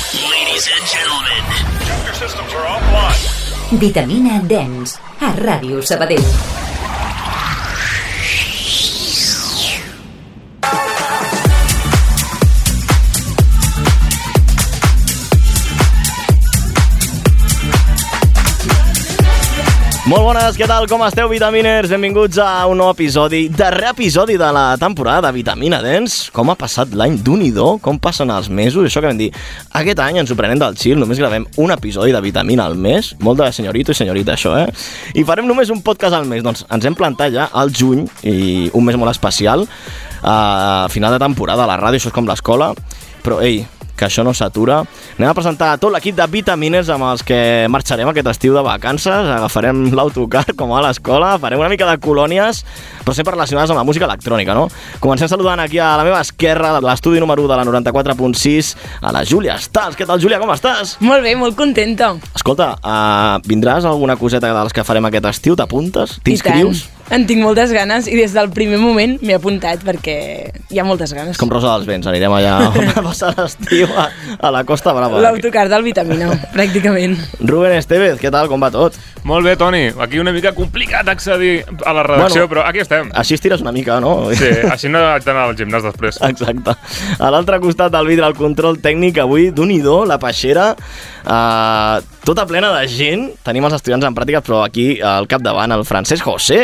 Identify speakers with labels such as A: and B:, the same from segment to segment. A: Ladies and gentlemen,
B: Your systems are offline.
C: Vitamina Dens, a Ràdio Sabadell.
D: Molt bones, què tal? Com esteu, Vitaminers? Benvinguts a un nou episodi, darrer episodi de la temporada de Vitamina Dens. Com ha passat l'any d'un i do? Com passen els mesos? Això que vam dir, aquest any ens ho prenem del xil, només gravem un episodi de Vitamina al mes. Molt de senyorito i senyorita, això, eh? I farem només un podcast al mes. Doncs ens hem plantat ja al juny, i un mes molt especial, a final de temporada a la ràdio, això és com l'escola. Però, ei, que això no s'atura. Anem a presentar tot l'equip de Vitaminers amb els que marxarem aquest estiu de vacances, agafarem l'autocar com a l'escola, farem una mica de colònies, però sempre relacionades amb la música electrònica, no? Comencem saludant aquí a la meva esquerra, de l'estudi número 1 de la 94.6, a la Júlia Estàs. Què tal, Júlia? Com estàs?
E: Molt bé, molt contenta.
D: Escolta, uh, vindràs a alguna coseta de les que farem aquest estiu? T'apuntes? T'inscrius?
E: I tant. En tinc moltes ganes i des del primer moment m'he apuntat perquè hi ha moltes ganes.
D: Com Rosa dels Vents, anirem allà on va passar l'estiu a, a la Costa Brava.
E: L'autocar del vitamina, pràcticament.
D: Ruben Estevez, què tal? Com va tot?
B: Molt bé, Toni. Aquí una mica complicat accedir a la redacció,
D: Bueno.
B: bueno. però aquí estem.
D: Així estires una mica, no?
B: Sí, així no haig d'anar al gimnàs després.
D: Exacte. A l'altre costat del vidre, el control tècnic, avui, d'un i do, la peixera, eh, tota plena de gent. Tenim els estudiants en pràctiques, però aquí al capdavant el Francesc José.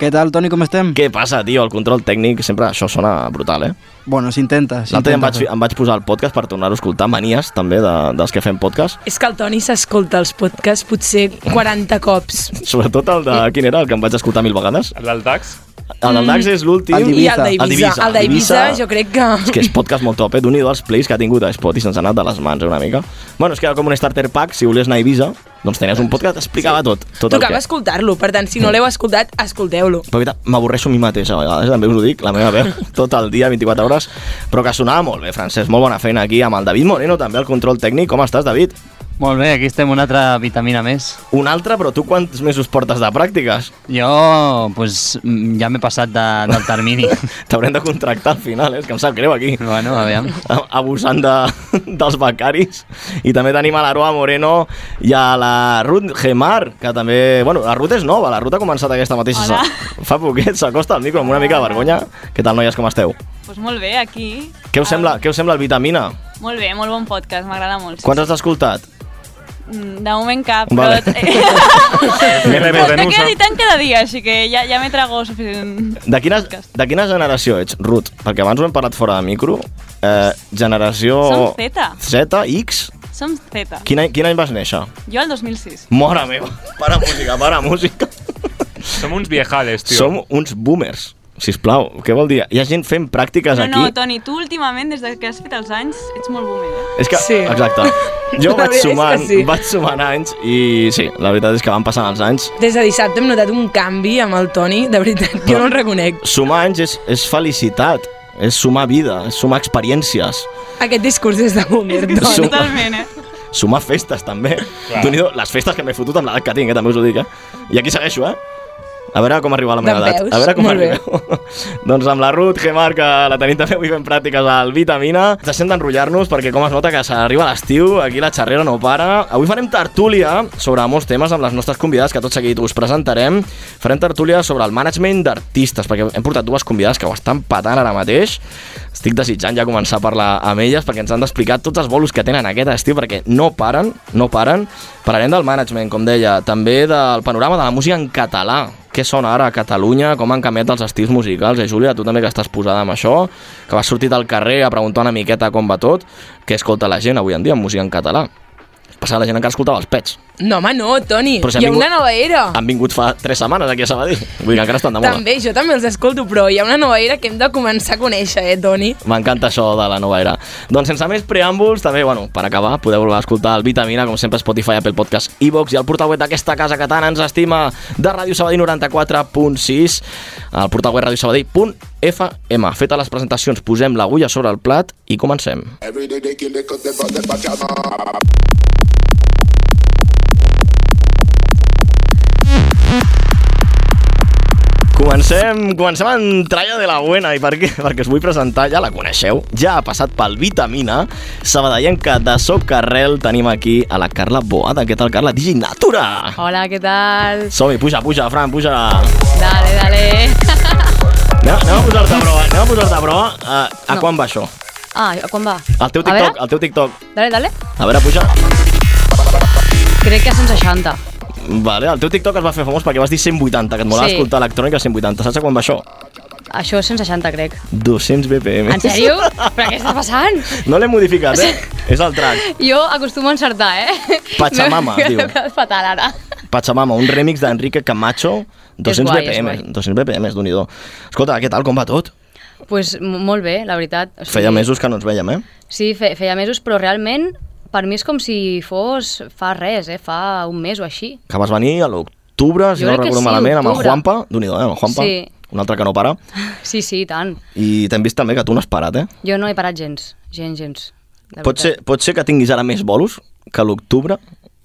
F: Què tal, Toni, com estem?
D: Què passa, tio? El control tècnic, sempre això sona brutal, eh?
F: Bueno, s'intenta.
D: L'altre dia em
F: s'intenta
D: vaig,
F: fer.
D: em vaig posar el podcast per tornar-ho a escoltar, manies també de, dels que fem podcast,
E: És que el Toni s'escolta els podcasts potser 40 cops.
D: sobretot el de... Quin era? El que em vaig escoltar mil vegades?
B: L'Altax?
D: El del DAX és l'últim.
F: Mm. El
E: I el
F: d'Ibiza.
E: d'Eivissa. El d'Eivissa jo crec que...
D: És que és podcast molt top, eh? D'un i dels plays que ha tingut a Spot i se'ns ha anat de les mans eh, una mica. Bueno, és que era com un starter pack, si volies anar a Ibiza, doncs tenies un podcast que explicava tot. tot el
E: Tocava
D: que...
E: escoltar-lo, per tant, si no l'heu escoltat, escolteu-lo.
D: Però veritat, m'avorreixo a mi mateix a vegades, també us ho dic, la meva veu, tot el dia, 24 hores, però que sonava molt bé, Francesc, molt bona feina aquí, amb el David Moreno també, al control tècnic. Com estàs, David?
G: Molt bé, aquí estem una altra vitamina més.
D: Un altre, però tu quants mesos portes de pràctiques?
G: Jo, pues, mm, ja m'he passat de, del termini.
D: T'haurem de contractar al final, eh? És que em sap greu aquí.
G: bueno, aviam.
D: a- abusant de, dels becaris i també tenim a l'Aroa Moreno i a la Ruth Gemar que també, bueno, la Ruth és nova la Ruth ha començat aquesta mateixa
H: Hola.
D: se- fa poquet s'acosta al micro amb una mica de vergonya què tal noies, com esteu?
H: Pues molt bé, aquí.
D: Què us, sembla, què us sembla el Vitamina?
H: Molt bé, molt bon podcast, m'agrada molt.
D: Quants has escoltat?
H: Mm, De moment cap,
D: Vale.
H: però...
D: Anem a veure,
H: Ho
B: Nusa.
H: que editant cada dia, així que ja, ja me trago suficient.
D: De quina,
H: podcast.
D: de quina generació ets, Ruth? Perquè abans ho hem parlat fora de micro eh, Generació...
H: Som Z.
D: Z, X?
H: Som Z.
D: Quin any, quin any vas néixer?
H: Jo el 2006.
D: Mora meva, para música, para música
B: Som uns viejales, tio.
D: Som uns boomers, si plau. Què vol dir? Hi ha gent fent pràctiques
H: No,
D: aquí.
H: no, Toni, tu últimament, des que has fet els anys, ets molt boomer. Eh?
D: És que,
E: Sí.
D: exacte. Jo
E: La
D: vaig
E: veritat és que
D: sumant,
E: sí.
D: vaig sumant anys i sí, la veritat és que van passant els anys.
E: Des de dissabte hem notat un canvi amb el Toni, de veritat, jo no el reconec.
D: Sumar anys és, és felicitat, és sumar vida, és sumar experiències,
E: Aquest discurs és de boomer,
D: Som-
E: Toni.
H: Totalment, eh?
D: sumar festes també.
B: Clar.
D: déu nhi les festes que m'he fotut amb l'edat que tinc, eh, també us ho dic, eh? I aquí segueixo, eh? A veure com arriba la meva edat.
E: Dempeus,
D: A veure com
E: molt bé.
D: arribeu. doncs amb la Ruth Gemar, que la tenim també avui fent pràctiques al Vitamina. Ens deixem d'enrotllar-nos perquè com es nota que s'arriba l'estiu, aquí la xerrera no para. Avui farem tertúlia sobre molts temes amb les nostres convidades que tot seguit us presentarem. Farem tertúlia sobre el management d'artistes perquè hem portat dues convidades que ho estan patant ara mateix. Estic desitjant ja començar a parlar amb elles perquè ens han d'explicar tots els bolos que tenen aquest estiu perquè no paren, no paren. Parlarem del management, com deia, també del panorama de la música en català què sona ara a Catalunya, com han canviat els estils musicals, eh, Júlia, tu també que estàs posada amb això, que vas sortir al carrer a preguntar una miqueta com va tot, què escolta la gent avui en dia en música en català. Passava la gent encara escoltava els pets.
E: No, home, no, Toni.
D: Però si han
E: Hi ha una
D: vingut-
E: nova era.
D: Han vingut fa tres setmanes aquí a Sabadell. Vull dir que encara estan de moda.
E: Ah. També, jo també els escolto, però hi ha una nova era que hem de començar a conèixer, eh, Toni?
D: M'encanta això de la nova era. Doncs sense més preàmbuls, també, bueno, per acabar, podeu escoltar el Vitamina, com sempre, Spotify, Apple Podcast, iVox i el portaveu d'aquesta casa que tant ens estima, de Ràdio Sabadell 94.6, el portaveu radiosabadell.fm. Feta les presentacions, posem l'agulla sobre el plat i comencem.
I: Every day they kill the cut the but the pajama.
D: Comencem, comencem a entrar ja de la buena. I per què? Perquè us vull presentar, ja la coneixeu, ja ha passat pel Vitamina, sabadellenca de Sob Carrel, tenim aquí a la Carla Boada. Què tal, Carla? Digi Natura!
A: Hola, ¿qué tal?
D: Som-hi, puja, puja, Fran, puja.
A: Dale, dale.
D: Anem, anem a posar-te a prova, anem a posar-te a prova. A, a
A: No.
D: quan va això?
A: Ah, quan va?
D: El teu
A: A veure?
D: TikTok, el teu TikTok.
A: Dale, dale.
D: A veure, puja.
A: Crec que són 60.
D: Vale, el teu TikTok es va fer famós perquè vas dir 180, que et molava
A: Sí.
D: escoltar electrònica 180. Saps a quan va això?
A: Això és 160, crec.
D: 200 BPM.
A: En sèrio? Però què està passant?
D: No l'he modificat, eh? És el track.
A: Jo acostumo a encertar, eh?
D: Pachamama,
A: M'he-
D: diu.
A: Fatal, ara.
D: Pachamama, un remix d'Enrique Camacho, 200
A: guai, és
D: BPM.
A: guai.
D: 200 BPM, és d'un i do. Escolta, què tal, com va tot?
A: Doncs pues, m- molt bé, la veritat. O
D: Feia mesos que no ens veiem, eh?
A: Sí, fe, feia mesos, però realment per mi és com si fos fa res, eh? Fa un mes o així.
D: Que vas venir a l'octubre, si
A: Jo
D: no
A: crec que
D: recordo
A: sí,
D: malament, amb el
A: octubre.
D: Juanpa, d'un i do, eh? Amb el Juanpa,
A: Sí.
D: un altre que no para.
A: Sí, sí, i tant.
D: I t'hem vist també que tu no has parat, eh?
A: Jo no he parat gens, gens, gens. de
D: Pot ser,
A: veritat.
D: pot ser que tinguis ara més bolos que a l'octubre?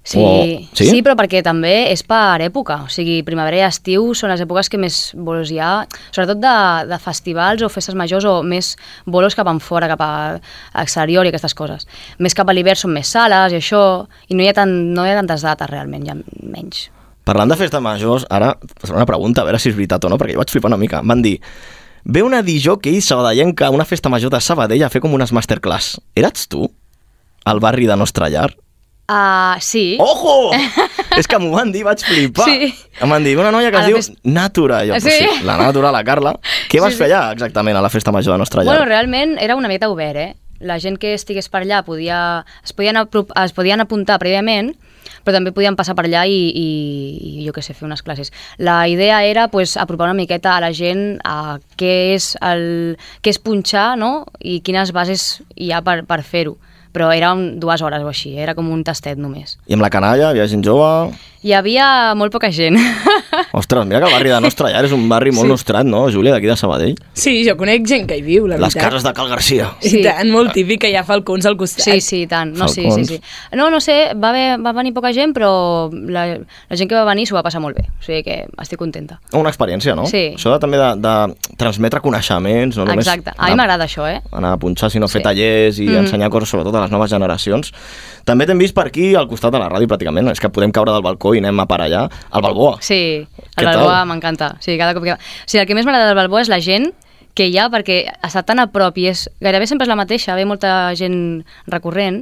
A: Sí,
D: O-
A: sí?
D: Sí?
A: sí, però perquè també és per època. O sigui, primavera i estiu són les èpoques que més bolos hi ha, sobretot de, de festivals o festes majors o més bolos cap en fora, cap a exterior i aquestes coses. Més cap a l'hivern són més sales i això, i no hi ha, tant, no hi ha tantes dates realment, hi ha menys.
D: Parlant de festes majors, ara et faré una pregunta, a veure si és veritat o no, perquè jo vaig flipar una mica. Em Van dir, ve una DJ sabadellenca a una festa major de Sabadell a fer com unes masterclass. Eres tu? Al barri de nostra llar?
A: Uh,
D: Oh,
A: sí,
D: Ojo! és que m'ho van dir, vaig flipar.
A: Sí.
D: Em van dir, una noia que
A: A
D: es
A: la
D: diu
A: fes- Ah,
D: Natura. Jo,
A: Sí.
D: sí. sí. La Natura, la Carla. Què
A: Sí,
D: vas
A: sí.
D: fer allà exactament a la festa major de nostra llar?
A: Bueno, realment era una miqueta obert, eh? La gent que estigués per allà podia, es, podien apro- es podien apuntar prèviament, però també podien passar per allà i, i, i jo què sé, fer unes classes. La idea era pues, apropar una miqueta a la gent a què és, el, què és punxar no? i quines bases hi ha per, per fer-ho. Però era un, dues hores o així, eh? era com un tastet només.
D: I amb la canalla, hi havia gent jove...
A: Hi havia molt poca gent.
D: Ostres, mira que el barri de nostra llar és un barri molt sí. nostrat, no, Júlia, d'aquí de Sabadell?
E: Sí, jo conec gent que hi viu, la
D: Les
E: veritat.
D: cases de Cal Garcia.
E: Sí.
A: Sí.
E: I tant, molt típic, que hi ha falcons al costat.
A: Sí, sí, i tant. No, sí, sí,
D: Falcons.
A: sí. No, no sé, va, haver, va venir poca gent, però la, la gent que va venir s'ho va passar molt bé. O sigui que estic contenta.
D: Oh, Una experiència, no?
A: Sí.
D: Això de, també de, de transmetre coneixements, no només...
A: Exacte. A mi
D: anar-
A: m'agrada això, eh?
D: anar a punxar, sinó fer
A: Sí.
D: tallers i
A: Mhm.
D: ensenyar coses, sobretot a les noves generacions. També t'hem vist per aquí, al costat de la ràdio, pràcticament. És que podem caure del balcó i anem a parar allà, al Balboa.
A: Sí,
D: Què
A: el Balboa
D: tal?
A: m'encanta. Sí, cada cop que... O sigui, el que més m'agrada del Balboa és la gent que hi ha, perquè està tan a prop i és, gairebé sempre és la mateixa, ve molta gent recurrent,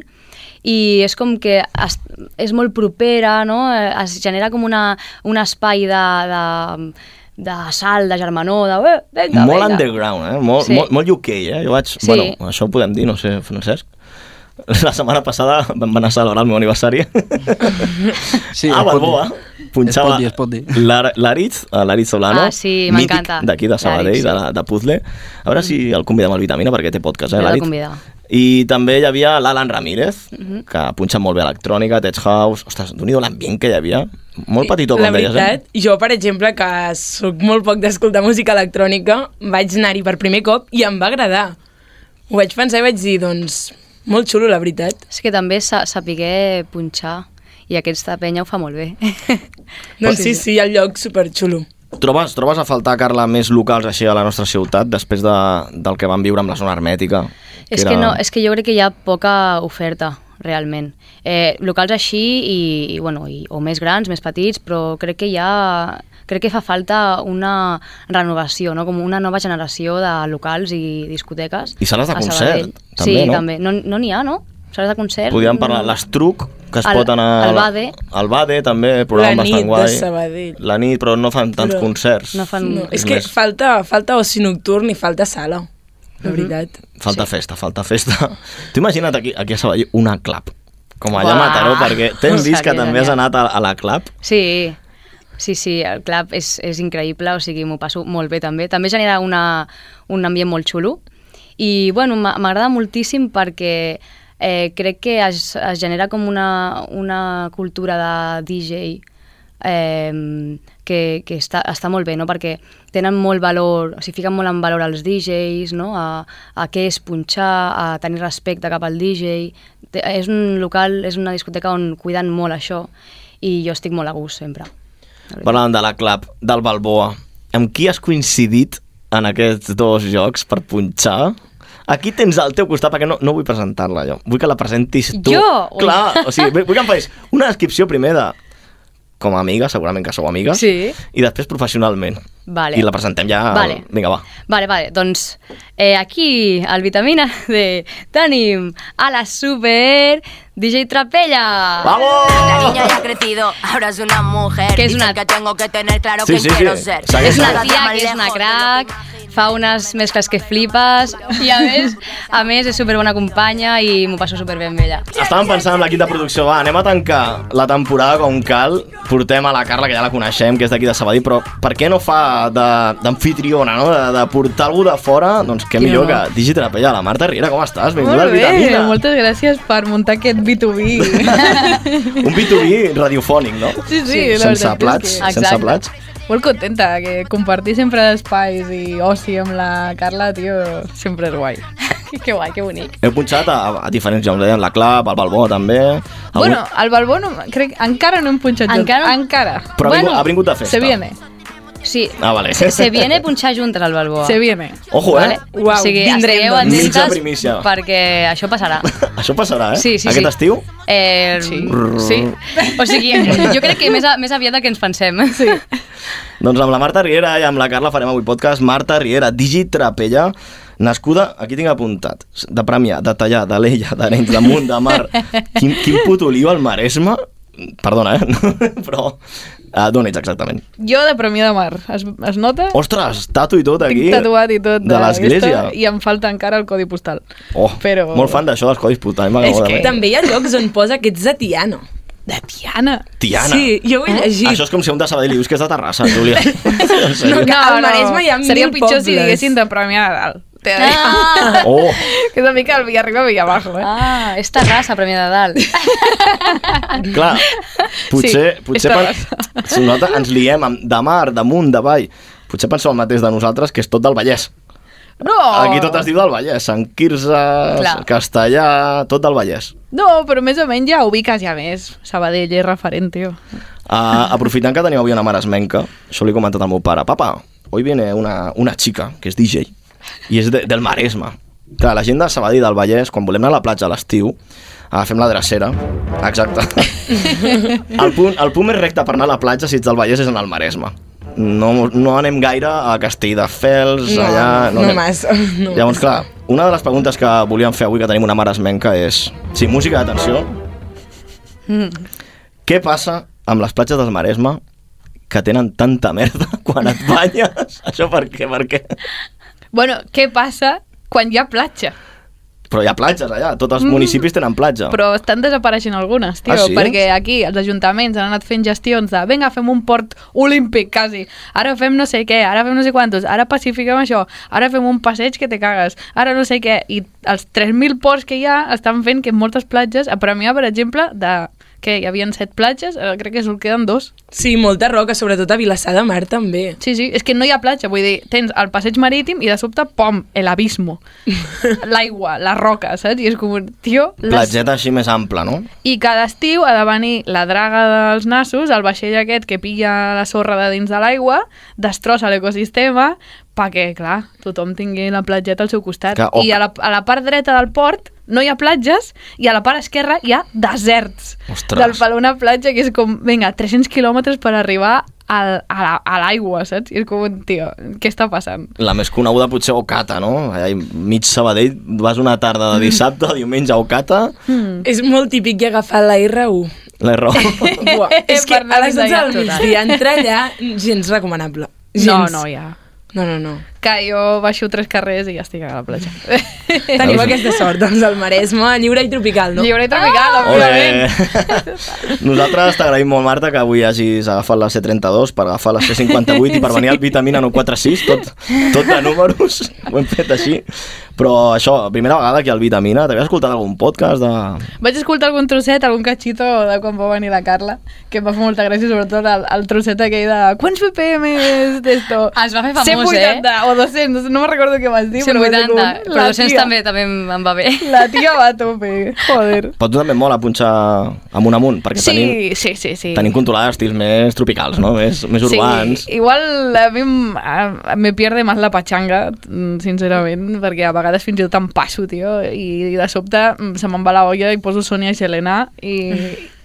A: i és com que es, és molt propera, no? Eh, es genera com una, un espai de, de, de sal, de germanor, de... Eh, venga,
D: molt
A: venga.
D: underground, eh? Molt,
A: Sí.
D: molt, molt UK, eh? Jo vaig...
A: Sí.
D: Bueno, això ho podem dir, no sé, Francesc. La setmana passada vam anar a celebrar el meu aniversari.
F: Sí,
D: a
F: es pot
D: Balboa.
F: dir.
D: eh? Punxava
F: Es pot dir, es pot dir.
D: l'Ar- l'Aritz, eh, l'Aritz Solano.
A: Ah, sí,
D: mític
A: m'encanta.
D: D'aquí, de Sabadell,
A: L'Aritz,
D: de,
A: sí.
D: la- de Puzzle. A veure si el convidem al Vitamina, perquè té podcast, eh,
A: L'he de
D: l'Aritz?
A: convidar.
D: I també hi havia l'Alan Ramírez,
A: Mhm.
D: que punxa molt bé electrònica, Tech House... Ostres, d'un i do l'ambient que hi havia. Molt petitó, com
E: la
D: deies,
E: veritat,
D: eh?
E: jo, per exemple, que sóc molt poc d'escoltar música electrònica, vaig anar-hi per primer cop i em va agradar. Ho vaig pensar i vaig dir, doncs, molt xulo, la veritat.
A: És que també sa sapigué punxar i aquesta penya ho fa molt bé.
E: Doncs sí, sí, el lloc superxulo.
D: Trobes, trobes a faltar, Carla, més locals així a la nostra ciutat després de, del que vam viure amb la zona hermètica?
A: És
D: era-
A: que, no, és que jo crec que hi ha poca oferta, realment. Eh, locals així, i, i, bueno, i, o més grans, més petits, però crec que hi ha crec que fa falta una renovació, no? com una nova generació de locals i discoteques.
D: I sales de
A: a Sabadell.
D: concert, també,
A: sí,
D: no?
A: també. No no n'hi ha, no? Sales de concert...
D: Podríem parlar
A: no.
D: de l'Estruc, que es
A: Al-
D: pot anar...
A: al Bade.
D: Al Bade, també, programa
E: La nit
D: bastant
E: de
D: guai.
E: Sabadell.
D: La nit, però no fan tants
E: Però
D: concerts.
A: no fan-
E: No,
A: Mm,
E: és que
D: més.
E: falta, falta oci nocturn i falta sala, la
D: Mhm.
E: veritat.
D: Falta festa, falta festa. T'ho imagina't aquí, aquí a Sabadell una clap. Com allà a
A: Uah.
D: Mataró, perquè t'hem
A: Seria
D: vist que també has
A: genial.
D: anat a, a la clap.
A: Sí, sí, sí, el club és, és increïble, o sigui, m'ho passo molt bé també. També genera una, un ambient molt xulo i, bueno, m'a- m'agrada moltíssim perquè eh, crec que es, es genera com una, una cultura de DJ eh, que, que està, està molt bé, no? perquè tenen molt valor, o sigui, fiquen molt en valor els DJs, no? a, a què és punxar, a tenir respecte cap al DJ. Té- És un local, és una discoteca on cuiden molt això i jo estic molt a gust sempre.
D: Parlàvem de la clap, del Balboa. amb qui has coincidit en aquests dos jocs per punxar? Aquí tens al teu costat, perquè no, no vull presentar-la jo. Vull que la presentis tu.
A: Jo? Ui.
D: Clar, o sigui, vull- vull que em facis una descripció primer de com a amiga, segurament que sou amigues,
A: Sí.
D: i després professionalment.
A: Vale.
D: I la presentem ja...
A: Vale.
D: Vinga, va.
A: Vale, vale, doncs eh, aquí, al Vitamina D, tenim a la super DJ Trapella.
D: Vamos!
J: ha crecido, ahora es una mujer.
A: Que es una- Dice que
J: tengo que tener claro
D: Sí, quién sí, sí. quiero ser. Segueix.
A: És una tia que és una crack, fa unes mescles que flipes i a més, a més és superbona companya i m'ho passo superbé amb ella.
D: Estàvem pensant en l'equip de producció, va, anem a tancar la temporada com cal, portem a la Carla, que ja la coneixem, que és d'aquí de Sabadell, però per què no fa de- d'anfitriona, no? De, de portar algú de fora, doncs què
E: Tio.
D: millor que Digitrapella. La Marta Riera, com estàs? Benvinguda al
K: Molt bé,
D: Vitamina.
K: moltes gràcies per muntar aquest B2B.
D: Un B2B radiofònic, no?
K: Sí, sí, la
D: sense
K: veritat és
D: plats,
K: que-
D: sense
K: Exacte.
D: plats.
K: Molt contenta que compartir sempre espais i oci amb la Carla, tio, sempre és guai. que guai, que bonic.
D: Heu punxat a, a diferents jocs, dèiem, la Clap, el Balbó també. Algun...
K: Bueno, al Balbó no, crec, encara no hem punxat
A: Encara no?
K: junts. Encara.
D: Però ha vingut-
K: bueno,
D: ha vingut de festa.
K: Se viene,
A: Sí,
D: Ah, vale.
A: se, se viene punxar juntes al Balboa.
K: se viene.
D: Ojo, eh?
A: Uau, o sigui,
E: vindrem,
A: estigueu
E: doncs.
D: Mitja
A: atentes
D: primícia.
A: perquè això passarà.
D: Això passarà, eh?
A: Sí, sí,
D: Aquest
A: sí.
D: estiu?
A: Eh, sí. sí. O sigui, jo crec que més, a, més aviat del que ens pensem. Sí.
D: Doncs amb la Marta Riera i amb la Carla farem avui podcast. Marta Riera, Digi Trapella, nascuda, aquí tinc apuntat, de Premià, de Tallà, de Lella, d'Arenys, de Munt, de Mar. Quin, quin puto lío al Maresme. Perdona, eh? Però... Uh, d'on ets exactament?
K: Jo de Premià de Mar. Es, es nota?
D: Ostres, tatu i tot aquí.
K: Tinc tatuat i tot.
D: De l'església.
K: esto, I em falta encara el codi postal.
D: Oh,
K: però-
D: molt fan d'això dels codis portals.
E: És que també hi ha llocs on posa que ets de Tiana.
K: De Tiana.
D: Tiana.
E: Sí, jo ho he
K: Oh.
E: llegit.
D: Això és com si un de Sabadell dius que és de Terrassa, Júlia. En sèrio.
E: No, que al Maresme hi ha
K: Seria
E: mil
K: pitjor si
E: pobles.
K: diguessin de Premià de Dalt. T'he de dir.
D: Oh,
K: que és una mica el Villarriba Villabajo, eh?
A: Ah, és Terrassa, Premià de Dalt.
D: clar, potser,
K: Sí,
D: potser
K: és
D: per, si nosaltres ens liem amb de mar, damunt, de vall, potser penseu el mateix de nosaltres, que és tot del Vallès.
K: No!
D: Aquí tot es diu del Vallès, Sant Quirze,
A: Oh! Clar.
D: Castellà, tot del Vallès.
K: No, però més o menys ja ubiques ja més. Sabadell és referent, tio.
D: Uh, aprofitant que tenim avui una maresmenca, això li he comentat al meu pare, papa, hoy viene una, una chica que és DJ i és de, del Maresme. Clar, la gent de Sabadell i del Vallès, quan volem anar a la platja a l'estiu, agafem la drecera, exacte. el, punt, el punt més recte per anar a la platja, si ets del Vallès, és en el Maresme. No, no anem gaire a Castelldefels,
E: No,
D: allà...
E: no
D: anem.
E: massa, no
D: Llavors, clar, una de les preguntes que volíem fer avui, que tenim una maresmenca, és... Sí, música d'atenció.
E: Mm.
D: Què passa amb les platges del Maresme que tenen tanta merda quan et banyes? Això per què, per què?
K: Bueno, què passa quan hi ha platja?
D: Però hi ha platges allà, tots els municipis tenen platja.
K: Mm. Però estan desapareixent algunes, tio,
D: Ah, sí?
K: perquè aquí els ajuntaments han anat fent gestions de vinga, fem un port olímpic, quasi, ara fem no sé què, ara fem no sé quantos, ara pacifiquem això, ara fem un passeig que te cagues, ara no sé què, i els 3.000 ports que hi ha estan fent que moltes platges, a Premià, per exemple, de que hi havien set platges, ara crec que se'n queden dos.
E: Sí, molta roca, sobretot a Vilassar de Mar també.
K: Sí, sí, és que no hi ha platja, vull dir, tens el passeig marítim i de sobte, pom, el abismo. L'aigua, la roca, saps? I és com, tio, les
D: Platgeta així més ampla, no?
K: I cada estiu ha de venir la draga dels nassos, el vaixell aquest que pilla la sorra de dins de l'aigua, destrossa l'ecosistema, perquè, clar, tothom tingui la platgeta al seu costat.
D: Que, oh.
K: I a la, a la part dreta del port no hi ha platges i a la part esquerra hi ha deserts.
D: Ostres.
K: Del pal una platja que és com, vinga, 300 quilòmetres per arribar al, a la- a l'aigua, saps? I és com, tio, què està passant?
D: La més coneguda potser Ocata, no? Allà mig Sabadell vas una
K: Mm.
D: tarda de dissabte, diumenge a Ocata,
E: És molt típic i agafar la R1.
D: la raó.
E: Buah, és que
K: Per anar
E: a les
K: més
E: 12
K: allà,
E: del
K: total.
E: migdia entrar allà gens recomanable.
K: No,
E: Gens.
K: no, ja.
E: No, no, no.
K: Que jo baixo tres carrers i ja estic a la platja.
E: Tenim aquesta sort, doncs, el Maresme, lliure i tropical, no?
K: Lliure i tropical, ah!
D: Ole! Nosaltres t'agraïm molt, Marta, que avui hagis agafat la C32 per agafar la C58 i per venir al Vitamina 946, tot, tot de números, ho hem fet així. Però això, primera vegada que al Vitamina, t'havies escoltat algun podcast de...
K: Vaig escoltar algun trosset, algun catxito de quan va venir la Carla, que em va fer molta gràcia, sobretot el, el trosset aquell de quants BPM és d'esto?
A: Es va fer famós,
K: 180
A: eh?
K: o o 200, no me recordo què vas dir.
A: Sí,
K: va ser
A: 80,
K: com,
A: però
K: "La
A: 200
K: tia,
A: també també em em va bé.
K: La tia va a tope, joder.
D: Però tu també mola punxar amunt amunt, perquè
K: Sí,
D: tenim,
K: sí, sí, sí.
D: tenim controlada estils més tropicals, no? Més, més urbans.
K: Sí, igual a mi em- a- me pierde més la patxanga, mm, sincerament, perquè a vegades fins i tot em passo, tio, i, i de sobte mm, se me'n va la olla i poso Sonia i Selena i,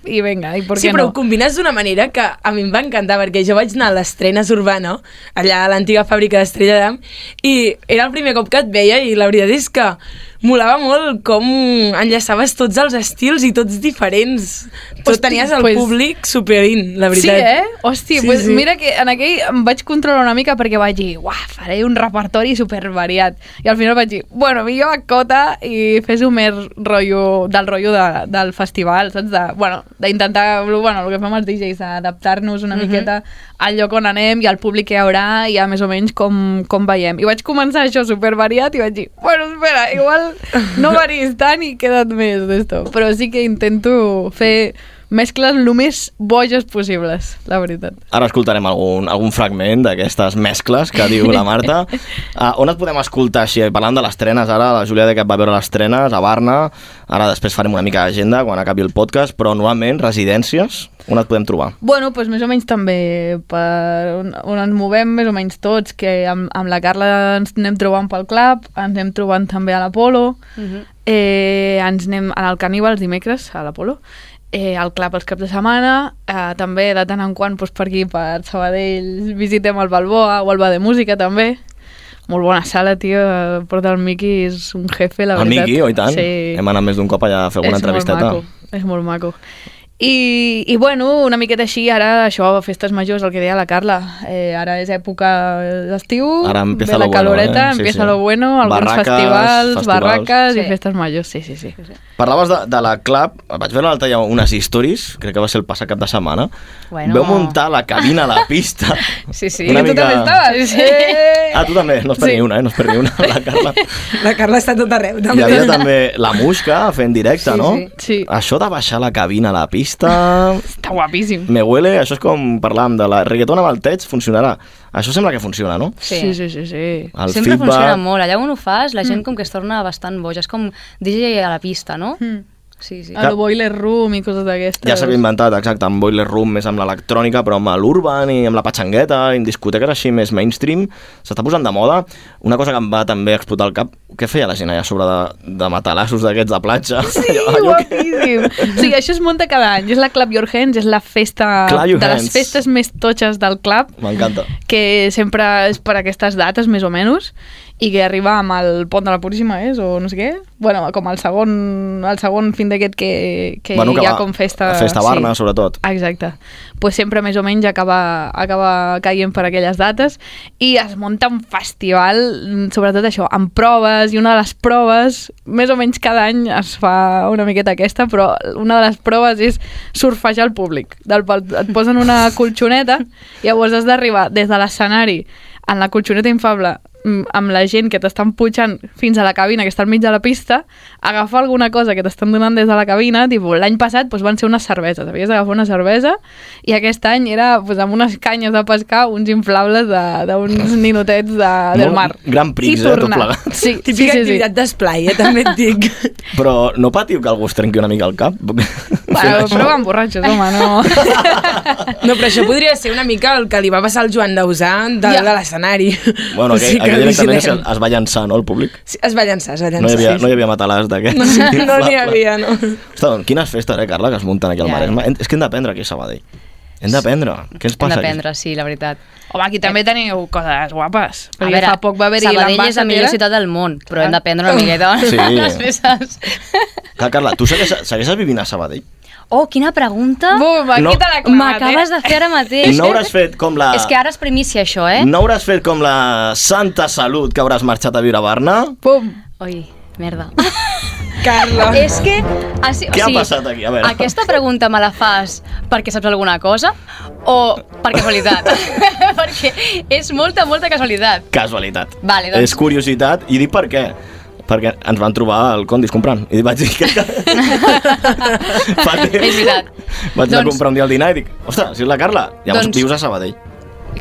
K: i venga, i per
E: sí,
K: què
E: però
K: no?
E: ho combines d'una manera que a mi em va encantar, perquè jo vaig anar a l'estrena Urbana, allà a l'antiga fàbrica d'Estrella d'Am, i era el primer cop que et veia i la veritat és que molava molt com enllaçaves tots els estils i tots diferents. Tu
K: Hosti,
E: tenies el
K: pues-
E: públic superint, la
K: Sí,
E: veritat.
K: eh? Hòstia, sí, pues sí. mira que en aquell em vaig controlar una mica perquè vaig dir, uah, faré un repertori supervariat. I al final vaig dir, bueno, millor a cota i fes-ho més rotllo, del rotllo de, del festival, saps? De, bueno, d'intentar, bueno, el que fem els DJs, d'adaptar-nos una mm -hmm. miqueta al lloc on anem i al públic que hi haurà i a més o menys com, com veiem. I vaig començar això supervariat i vaig dir, bueno, espera, igual no varis tant i queda't més d'esto. Però sí que intento fer mescles el més boges possibles, la veritat.
D: Ara escoltarem algun, algun fragment d'aquestes mescles que diu la Marta. Uh, on et podem escoltar així? Parlant de les trenes ara, la Júlia de que va veure les trenes a Barna, ara després farem una mica d'agenda quan acabi el podcast, però normalment residències, on et podem trobar?
K: Bueno, doncs més o menys també per on, on ens movem més o menys tots, que amb, amb la Carla ens anem trobant pel club, ens anem trobant també a l'Apolo, uh -huh. eh, ens anem al Caníbal els dimecres, a l'Apolo, eh, al club els caps de setmana, eh, també de tant en quant doncs, per aquí, per Sabadell, visitem el Balboa o el Va de Música també, molt bona sala, tio, el Port del Miqui és un jefe, la
D: el
K: veritat.
D: Miqui, oi tant?
K: Sí.
D: Hem anat més d'un cop allà a fer alguna
K: és
D: entrevisteta.
K: Molt maco, és molt maco. I, I, bueno, una miqueta així, ara això, festes majors, el que deia la Carla, eh, ara és època d'estiu,
D: Ara empieza
K: ve la
D: lo bueno,
K: caloreta,
D: eh? Sí,
K: empieza
D: sí.
K: lo bueno, alguns
D: Barraques,
K: festivals,
D: festivals.
K: barraques sí.
A: Sí.
K: i festes majors, sí, sí, sí.
D: Parlaves de, de la Club, vaig veure l'altre dia unes stories, crec que va ser el passat cap de setmana,
A: Bueno.
D: veu muntar la cabina a la pista.
A: Sí, sí.
D: Una
K: I tu
D: mica-
K: també estaves? Sí, sí.
D: Ah, tu també, no es perdi sí. una, eh? No es perdi una, la Carla.
E: La Carla està a tot arreu.
D: Hi havia també la Musca fent directe, no?
K: sí.
D: Això de baixar la cabina a la pista...
K: Està guapíssim.
D: Me huele, això és com parlàvem de la reggaeton amb el teig, funcionarà. Això sembla que funciona, no?
A: Sí.
K: Sí, sí, sí, sí.
D: El
A: Sempre
D: feedback,
A: funciona molt. Allà on ho fas, la gent com que es torna bastant boja. És com DJ a la pista, no?
K: Mm.
A: Sí, sí.
K: A lo Boiler Room i coses d'aquestes.
D: Ja eh? s'havia inventat, exacte, amb Boiler Room, més amb l'electrònica, però amb l'urban i amb la patxangueta, i en discoteques així més mainstream, s'està posant de moda. Una cosa que em va també explotar el cap, què feia la gent allà sobre de, de matalassos d'aquests de platja?
K: Sí, guapíssim. Sí, això es munta cada any. És la Club Your Hands, és la festa...
D: Clap Your
K: de les
D: Hands.
K: festes més totxes del club.
D: M'encanta.
K: que sempre és per aquestes dates, més o menys, i que arriba amb el pont de la Puríssima, és, o no sé què. Bueno, com el segon, el segon fin d'aquest que, que hi ha
D: va-
K: com festa...
D: Festa Barna, sí. sobretot.
K: Exacte. pues sempre més o menys acaba, acaba caient per aquelles dates i es munta un festival, mm, sobretot això, amb proves i una de les proves, més o menys cada any es fa una miqueta aquesta, però una de les proves és surfejar el públic. Del, pal- et posen una colxoneta, llavors has d'arribar des de l'escenari en la colxoneta infable mm, amb la gent que t'estan pujant fins a la cabina, que està al mig de la pista, agafar alguna cosa que t'estan donant des de la cabina, tipus, l'any passat doncs, van ser unes cerveses, havies d'agafar una cervesa, i aquest any era doncs, amb unes canyes de pescar, uns inflables de- d'uns ninotets de, del
D: Molt
K: mar.
D: Gran Prix,
K: I
D: eh, tot
K: tornar.
D: plegat.
K: Sí, sí,
E: Típica
K: sí, sí.
E: activitat d'esplai, eh? també et dic.
D: Però no patiu que algú es trenqui una mica el cap?
K: Bueno, però van borratxos, home, no...
E: No, però això podria ser una mica el que li va passar al Joan Dausà de,
K: Ja.
E: de l'escenari.
D: Bueno, aquell,
E: que
D: aquell directament es,
E: vigilem.
D: es va llançar, no, el públic?
E: Sí, es va llançar, es va llançar.
D: No hi havia,
E: sí.
D: no hi havia matalàs d'aquests.
E: No n'hi havia, no.
D: Ostres, doncs, quines festes, eh, Carla, que es munten aquí al
A: Ja,
D: Maresme. Hem- És que hem d'aprendre aquí a Sabadell. Hem d'aprendre. Què ens
A: Hem
D: passa
A: d'aprendre, sí, la veritat.
K: Home, aquí també teniu coses guapes. Perquè
A: A veure,
K: fa poc va haver-hi
A: Sabadell és la
K: l'ambaixadera.
A: millor ciutat del món, però hem d'aprendre una miqueta
D: Sí.
A: les peces.
D: aquí? Clar, Carla, tu segueixes, segueixes vivint a Sabadell?
A: Oh, quina pregunta!
K: Bum, aquí
D: No.
K: te l'ha clavat,
A: M'acabes
K: eh?
A: de fer ara mateix.
D: No hauràs fet com la...
A: És que ara és primícia, això, eh?
D: No hauràs fet com la Santa Salut que hauràs marxat a viure a Barna?
K: Pum.
A: Ui, merda.
E: Carla.
A: És que... ah, Així,
D: Què ha passat aquí? A veure.
A: Aquesta pregunta me la fas perquè saps alguna cosa o per casualitat? perquè és molta, molta casualitat.
D: Casualitat.
A: Vale, doncs.
D: És curiositat i dic per què. Perquè ens van trobar al Condis comprant. I vaig dir que... Fa temps.
A: És veritat.
D: Vaig anar a
A: Doncs-
D: comprar un dia al dinar i dic, ostres, si és la Carla, llavors
A: Doncs-
D: vius a Sabadell.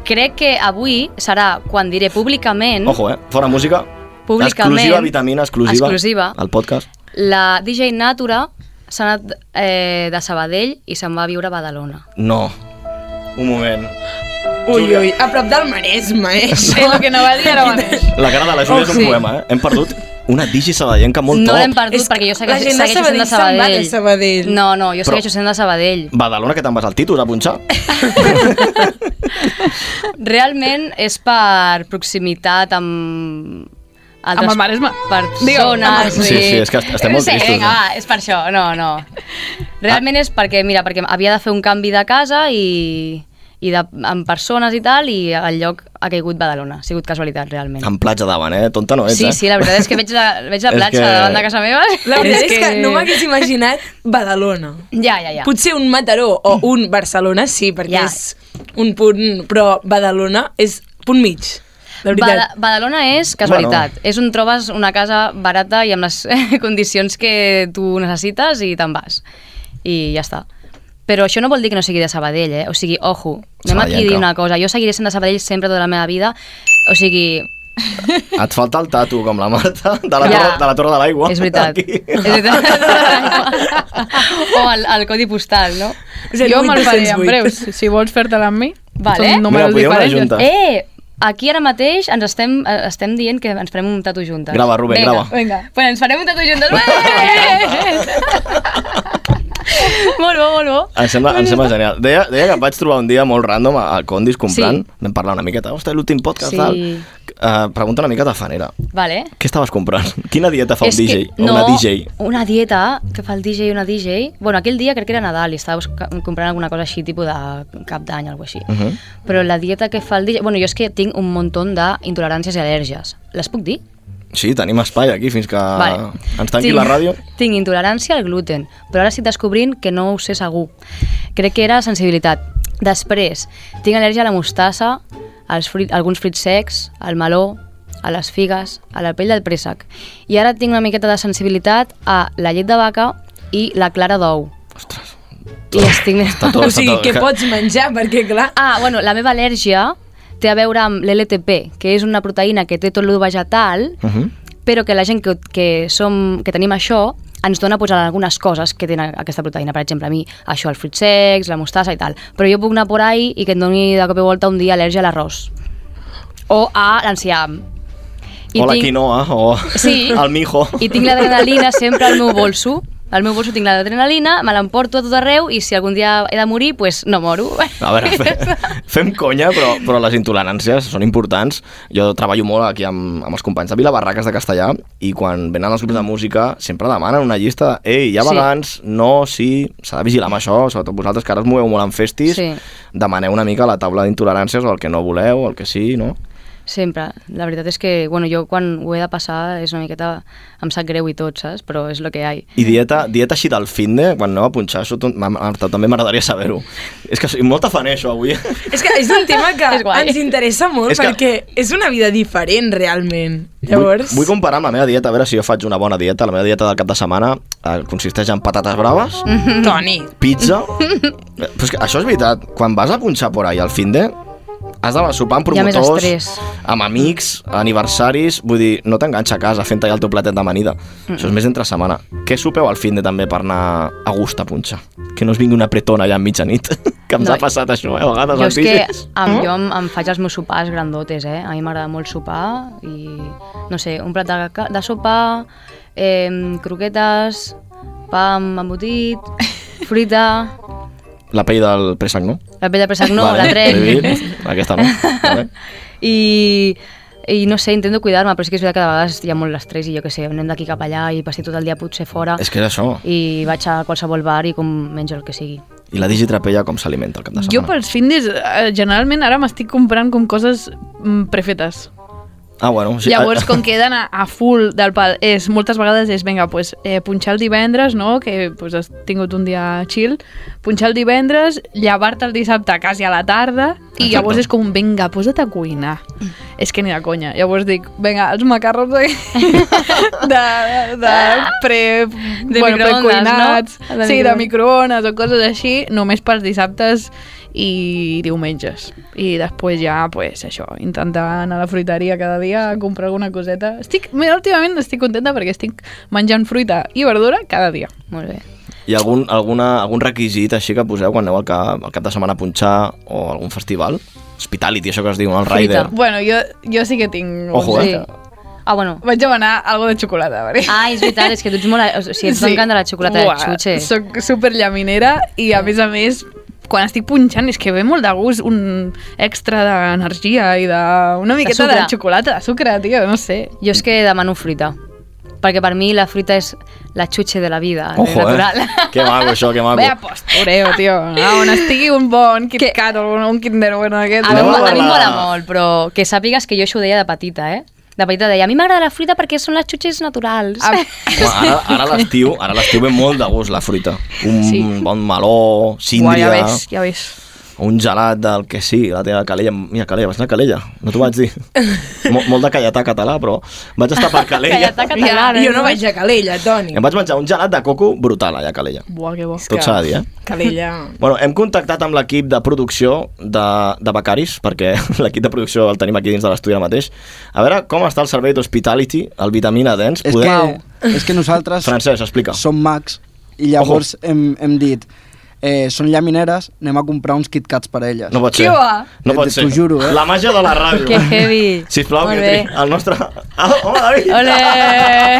A: crec que avui serà quan diré públicament
D: Ojo, eh? Fora música.
A: Mm. Públicament.
D: Exclusiva, vitamina, exclusiva.
A: Exclusiva.
D: El podcast.
A: la DJ Natura s'ha anat eh, de Sabadell i se'n va a viure a Badalona.
D: No. Un moment.
E: Ui, ui, a prop del Maresme, eh?
K: Sí, lo que no va dir ara mateix.
D: La cara de la Júlia oh, és un
E: sí.
D: poema, eh? Hem perdut una digi sabadellenca molt
A: no
D: top.
A: l'hem perdut
E: És que
A: perquè jo
E: la
A: segueixo,
E: gent de
A: segueixo sent de
E: Sabadell se'n va de
A: Sabadell.
E: Sabadell.
A: No, no, jo
D: Però-
A: segueixo sent de Sabadell.
D: Badalona, que te'n vas al títol, a punxar.
A: Realment és per proximitat amb... Altres
K: Amb el Maresme.
A: Per
K: Digue'm, amb
A: zones.
K: el-
D: Sí, sí, és que estem molt
A: sí,
D: tristos,
A: Vinga,
D: eh?
A: va, és per això, no, no. Realment és perquè, mira, perquè havia de fer un canvi de casa i, i de, amb persones i tal, i el lloc ha caigut Badalona. Ha sigut casualitat, realment.
D: Amb platja davant, eh? Tonta no ets,
A: Sí,
D: eh?
A: sí, la veritat és que veig la, veig la
D: És
A: platja
D: que-
A: que... davant de casa meva.
E: La veritat és que no m'hagués imaginat Badalona.
A: Ja, ja, ja.
E: Potser un Mataró o un Barcelona, sí, perquè
A: Ja.
E: és un punt... Però Badalona és punt mig, la veritat.
A: Bada- Badalona és casualitat. Bueno. És on trobes una casa barata i amb les eh, condicions que tu necessites i te'n vas. I ja està. Però això no vol dir que no sigui de Sabadell, eh? O sigui, ojo, anem aquí a dir
D: Sabadellenca.
A: una cosa. Jo seguiré sent de Sabadell sempre tota la meva vida. O sigui,
D: Et falta el tatu, com la Marta, de la,
A: Ja.
D: torre, de la Torre de l'Aigua.
A: és veritat.
D: Aquí.
A: És veritat. o el, el codi postal, no?
K: Jo me'l faré en
E: 0808.
K: breus, si vols fer-te amb mi.
A: Vale.
K: Són
D: Mira,
K: números
D: podríem anar
K: diferents.
D: juntes.
A: Eh, aquí ara mateix ens estem, eh, estem dient que ens farem un tatu juntes.
D: Grava, Rubén,
A: Vinga.
D: grava.
K: Vinga.
A: Bueno, ens farem un tatu juntes. eh? molt bo, molt bo.
D: Em sembla, em sembla genial. Deia, deia que vaig trobar un dia molt random a, a Condis comprant. Sí. Vam parlar una miqueta. Ostres, l'últim podcast,
A: Sí.
D: tal. Uh, pregunta una mica tafanera.
A: Vale.
D: Què estaves comprant? Quina dieta fa un
A: És
D: DJ?
A: Que,
D: O
A: no,
D: una DJ?
A: una dieta que fa el DJ i una DJ. Bueno, aquell dia crec que era Nadal i estava busca- comprant alguna cosa així, tipus de cap d'any o alguna així.
D: Mhm.
A: Però la dieta que fa el DJ... Bueno, jo és que tinc un muntó d'intoleràncies i al·lèrgies. Les puc dir?
D: Sí, tenim espai aquí fins que
A: Vale.
D: Ah, ens tanqui la ràdio.
A: Tinc intolerància al gluten, però ara estic descobrint que no ho sé segur. Crec que era sensibilitat. Després, tinc al·lèrgia a la mostassa, als fruit, alguns fruits secs, al meló, a les figues, a la pell del préssec. I ara tinc una miqueta de sensibilitat a la llet de vaca i la clara d'ou. Ostres. I estic...
D: Està tot,
E: O sigui,
D: està tot.
E: què pots menjar? Perquè, clar,
A: Ah, bueno, la meva al·lèrgia té a veure amb l'LTP, que és una proteïna que té tot lo vegetal,
D: Mhm.
A: però que la gent que, que, som, que tenim això ens dona pues, algunes coses que tenen aquesta proteïna. Per exemple, a mi, això, els fruits secs, la mostassa i tal. Però jo puc anar por ahí i que em doni de cop i volta un dia al·lèrgia a l'arròs. O a l'enciam. I
D: O la
A: tinc-
D: quinoa, o
A: Sí.
D: el mijo.
A: I tinc l'adrenalina sempre al meu bolso. Al meu bolso tinc l'adrenalina, me l'emporto a tot arreu i si algun dia he de morir, pues no moro.
D: A veure, fe, fem conya, però, però les intoleràncies són importants. Jo treballo molt aquí amb, amb els companys de Vilabarraques de Castellà i quan venen els grups de música sempre demanen una llista de ei, hi ha
A: Sí.
D: vegans, no, sí, s'ha de vigilar amb això, sobretot vosaltres que ara us moveu molt en festis,
A: Sí.
D: demaneu una mica la taula d'intoleràncies o el que no voleu, el que sí, no?
A: Sempre. La veritat és que, bueno, jo quan ho he de passar és una miqueta... Em sap greu i tot, saps? Però és el que hi ha.
D: I dieta, dieta així del finde, quan anava a punxar, això tot- ma- Marta, també m'agradaria saber-ho. És que soc molta fan, això, avui.
E: és que és un tema que
A: És guai.
E: ens interessa molt
D: És
E: és
D: que-
E: perquè és una vida diferent, realment. Llavors...
D: Vull, vull comparar amb la meva dieta, a veure si jo faig una bona dieta. La meva dieta del cap de setmana eh, consisteix en patates braves,
A: Mm.
E: Toni,
D: pizza... Eh, Però és que això és veritat. Quan vas a punxar por ahí al finde, has d'anar sopar amb
A: Hi ha més
D: promotors,
A: estrès.
D: amb amics, aniversaris... Vull dir, no t'enganxa a casa fent tallar el teu platet d'amanida. Això és més entre setmana. Què sopeu al finde també per anar a gust a punxar? Que no es vingui una pretona allà a mitjanit. que ens
A: No,
D: ha passat això, eh, a vegades. Mm?
A: Jo
D: als
A: és que
D: DJs.
A: amb, jo em, em faig els meus sopars grandotes, eh? A mi m'agrada molt sopar i, no sé, un plat de, ca- de sopar, eh, croquetes, pa amb embotit, fruita...
D: La pell del préssec, no?
A: La pell de préssec no, la
D: he
A: trec.
D: dit. Aquesta no. Vale.
A: I, i no sé, intento cuidar-me, però és que és veritat que de vegades hi ha molt l'estrès i jo que sé, anem d'aquí cap allà i passi tot el dia potser fora
D: És que és això.
A: i vaig a qualsevol bar i com menjo el que sigui.
D: I la digitrapella com s'alimenta el cap de setmana?
K: Jo pels findis, eh, generalment ara m'estic comprant com coses mm, prefetes.
D: Ah, bueno.
K: Sí, Llavors, com que he d'anar a full del pal, és, moltes vegades és, vinga, pues, eh, punxar el divendres, no?, que pues, has tingut un dia chill, punxar el divendres, llevar-te el dissabte quasi a la tarda, I llavors és com, un, vinga, posa't a cuinar. És que ni de conya. Llavors dic, vinga, els macarrons de, de, de pre...
A: De microones,
K: precuinats.
A: no? De
K: sí, de
A: microones.
K: microones o coses així, només pels dissabtes i diumenges. I després ja, pues, això, intentar anar a la fruiteria cada dia a comprar alguna coseta. Estic, mira, últimament estic contenta perquè estic menjant fruita i verdura cada dia.
A: Molt bé.
D: Hi ha algun, alguna, algun requisit així que poseu quan aneu al cap, al cap de setmana a punxar o a algun festival? Hospitality, això que es diu, no? el Rider.
K: Bueno, jo, jo sí que tinc...
D: Ojo,
K: un
D: eh?
K: gusto.
A: Ah, bueno.
K: Vaig demanar algo de xocolata, perquè...
A: Ah, és veritat, és que tu ets molt... O sigui, ets sí. de la xocolata de xutxe.
K: Soc superllaminera i, a més a més, quan estic punxant és que ve molt de gust un extra d'energia i de, una miqueta de,
A: sucre.
K: xocolata, de sucre, tio, no sé.
A: Jo és que demano fruita, perquè per mi la fruita és la xutxe de la vida, de
D: Ojo,
A: natural.
D: eh? Que maco això, que maco.
K: Ve a post, Oreo, tio. Ah, on estigui un bon Kit Kat o un, un Kinder Bueno aquest.
A: A mi,
D: Anem
A: mo-
D: a
A: a mi em
D: la-
A: mola molt, però que sàpigues que jo això ho deia de petita, eh? De petita deia, a mi m'agrada la fruita perquè són les xutxes naturals.
K: A-
D: Home, ara ara a l'estiu ara a l'estiu ve molt de gust la fruita. Un sí.
K: Sí.
D: bon meló,
K: Uah, ja
D: síndria,
K: ves, ja ves.
D: un gelat del que sí, la teva Calella. Mira, Calella, vas anar a Calella, no t'ho vaig dir. Mol, molt de callatà català, però vaig estar per Calella.
A: Callatà
E: Ja,
A: català,
K: eh?
E: jo no vaig a Calella, Toni.
D: Em vaig menjar un gelat de coco brutal allà a Calella.
K: Buah, que bo.
D: Tot s'ha de dir, eh?
E: Calella...
D: Bueno, hem contactat amb l'equip de producció de, de Becaris, perquè l'equip de producció el tenim aquí dins de l'estudi ara mateix. A veure com està el servei d'Hospitality, el Vitamina Dens.
F: És que, és que nosaltres
D: Francesc, explica.
F: som mags i llavors hem, hem dit eh, són llamineres, anem a comprar uns KitKats per a elles.
D: No pot ser.
K: Qui ho ha?
D: No pot
F: T'ho
D: ser.
F: juro, eh?
D: La màgia de la ràdio.
A: Que heavy.
D: Sisplau,
A: Molt
D: que
A: bé.
D: tri- el nostre... Ah, home, David!
A: Ole!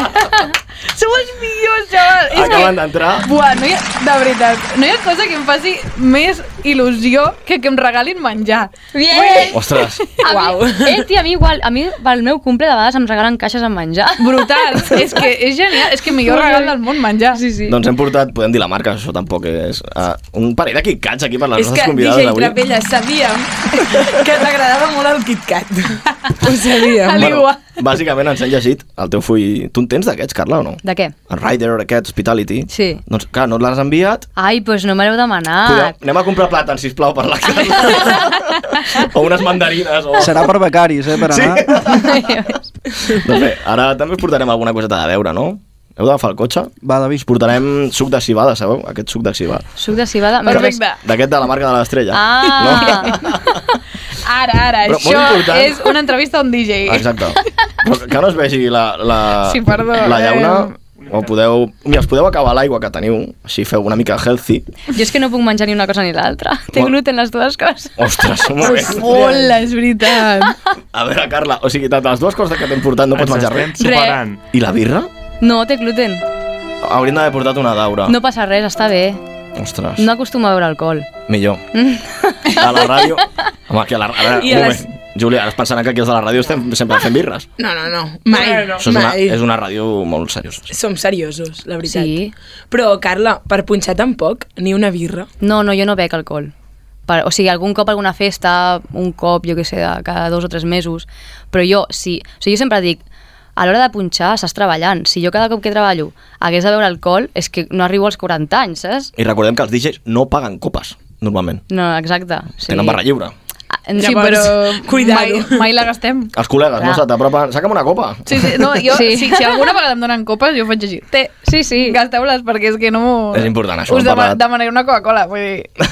K: Sou els millors, xaval! És que-
D: Acaben d'entrar.
K: Buah, no hi ha, de veritat, no hi ha cosa que em faci més il·lusió que que em regalin menjar.
A: Bien!
D: Ostres,
A: A
E: Uau.
A: mi, eh, tia, a mi igual, a mi pel meu cumple de vegades em regalen caixes amb menjar.
K: Brutal, és que és genial, és que millor regal del món menjar. Sí, sí.
D: doncs hem portat, podem dir la marca, això tampoc és... Uh, un parell de KitKats aquí per les
E: És que
D: nostres convidades
E: DJ
D: d'avui.
E: Trapella sabíem que t'agradava molt el Kit Kat. Ho sabíem.
D: Bueno, bàsicament ens han llegit el teu full... Tu en tens d'aquests, Carla, o no?
A: De què?
D: El Rider, aquest, Hospitality.
A: Sí.
D: Doncs, clar, no l'has enviat,
A: Ai, doncs no me l'heu
K: Ah.
D: Podeu,
A: demanat.
D: anem a comprar plàtans, sisplau, per la casa. o unes mandarines. O...
F: Serà per becaris, eh, per
D: Sí.
F: anar.
D: doncs bé, ara també us portarem alguna coseta de veure, no? Heu d'agafar el cotxe?
F: Va,
D: Us
F: David,
D: portarem suc de cibada, sabeu? Aquest suc de cibada.
A: Suc de cibada.
K: Perfecte.
D: D'aquest de la marca de l'estrella.
A: Ah!
K: Ara, ara,
D: Però molt
K: això
D: important.
K: és una entrevista a un DJ.
D: No? Exacte. Però que no es vegi la, la,
K: Sí, perdó,
D: la llauna...
K: eh.
D: O podeu... Mira, us podeu acabar l'aigua que teniu, així feu una mica healthy.
A: Jo és que no puc menjar ni una cosa ni l'altra. Té
D: Bueno.
A: gluten les dues coses.
D: Ostres, molt bé.
K: Hola, és veritat.
D: A veure, Carla, o sigui, tant les dues coses que t'hem portat no pots menjar
B: estem
D: res.
B: superant.
D: I la birra?
A: No, té gluten.
D: Hauríem d'haver portat una daura.
A: No passa res, està bé.
D: Ostres.
A: No acostuma a beure alcohol.
D: Millor. A la ràdio... Home, que a la... A veure,
E: I
D: un
E: a
D: moment.
E: les-
D: Júlia, ara es pensaran que aquí els de la ràdio estem sempre fent birres.
E: No, no, no. Mai.
D: Això és una,
E: mai.
D: és una ràdio molt seriosa.
E: Som seriosos, la veritat.
A: Sí.
E: Però, Carla, per punxar tampoc, ni una birra.
A: No, no, jo no bec alcohol. Per, o sigui, algun cop alguna festa, un cop, jo què sé, de cada dos o tres mesos. Però jo, si... O sigui, jo sempre dic, a l'hora de punxar estàs treballant. Si jo cada cop que treballo hagués de beure alcohol, és que no arribo als 40 anys, saps?
D: I recordem que els DJs no paguen copes, normalment.
A: No, exacte.
D: Sí. Tenen barra lliure.
A: Ah, Sí,
K: sí,
A: però...
K: però
E: cuidado.
K: mai, mai la gastem.
D: Els col·legues, no?
A: Clar.
D: Se t'apropen... Saca'm una copa.
K: Sí, sí, no, jo,
A: Sí.
K: sí. Si, si alguna vegada em donen copes, jo faig així. Té,
A: Sí, sí.
K: gasteu-les perquè és que no...
D: És important, això,
K: Us
D: hem
K: dema
D: parlat.
K: demanaré una Coca-Cola, vull dir...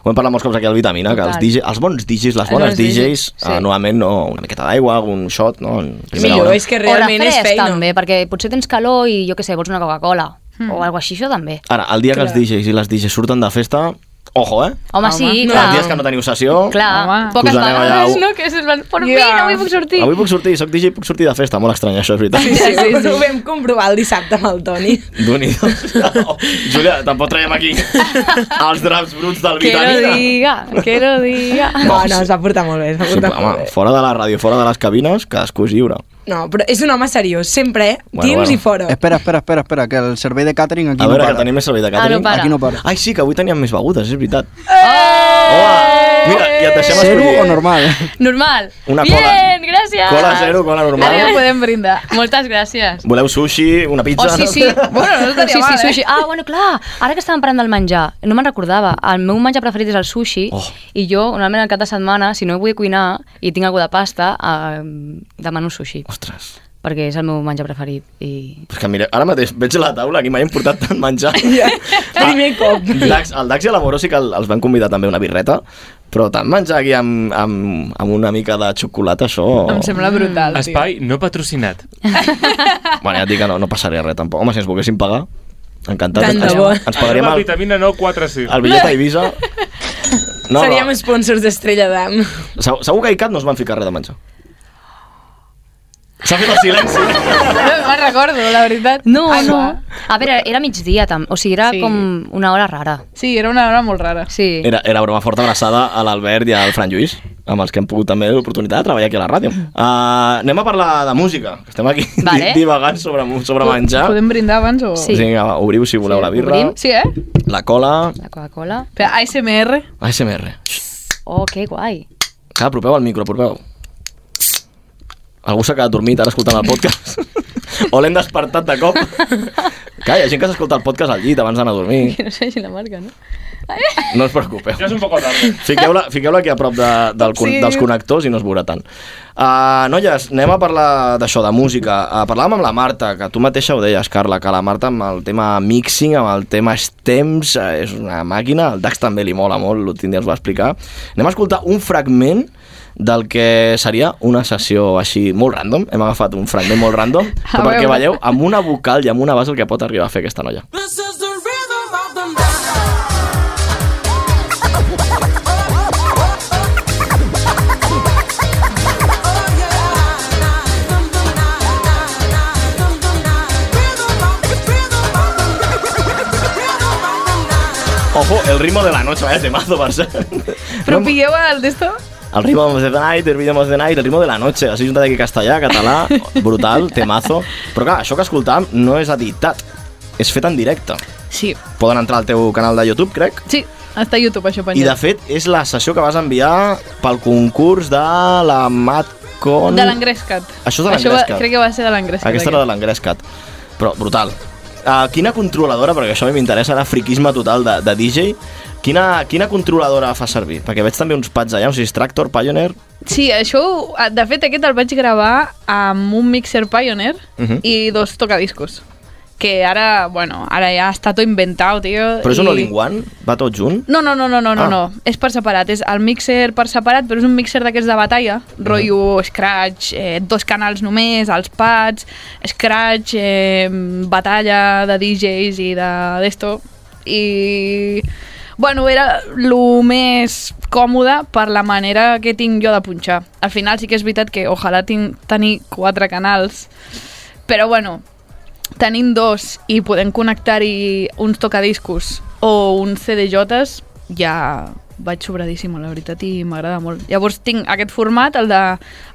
D: Ho hem parlat molts cops aquí al Vitamina, que els,
A: Total.
D: DJ, els bons DJs, les
A: Els
D: bones
A: bons
D: DJs,
A: DJs,
D: sí.
A: sí.
D: normalment no, una miqueta d'aigua, un shot, no? En primera
E: Millor,
D: hora.
E: és que realment
A: o
E: és
A: refresc,
E: feina.
A: també, perquè potser tens calor i, jo què sé, vols una Coca-Cola. Mm. O alguna així, això també.
D: Ara, el dia que els DJs i les DJs surten de festa, ojo, eh?
A: Home, Home sí,
D: No.
A: clar.
D: Els dies que no teniu sessió...
A: Clar,
K: Home.
A: poques
D: Us aneu allà,
A: vegades,
D: u-
A: no? Que se'n van, per
K: Ja.
A: mi, no avui puc sortir.
D: Avui puc sortir, soc DJ, puc sortir de festa. Molt estrany, això, és veritat.
E: Sí, sí, sí. Ho vam comprovar el dissabte amb el Toni.
D: d'un i dos. Júlia, tampoc traiem aquí els draps bruts del
A: Quiero
D: Vitamina.
A: diga, quiero diga.
E: No, no, es va portar molt bé. Es
D: Ah.
E: va
D: Sí,
E: portar
D: però,
E: molt
D: home,
E: bé.
D: fora de la ràdio, fora de les cabines, cadascú és lliure.
E: No, però és un home seriós, sempre, eh?
D: Bueno,
E: Bueno,
D: bueno.
E: Dins bueno. i fora.
F: espera, espera, espera, espera, que el servei de catering aquí
D: A
F: no
D: veure,
F: para.
D: que tenim més servei de
A: Ah, no
D: catering.
A: para.
F: Aquí no para.
D: Ai, sí, que avui teníem més begudes, és veritat. Eh! Hola! Mira, ja et deixem
F: Zero
D: escollir. eh?
F: o normal?
A: Oh, Normal.
D: Una
A: Bien,
D: cola.
A: gràcies!
D: Cola zero, cola normal.
K: Ara ja podem brindar. Moltes gràcies.
D: Voleu sushi, una pizza?
A: Oh, sí, sí.
K: Bueno, no estaria
A: sí,
K: mal,
A: sí,
K: eh?
A: sushi. Ah, bueno, clar, ara que estàvem parlant del menjar, no me'n recordava. El meu menjar preferit és el sushi oh. i jo, normalment, al cap de setmana, si no vull cuinar i tinc alguna de pasta, eh, demano sushi.
D: Ostres.
A: Perquè és el meu menjar preferit. I...
D: És que mira, ara mateix veig la taula, aquí mai hem portat tant menjar.
E: Primer cop.
D: Dax, el Dax i l'Amoró sí que el- els van convidar també a una birreta, però tant menjar aquí amb, amb, amb una mica de xocolata, això...
K: Em sembla brutal, tio.
B: Espai no patrocinat.
D: Bueno, ja et dic que no, no passaria res tampoc. Home, si ens volguéssim pagar, encantat.
E: Tant de
D: ens,
E: bo.
D: ens pagaríem
B: Anem a
D: el,
B: vitamina 9, 4, sí.
D: el bitllet a Eivissa. No,
E: Seríem
D: no.
E: sponsors d'Estrella d'Am.
D: Segur, segur que a ICAT no es van ficar res de menjar. S'ha fet el silenci.
K: No me'n recordo, la veritat.
A: No,
K: Ai,
A: no.
K: va.
A: A veure, era migdia, tam. o sigui, era
K: Ah, Sí.
A: sí. com una hora rara.
K: Sí, era una hora molt rara.
A: Sí.
D: Era, era broma forta abraçada a l'Albert i al Fran Lluís, amb els que hem pogut també l'oportunitat de treballar aquí a la ràdio. Uh, anem a parlar de música, que estem aquí
A: Vale.
D: di- divagant sobre, mu- sobre menjar.
K: Podem brindar abans o...
A: Sí.
D: Vinga, va, obriu si voleu
A: Sí,
D: la birra,
A: obrim.
K: Sí, eh?
D: la cola...
A: La Coca-Cola.
K: Espera, ASMR.
D: ASMR.
A: Oh, que guai.
D: Que apropeu el micro, apropeu. Algú s'ha quedat dormit ara escoltant el podcast. o l'hem despertat de cop. Clar, hi ha gent que s'escolta el podcast al llit abans d'anar a dormir.
A: No sé si la marca, no?
D: No us preocupeu.
B: Ja és un poc tarda.
D: Fiqueu-la fiqueu aquí a prop de, del, con,
K: Sí.
D: dels connectors i no es veurà tant. Uh, noies, anem a parlar d'això, de música. Uh, parlàvem amb la Marta, que tu mateixa ho deies, Carla, que la Marta amb el tema mixing, amb el tema stems, uh, és una màquina, el Dax també li mola molt, l'Otín ja us va explicar. Anem a escoltar un fragment del que seria una sessió així molt random, hem agafat un fragment molt random,
K: A
D: però perquè
K: veure.
D: veieu amb una vocal i amb una base el que pot arribar a fer aquesta noia. Ojo, el ritmo de la noche, vaya temazo, Barça.
K: Però pilleu el d'esto?
D: El ritmo de the night, el ritmo de the night, el ritmo de la noche. Així juntat aquí castellà, català, brutal, temazo. Però clar, això que escoltam no és editat, és fet en directe.
K: Sí.
D: Poden entrar al teu canal de YouTube, crec.
K: Sí, està a YouTube, això,
D: I de
K: penjat.
D: fet, és la sessió que vas enviar pel concurs de la Matcon...
K: De l'engrescat.
D: Això és de
K: va-
D: l'engrescat.
K: Crec que va ser de l'engrescat.
D: Aquesta era de l'engrescat. Però brutal. Uh, quina controladora, perquè això a mi m'interessa, ara friquisme total de, de DJ, quina, quina controladora fa servir? Perquè veig també uns pads allà, uns Distractor, Pioneer...
K: Sí, això, ho- ah, de fet, aquest el vaig gravar amb un mixer Pioneer
D: Mhm.
K: i dos tocadiscos. Que ara, bueno, ara ja està tot inventat, tio.
D: Però és
K: i-
D: un all-in-one? Va tot junt?
K: No, no, no, no, no, no,
D: Ah.
K: no. És per separat. És el mixer per separat, però és un mixer d'aquests de batalla. Rotllo, scratch, eh, dos canals només, els pads, scratch, eh, batalla de DJs i de- d'esto. I... Bueno, era el més còmode per la manera que tinc jo de punxar. Al final sí que és veritat que ojalà tinc, tenir quatre canals, però bueno, tenint dos i podem connectar-hi uns tocadiscos o uns CDJs, ja vaig sobradíssima, la veritat, i m'agrada molt. Llavors tinc aquest format, el de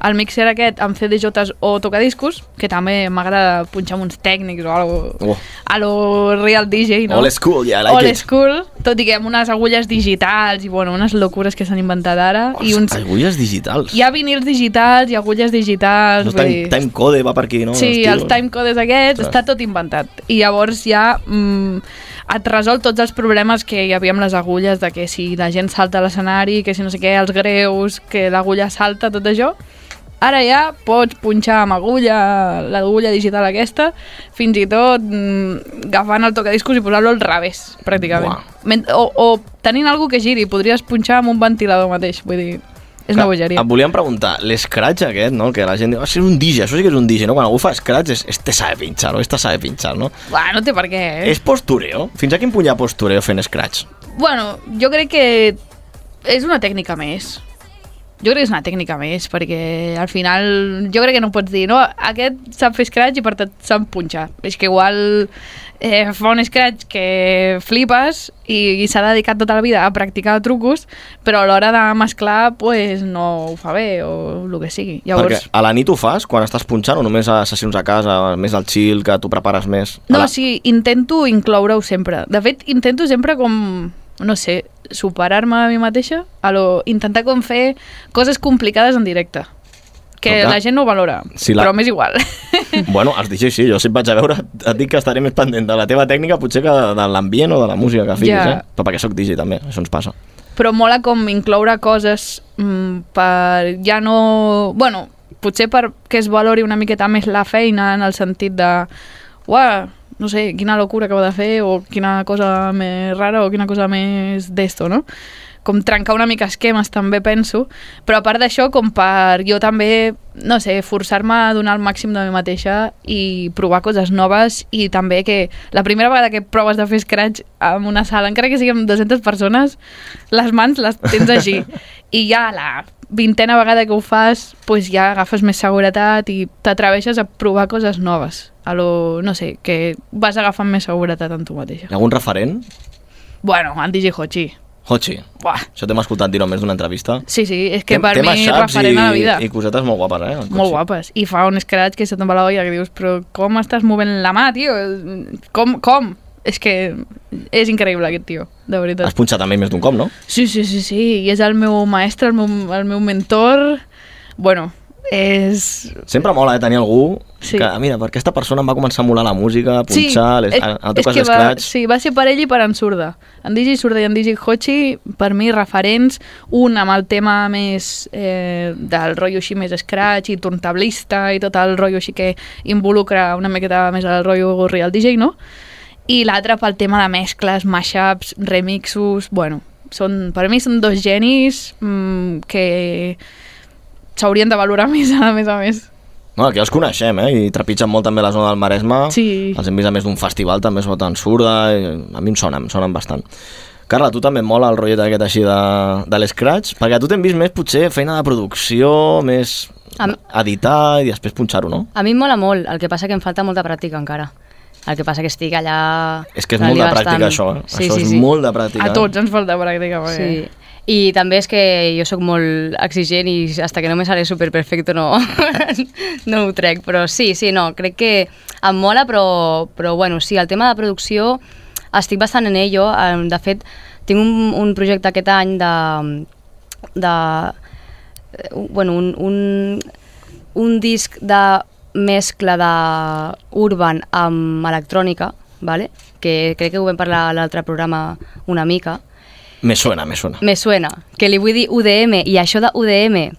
K: el mixer aquest amb CDJs o tocadiscos, que també m'agrada punxar amb uns tècnics o algo,
D: Oh.
K: a lo real DJ, no?
D: Old school, yeah, I like
K: Old
D: it.
K: school, tot i que amb unes agulles digitals i bueno, unes locures que s'han inventat ara. I uns,
D: Agulles digitals.
K: hi ha vinils digitals i agulles digitals.
D: No,
K: vull
D: time,
K: dir-
D: time code va per aquí, no?
K: Sí, els
D: tios.
K: timecodes aquests,
D: Ostres.
K: està tot inventat. I llavors ja mm, et resol tots els problemes que hi havia amb les agulles, de que si la gent salta a l'escenari, que si no sé què, els greus, que l'agulla salta, tot això. Ara ja pots punxar amb agulla, l'agulla digital aquesta, fins i tot mm, agafant el tocadiscos i posar-lo al revés, pràcticament.
D: Uah.
K: Ment- O, o tenint alguna que giri, podries punxar amb un ventilador mateix, vull dir, és una
D: Clar,
K: bogeria.
D: Em volíem preguntar, l'escratch aquest, no? Que la gent diu, ah, sí, és un DJ, això sí que és un DJ, no? Quan algú fa scratch, és, este sabe pinchar, o esta sabe pinchar, no?
K: Uah, no té per què, eh?
D: És postureo? Fins a quin punt hi ha postureo fent scratch?
K: Bueno, jo crec que és una tècnica més. Jo crec que és una tècnica més, perquè al final jo crec que no pots dir, no, aquest sap fer scratch i per tant sap punxar. És que igual eh, fa un scratch que flipes i, i s'ha dedicat tota la vida a practicar trucos, però a l'hora de mesclar pues, no ho fa bé o el que sigui. Llavors,
D: Perquè a la nit ho fas quan estàs punxant o només a sessions a casa, més al chill, que tu prepares més? A
K: No,
D: la...
K: sí, intento incloure-ho sempre. De fet, intento sempre com, no sé, superar-me a mi mateixa, a lo, intentar com fer coses complicades en directe. que
D: Però clar,
K: la gent no ho valora,
D: si
K: si
D: la-
K: la... però m'és igual.
D: Bueno, els DJs sí, jo si et vaig a veure et dic que estaré més pendent de la teva tècnica potser que de, de l'ambient o de la música que fiquis,
K: Ja.
D: eh? Però perquè sóc DJ també, això ens passa.
K: però mola com incloure coses mm, per ja no... Bueno, potser perquè es valori una miqueta més la feina en el sentit de uah, no sé, quina locura acaba de fer o quina cosa més rara o quina cosa més d'esto, no? Com trencar una mica esquemes també penso, però a part d'això com per jo també, no sé, forçar-me a donar el màxim de mi mateixa i provar coses noves i també que la primera vegada que proves de fer scratch en una sala, encara que siguem 200 persones, les mans les tens així i ja la vintena vegada que ho fas pues ja agafes més seguretat i t'atreveixes a provar coses noves a lo, no sé, que vas agafant més seguretat en tu mateixa.
D: Hi ha algun referent?
K: Bueno, en DJ Hochi.
D: Hochi,
K: Buah.
D: això t'hem escoltat dir-ho més d'una entrevista.
K: Sí, sí, és que
D: Tem-
K: per
D: temes
K: mi
D: xaps
K: referent
D: i,
K: a la vida.
D: I cosetes molt guapes, eh? el
K: Molt
D: Hochi.
K: guapes. I fa un scratch que se te'n va la olla que dius, però com estàs movent la mà, tio? Com? Com? És que és increïble aquest tio, de veritat.
D: Has punxat també més d'un cop, no?
K: Sí, sí, sí, sí, i és el meu maestre, el meu, el meu mentor. Bueno, és...
D: Sempre mola eh, tenir algú
K: Sí.
D: que, "Ah, mira, per aquesta persona em va començar a molar la música, a punxar, les,
K: és-
D: en el
K: és
D: teu cas
K: que va,
D: l'escratch...
K: sí, va ser per ell i per en Surda. En Digi Surda i en Digi Hochi, per mi, referents, un amb el tema més eh, del rotllo així més scratch i turntablista i tot el rotllo així que involucra una miqueta més el rotllo real DJ, no? I l'altre pel tema de mescles, mashups, remixos... Bueno, són, per mi són dos genis mm, que s'haurien de valorar més, a més a més.
D: Bueno, aquí els coneixem, eh? I trepitgen molt també la zona del Maresme.
K: Sí.
D: Els hem vist a més d'un festival, també es voten surda. I a mi em sona, em sonen bastant. Carla, tu també et mola el rotllet aquest així de, de l'escratch? Perquè a tu t'hem vist més potser feina de producció, més
A: Am-
D: editar i després punxar-ho, no?
A: A mi em mola molt, el que passa que em falta molta pràctica encara. El que passa que estic allà...
D: És que és molt de
A: donant-li
D: pràctica, això,
A: bastant.
D: eh? Això és molt de pràctica,
K: A
D: eh?
K: tots ens falta pràctica. Perquè...
A: Sí. I també és que jo sóc molt exigent i hasta que no me sale superperfecto no, no ho trec, però sí, sí, no, crec que em mola, però, però bueno, sí, el tema de producció estic bastant en ello, Em, de fet tinc un, un projecte aquest any de, de eh, bueno, un, un, un disc de mescla de urban amb electrònica, vale? que crec que ho vam parlar a l'altre programa una mica,
D: Me suena, me suena.
A: me suena, que li vull dir UDM, i això de UDM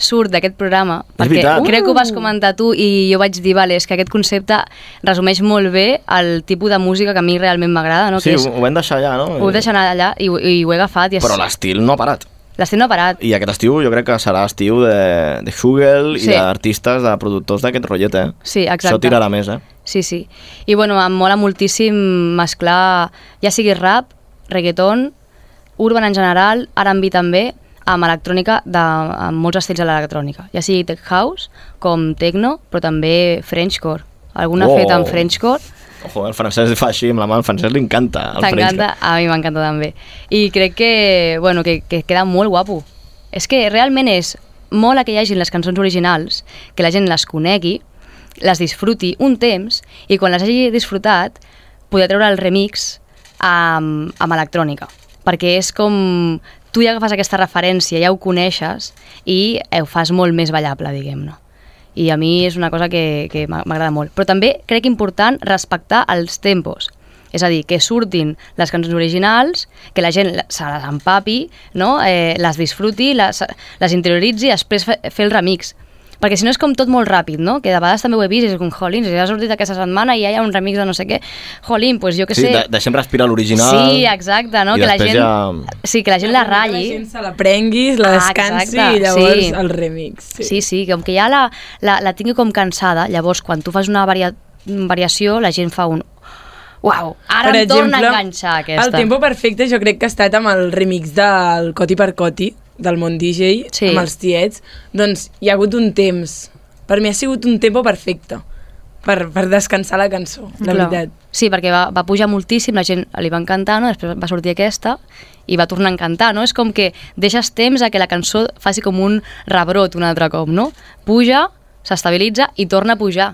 A: surt d'aquest programa, perquè
D: veritat.
A: crec que ho vas comentar tu i jo vaig dir, vale, és que aquest concepte resumeix molt bé el tipus de música que a mi realment m'agrada, no?
D: sí,
A: que és,
D: ho, ho hem deixat allà, no?
A: ho he deixat allà i, ho- i ho he agafat i és,
D: Però l'estil no ha parat.
A: l'estic no ha parat.
D: I aquest estiu jo crec que serà estiu de, de Hugel
A: Sí.
D: i d'artistes, de productors d'aquest rotllet, eh?
A: Sí,
D: Això
A: exacte.
D: tirarà més, eh?
A: Sí, sí. I bueno, em mola moltíssim mesclar, ja sigui rap, reggaeton, urban en general, R&B també, amb electrònica, de, amb molts estils de l'electrònica. Ja sigui tech house, com techno, però també frenchcore. Alguna
D: Wow.
A: oh. feta amb frenchcore,
D: Ojo, el francès fa així amb la mà, el francès li encanta. el
A: t'encanta,
D: French.
A: a mi m'encanta també. I crec que, bueno, que, que queda molt guapo. És que realment és mola que hi hagin les cançons originals, que la gent les conegui, les disfruti un temps i quan les hagi disfrutat poder treure el remix amb, amb electrònica. Perquè és com... Tu ja agafes aquesta referència, ja ho coneixes i eh, ho fas molt més ballable, diguem-ne. I a mi és una cosa que, que m'a- m'agrada molt. Però també crec important respectar els tempos. És a dir, que surtin les cançons originals, que la gent se les empapi, no? eh, les disfruti, les, les interioritzi i després fe, fer el remix. Perquè si no és com tot molt ràpid, no? Que de vegades també ho he vist, i és com, jolín, si ha sortit aquesta setmana i ja hi ha un remix de no sé què, jolín, doncs jo què
D: Sí,
A: sé...
D: de, deixem respirar l'original.
A: Sí, exacte, no?
D: I
A: Que la
D: després
A: gent,
D: ja-
A: sí, que la gent la ratlli.
E: La gent se la prenguis, la
A: Ah,
E: descansi
A: exacte,
E: i llavors
A: sí.
E: el remix.
A: Sí, sí, sí com que ja la, la, la tingui com cansada, llavors quan tu fas una varia, variació la gent fa un... Uau, ara em torna a enganxar aquesta.
E: El tempo perfecte jo crec que ha estat amb el remix del Coti per Coti, del món DJ,
A: Sí.
E: amb els tiets. Doncs hi ha hagut un temps. Per mi ha sigut un tempo perfecte per, per descansar la cançó, la
A: Clar.
E: veritat.
A: Sí, perquè va, va pujar moltíssim, la gent li va encantar, no? després va sortir aquesta i va tornar a encantar, no? És com que deixes temps a que la cançó faci com un rebrot un altre cop, no? Puja, s'estabilitza i torna a pujar.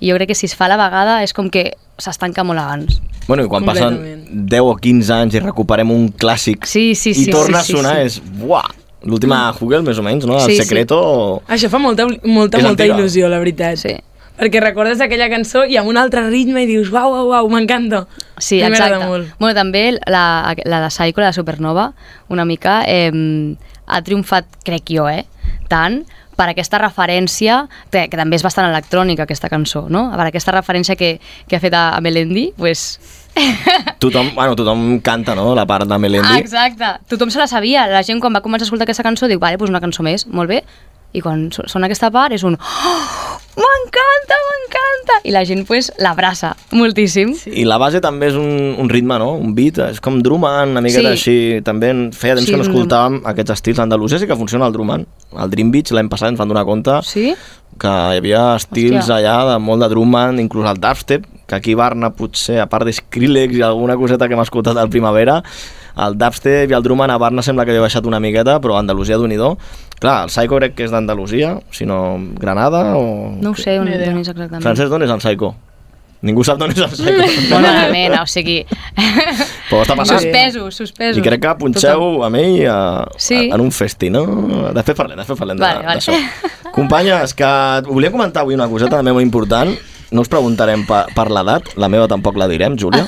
A: I jo crec que si es fa a la vegada és com que s'estanca molt abans.
D: Bueno, i quan passen
E: Completament.
D: 10 o 15 anys i recuperem un clàssic
A: Sí, sí, sí,
D: i torna
A: sí, Mm. sí,
D: a sonar,
A: sí.
D: és... Buah! L'última Hugel, més o menys, no? El
E: Sí, sí.
D: Secreto... o-
E: Això fa molta, molta,
D: És
E: molta
D: antiga.
E: il·lusió, la veritat.
A: Sí.
E: Perquè recordes aquella cançó i amb un altre ritme i dius, uau, uau, uau, m'encanta.
A: Sí,
E: A mi m'agrada
A: exacte.
E: molt.
A: Bueno, també la, la de Psycho, la de Supernova, una mica eh, ha triomfat, crec jo, eh, tant per aquesta referència, que, que també és bastant electrònica aquesta cançó, no? per aquesta referència que, que ha fet a, a Melendi, pues,
D: Tothom, bueno, tothom canta, no?, la part de
A: ah,
D: Melendi.
A: exacte, tothom se la sabia, la gent quan va començar a escoltar aquesta cançó diu, vale, pues una cançó més, molt bé, i quan so- sona aquesta part és un oh, m'encanta, m'encanta, i la gent pues l'abraça moltíssim. Sí.
D: I la base també és un, un ritme, no?, un beat, és com Drummond, una miqueta
A: Sí.
D: així. També en- feia temps
A: Sí,
D: que no
A: un-
D: escoltàvem aquests estils andalusia, sí que funciona el Drummond. El Dream Beach l'any passat ens van donar compte
A: sí?
D: que hi havia estils
A: Hòstia.
D: allà de molt de Drummond, inclús el dubstep, que aquí a Barna potser, a part d'Skrillex i alguna coseta que hem escoltat al Primavera, el dubstep i el Drummond a Barna sembla que havia baixat una miqueta, però a Andalusia d'un i do. Clar, el Psycho crec que és d'Andalusia, si no Granada o...
A: No ho sé on, on és exactament.
D: Francesc, d'on és el Psycho? Ningú sap d'on és el Psycho.
A: Molt malament, o sigui...
D: Però està passant.
A: Suspesos, suspesos.
D: I crec que punxeu a mi a,
A: Sí.
D: a, en un festi, no? Després parlem, després parlem de-
A: Vale, vale.
D: d'això. Companyes, que volia comentar avui una coseta també molt important. No us preguntarem pa, per l'edat, la meva tampoc la direm, Júlia.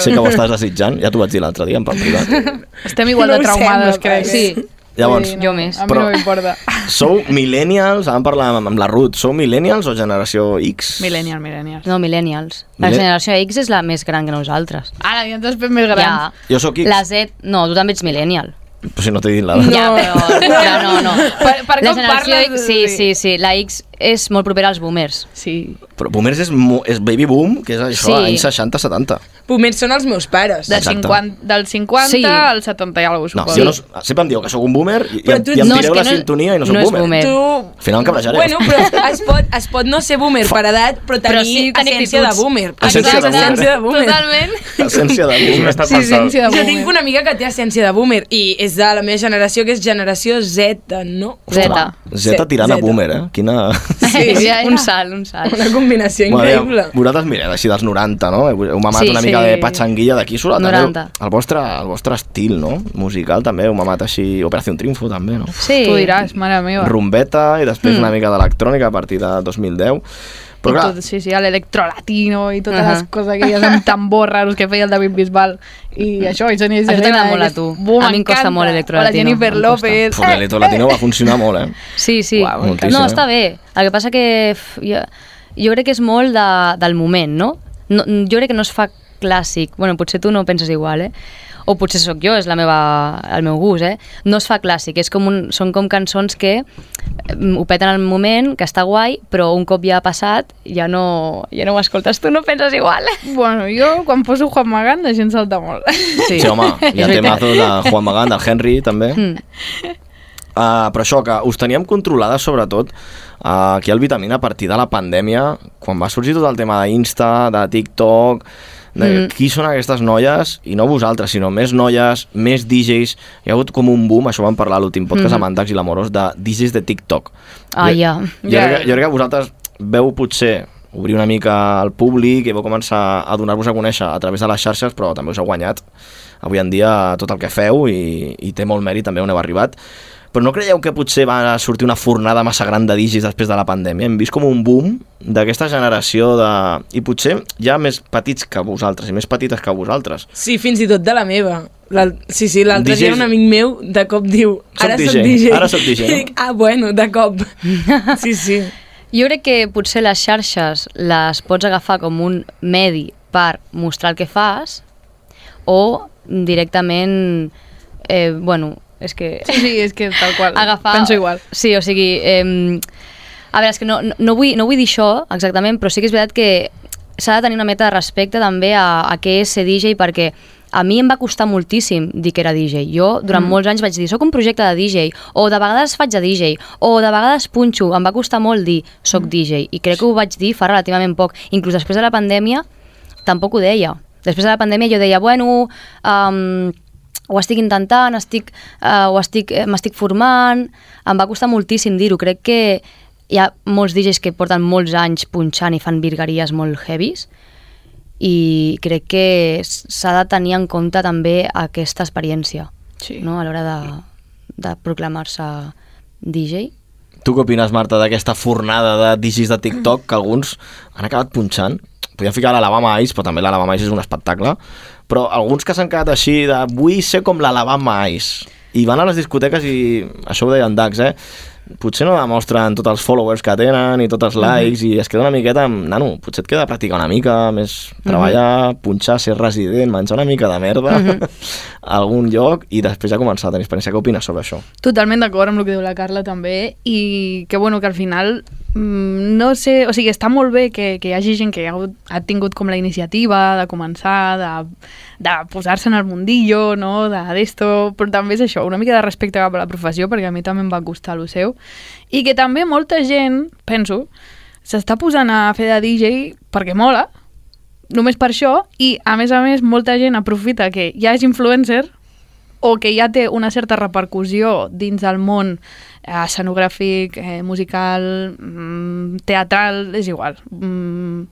D: Sé que ho estàs desitjant, ja t'ho vaig dir l'altre dia en plan privat.
K: Estem igual
E: No
K: de
E: ho
K: traumades,
E: sembla,
K: crec.
E: Sí.
D: Llavors,
A: Jo més.
K: A mi
D: Però-
K: no m'importa.
D: sou millennials, vam parlar amb, amb la Ruth, sou millennials o generació X?
K: Millennial, millennial.
A: No, millennials. La
D: Millen-
A: generació X és la més gran que nosaltres.
K: Ara, ja ens fem més grans.
A: Ja.
D: Jo sóc X,
A: La Z... No, tu també ets millennial.
D: però si no t'he dit l'edat.
A: Ja, però... Ja, no, no.
K: Per- per
A: la
K: com
A: generació
K: parles,
A: X... Sí,
K: sí.
A: sí, sí. La X és molt propera als boomers.
K: Sí.
D: Però Boomers és, mo- és Baby Boom, que és això,
A: Sí.
D: anys 60-70.
E: Pomers són els meus pares.
K: De
D: Exacte.
K: 50, del 50
A: Sí.
K: al 70 i alguna
D: No,
K: cosa,
D: jo no,
K: suposo.
D: sempre em dieu que sóc un boomer i, i,
E: Però tu
D: i em
E: no, és
D: tireu
A: que
D: la
A: no-
D: sintonia i no sóc
A: no és
D: boomer.
A: boomer.
E: Tu...
D: Al final em cabrejaré.
E: Bueno, però es pot, es pot no ser boomer per edat, però tenir
A: Però sí tenir
E: essència de
A: actituds.
E: boomer.
D: Essència de
E: Exacte,
D: boomer.
E: Essència de boomer.
K: Totalment.
D: Essència de
B: Sí,
D: boomer.
B: està
K: Sí,
B: pensat.
K: sí,
E: Jo tinc una amiga que té essència de boomer i és de la meva generació, que és generació Z, no?
A: Z.
D: Zeta tirant a boomer, eh? Quina...
E: Sí, ja, ja.
A: un salt, un salt.
E: Una combinació
D: Bueno, ja,
E: increïble.
D: vosaltres mireu així dels 90, no? Heu, heu mamat
A: Sí,
D: una
A: sí.
D: mica de patxanguilla d'aquí surt. també
A: 90.
D: El vostre, el vostre estil, no? Musical també, heu mamat així Operació Triunfo també, no?
A: Sí.
K: Tu diràs, mare meva.
D: Rumbeta i després una mica d'electrònica a partir de 2010.
K: I
D: Però clar,
K: tot, sí, sí, l'electrolatino i totes uh
A: Ahà.
K: -huh. les coses aquelles amb tambor raros que feia el David Bisbal i això, i Sonia
A: t'agrada
K: Selena,
A: molt Mm. a
K: i-
A: tu.
K: Bum,
A: A mi em
K: m'encanta.
A: costa molt l'electrolatino,
K: O la Jennifer eh,
A: em costa.
K: López
D: Puf, l'Eleto Latino va funcionar molt, eh?
A: Sí, sí.
D: Uau, Moltíssim,
A: no,
D: eh?
A: està bé. El que passa que f, jo, jo crec que és molt de, del moment, no? no? Jo crec que no es fa clàssic. bueno, potser tu no ho penses igual, eh? O potser sóc jo, és la meva, el meu gust, eh? No es fa clàssic, és com un, són com cançons que mm, ho peten al moment, que està guai, però un cop ja ha passat, ja no, ja no ho escoltes, tu no penses igual.
K: bueno, jo quan poso Juan Magán la gent salta molt
D: Sí, home, hi ha
A: És veritat.
D: temazos de Juan Magán, del Henry, també. Mm. Uh, però això, que us teníem controlades, sobretot, uh, aquí al Vitamina, a partir de la pandèmia, quan va sorgir tot el tema d'Insta, de TikTok, de mm. qui són aquestes noies, i no vosaltres, sinó més noies, més DJs. Hi ha hagut com un boom, això vam parlar a l'últim podcast amb en Dax i l'Amorós, de DJs de TikTok.
A: Ah,
D: Jo-
A: ja.
D: Jo, crec, que- jo crec que vosaltres veu potser obrir una mica al públic i vau començar a donar-vos a conèixer a través de les xarxes, però també us heu guanyat avui en dia tot el que feu i, i té molt mèrit també on heu arribat. Però no creieu que potser va sortir una fornada massa gran de digis després de la pandèmia? Hem vist com un boom d'aquesta generació de... i potser ja més petits que vosaltres i més petites que vosaltres.
E: Sí, fins i tot de la meva. La, sí, sí, l'altre
D: DJ.
E: dia un amic meu de cop diu
D: Soc
E: ara soc
D: DJ,
E: DJ.
D: ara soc DJ,
E: I
D: no?
E: dic, ah, bueno, de cop. Sí, sí.
A: Jo crec que potser les xarxes les pots agafar com un medi per mostrar el que fas o directament, eh, bueno, és que...
K: sí, sí, és que tal qual,
A: Agafar...
K: penso igual
A: Sí, o sigui... Eh, a veure, és que no, no, no, vull, no vull dir això exactament, però sí que és veritat que s'ha de tenir una meta de respecte també a, a què és ser DJ perquè a mi em va costar moltíssim dir que era DJ. Jo durant mm. molts anys vaig dir, soc un projecte de DJ, o de vegades faig de DJ, o de vegades punxo. Em va costar molt dir, soc
K: Mm.
A: DJ, i crec que ho vaig dir fa relativament poc. Inclús després de la pandèmia, tampoc ho deia. Després de la pandèmia jo deia, bueno, um, ho estic intentant, estic, uh, ho estic, eh, m'estic formant, em va costar moltíssim dir-ho, crec que hi ha molts DJs que porten molts anys punxant i fan virgueries molt heavies i crec que s- s'ha de tenir en compte també aquesta experiència
K: Sí.
A: no? a l'hora de, de proclamar-se DJ.
D: Tu què opines, Marta, d'aquesta fornada de digis de TikTok que alguns han acabat punxant? Podríem ficar l'Alabama Ice, però també l'Alabama Ice és un espectacle. Però alguns que s'han quedat així de vull ser com l'Alabama Ice. I van a les discoteques i això ho deien Dax, eh? Potser no demostren tots els followers que tenen i
A: Mhm.
D: tots els likes i es queda una miqueta amb... Nano, potser et queda practicar una mica, més
A: Mhm.
D: treballar, punxar, ser resident, menjar una mica de merda
K: Mhm.
D: a algun lloc i després ja començar a tenir experiència. Què opines sobre això?
K: Totalment d'acord amb el que diu la Carla també i que bueno que al final mm, no sé, o sigui, està molt bé que, que hi hagi gent que hi ha, hagut, ha tingut com la iniciativa de començar, de, de posar-se en el mundillo, no? de- d'esto, però també és això, una mica de respecte cap a la professió perquè a mi també em va costar el seu i que també molta gent, penso, s'està posant a fer de DJ perquè mola, només per això, i a més a més molta gent aprofita que ja és influencer o que ja té una certa repercussió dins del món eh, escenogràfic, eh, musical, mm, teatral, és igual. Mm,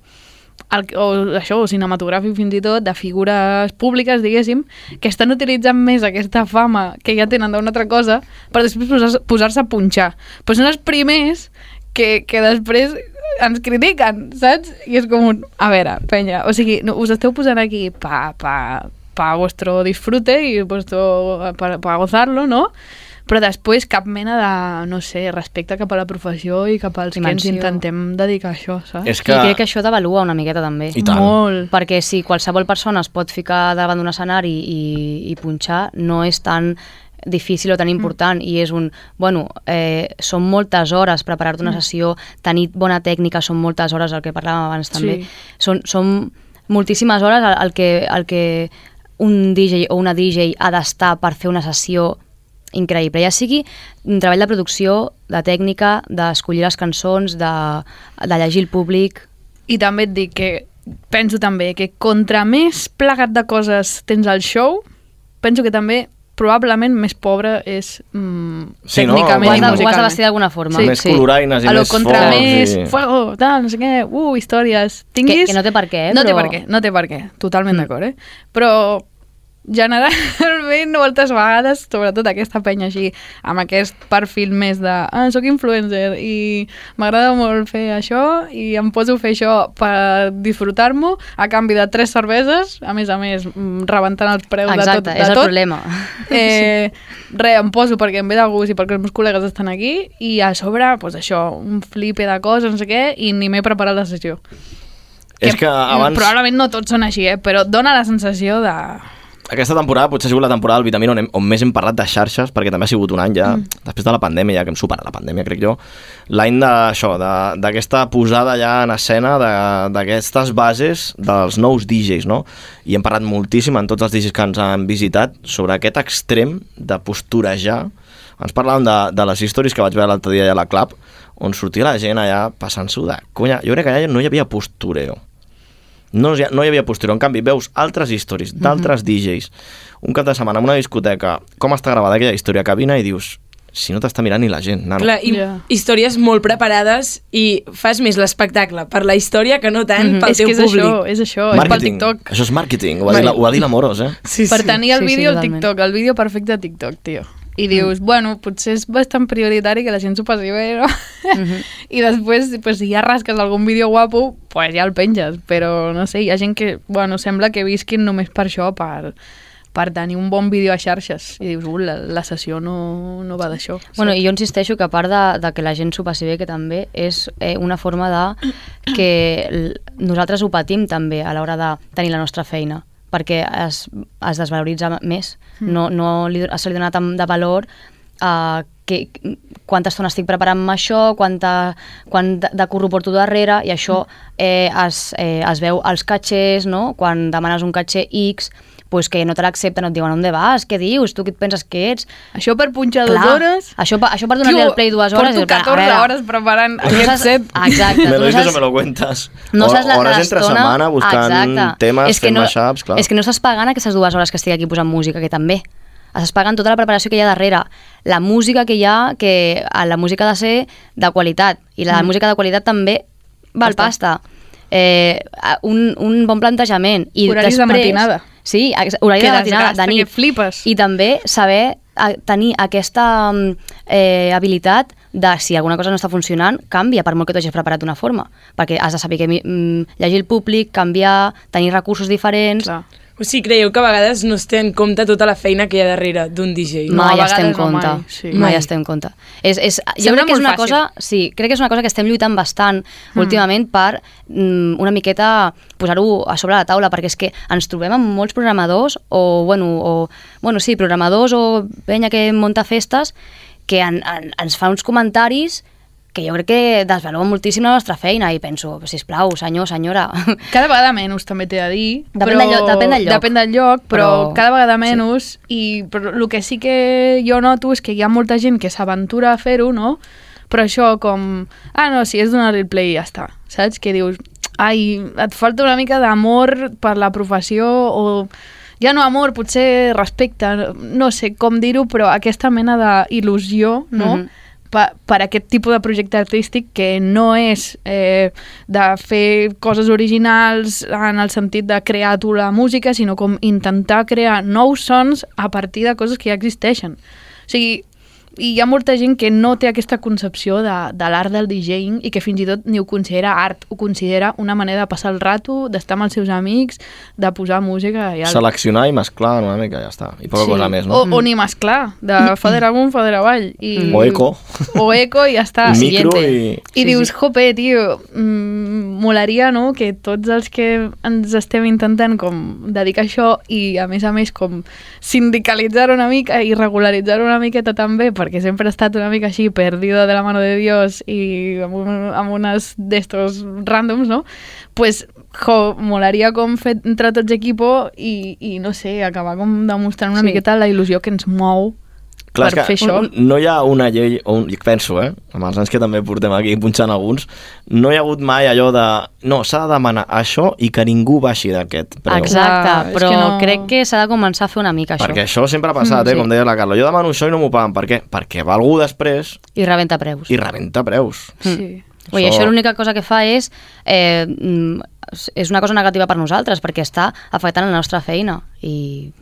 K: el, o això, o cinematogràfic fins i tot, de figures públiques, diguéssim, que estan utilitzant més aquesta fama que ja tenen d'una altra cosa per després posar- posar-se a punxar. Però són els primers que, que després ens critiquen, saps? I és com un... A veure, penya, o sigui, no, us esteu posant aquí pa, pa, pa vostro disfrute i vostro, pa, pa gozar-lo, no? Però després cap mena de, no sé, respecte cap a la professió i cap als que
A: Dimensió.
K: ens intentem dedicar a això, saps?
D: És que-
A: I Ah, crec que això t'avalua una miqueta també.
D: I tant.
K: Molt.
A: Perquè si qualsevol persona es pot ficar davant d'un escenari i, i punxar, no és tan difícil o tan
K: Mm.
A: important i és un, bueno, eh, són moltes hores preparar-te una
K: Mm.
A: sessió, tenir bona tècnica, són moltes hores, el que parlàvem abans també.
K: Sí.
A: Són, són moltíssimes hores el, el, que, el que un DJ o una DJ ha d'estar per fer una sessió increïble, ja sigui un treball de producció, de tècnica, d'escollir les cançons, de, de llegir el públic...
K: I també et dic que penso també que contra més plegat de coses tens el show, penso que també probablement més pobre és mm,
D: Sí, no? Ho has de- ho
K: tècnicament i
D: has de
K: musicalment.
A: vestir d'alguna forma.
D: Més coloraines i
K: a lo
D: més
K: contra
D: focs
K: més
D: i-
K: fuego, tal, no sé què, uh, històries. Tinguis...
A: Que- que no té per què,
K: No té
A: però-
K: per què, eh, no té per què,
D: Mm.
K: totalment d'acord, eh? Però generalment moltes vegades, sobretot aquesta penya així, amb aquest perfil més de ah, sóc influencer i m'agrada molt fer això i em poso a fer això per disfrutar-m'ho a canvi de tres cerveses, a més a més, mm, rebentant el preu de tot.
A: Exacte,
K: de
A: és el
K: tot.
A: problema.
K: Eh, Re, em poso perquè em ve de gust i perquè els meus col·legues estan aquí i a sobre, doncs això, un flipe de coses, no sé què, i ni m'he preparat la sessió.
D: És que abans...
K: Probablement no tots són així, eh? però dona la sensació de...
D: Aquesta temporada potser ha sigut la temporada del Vitamina on, hem, on més hem parlat de xarxes, perquè també ha sigut un any ja, mm. després de la pandèmia, ja que hem superat la pandèmia, crec jo, l'any d'això, de- d'aquesta posada ja en escena de- d'aquestes bases dels nous DJs, no? I hem parlat moltíssim en tots els DJs que ens han visitat sobre aquest extrem de posturejar. Ens parlàvem de, de les històries que vaig veure l'altre dia allà a la Clap, on sortia la gent allà passant-s'ho de conya. Jo crec que allà no hi havia postureo no, hi ha- no hi havia posterior. En canvi, veus altres històries
A: Mhm.
D: d'altres DJs. Un cap de setmana en una discoteca, com està gravada aquella història a cabina i dius, si Ah, no t'està mirant ni la gent, nano.
E: Clar, i
K: Ja.
E: històries molt preparades i fas més l'espectacle per la història que no tant pel
K: Mhm. Mm. és
E: teu
K: que és
E: públic.
K: això, és això,
D: Màrqueting.
K: és pel TikTok.
D: Això és màrqueting, ho va dir, la- ho va dir l'Amorós, eh?
E: Sí,
K: per tenir el
A: Sí, sí,
K: vídeo al
A: totalment. Mm.
K: TikTok, el vídeo perfecte a TikTok, tio. I dius, bueno, potser és bastant prioritari que la gent s'ho passi bé, no?
A: Mm-hmm.
K: I després, pues, si ja rasques algun vídeo guapo, pues ja el penges. Però, no sé, hi ha gent que, bueno, sembla que visquin només per això, per, per tenir un bon vídeo a xarxes. I dius, uh, la, la sessió no, no va d'això.
A: Bueno, i jo insisteixo que a part de, de que la gent s'ho passi bé, que també és eh, una forma de que l- nosaltres ho patim també a l'hora de tenir la nostra feina perquè es, es desvaloritza més. No, no li, se li dona tant de valor a que, quanta estona estic preparant-me això, quanta, quant de, de curro porto darrere, i això eh, es, eh, es veu als catxers, no? quan demanes un catxer X, pues que no te l'accepten, et diuen on vas, què dius, tu què et penses que ets,
K: Això per punxar dues hores...
A: això, pa- això per donar-li
K: Tio,
A: el play dues hores...
K: Porto 14 hores preparant
A: Tu
K: aquest
A: saps-
K: set.
A: Exacte,
D: me
A: tu
D: lo
A: no
D: dices
A: saps-
D: o me lo cuentas.
A: No
D: O-
A: sanes la,
D: hores
A: la
D: entre
A: estona.
D: setmana buscant
A: Exacte.
D: temes,
A: És que
D: fent mashups, clar.
A: És que no estàs pagant aquestes dues hores que estic aquí posant música, que també. Estàs pagant tota la preparació que hi ha darrere, la música que hi ha, que eh, la música ha de ser de qualitat, i
K: Mm.
A: la música de qualitat també val pasta. Eh, a- un, un bon plantejament. I
K: Horaris de
A: després,
K: matinada.
A: Sí, ex- horari
K: Que
A: de matinada,
K: desgasta,
A: de
K: que
A: nit.
K: flipes.
A: I també saber a- tenir aquesta mm, eh, habilitat de si alguna cosa no està funcionant, canvia, per molt que tu hagis preparat d'una forma. Perquè has de saber que, mm, llegir el públic, canviar, tenir recursos diferents... Clar.
E: O sigui, creieu que a vegades no es té en compte tota la feina que hi ha darrere d'un DJ.
A: Mai no, es té en compte. Mai, sí. mai,
E: Mai.
A: es té en compte. És, és, jo
E: Sembla
A: crec que
E: molt
A: és una
E: fàcil.
A: cosa, sí, crec que és una cosa que estem lluitant bastant
E: Mm.
A: mm. últimament per mm, una miqueta posar-ho a sobre la taula, perquè és que ens trobem amb molts programadors o, bueno, o, bueno sí, programadors o penya que monta festes que en, en, ens fa uns comentaris que jo crec que desvaluen moltíssim la nostra feina i penso, sisplau, senyor, senyora...
K: Cada vegada menys, també t'he de dir.
A: Depèn,
K: però-
A: del, lloc, depèn del lloc.
K: Depèn del lloc, però,
A: Però-
K: cada vegada menys. Sí. I però, el que sí que jo noto és que hi ha molta gent que s'aventura a fer-ho, no? Però això com... Ah, no, si és donar el play i ja està. Saps? Que dius... Ai, et falta una mica d'amor per la professió o... Ja no amor, potser respecte, no- no sé com dir-ho, però aquesta mena d'il·lusió, no?,
A: Mhm.
K: per, per aquest tipus de projecte artístic que no és eh, de fer coses originals en el sentit de crear tu la música, sinó com intentar crear nous sons a partir de coses que ja existeixen. O sigui, i hi ha molta gent que no té aquesta concepció de, de l'art del DJing i que fins i tot ni ho considera art, ho considera una manera de passar el rato, d'estar amb els seus amics, de posar música i alt.
D: Seleccionar i mesclar una mica, ja està. I poca sí. cosa més, no?
K: O, o ni mesclar, de fader amunt, fader avall. I...
D: O eco.
K: O eco i ja està.
D: Un micro i...
K: I Mm. sí, dius, jope, tio, mm, molaria, no?, que tots els que ens estem intentant com dedicar a això i, a més a més, com sindicalitzar una mica i regularitzar una miqueta també, perquè sempre he estat una mica així, perdido de la mano de Dios i amb, un, amb unes d'estos ràndoms, no?, pues, jo, molaria com fer entre tots equipo i, i no sé, acabar com demostrant una sí. miqueta la il·lusió que ens mou
D: Clar, és
K: per
D: que
K: fer això.
D: No hi ha una llei, o un, penso, eh, amb els anys que també portem aquí punxant alguns, no hi ha hagut mai allò de... No, s'ha de demanar això i que ningú baixi d'aquest preu.
A: Exacte,
K: Clar, és
A: però
K: que
A: que
K: no-
A: no... crec que s'ha de començar a fer una mica això.
D: Perquè això sempre ha passat, eh,
A: Mm, sí.
D: com deia la Carla. Jo demano això i no m'ho paguen. Per què? Perquè va algú després
A: I rebenta preus.
D: i rebenta preus.
A: Mm.
K: Sí.
A: Oi,
D: Això-
A: això l'única cosa que fa és... Eh, mm, és una cosa negativa per nosaltres, perquè està afectant la nostra feina. I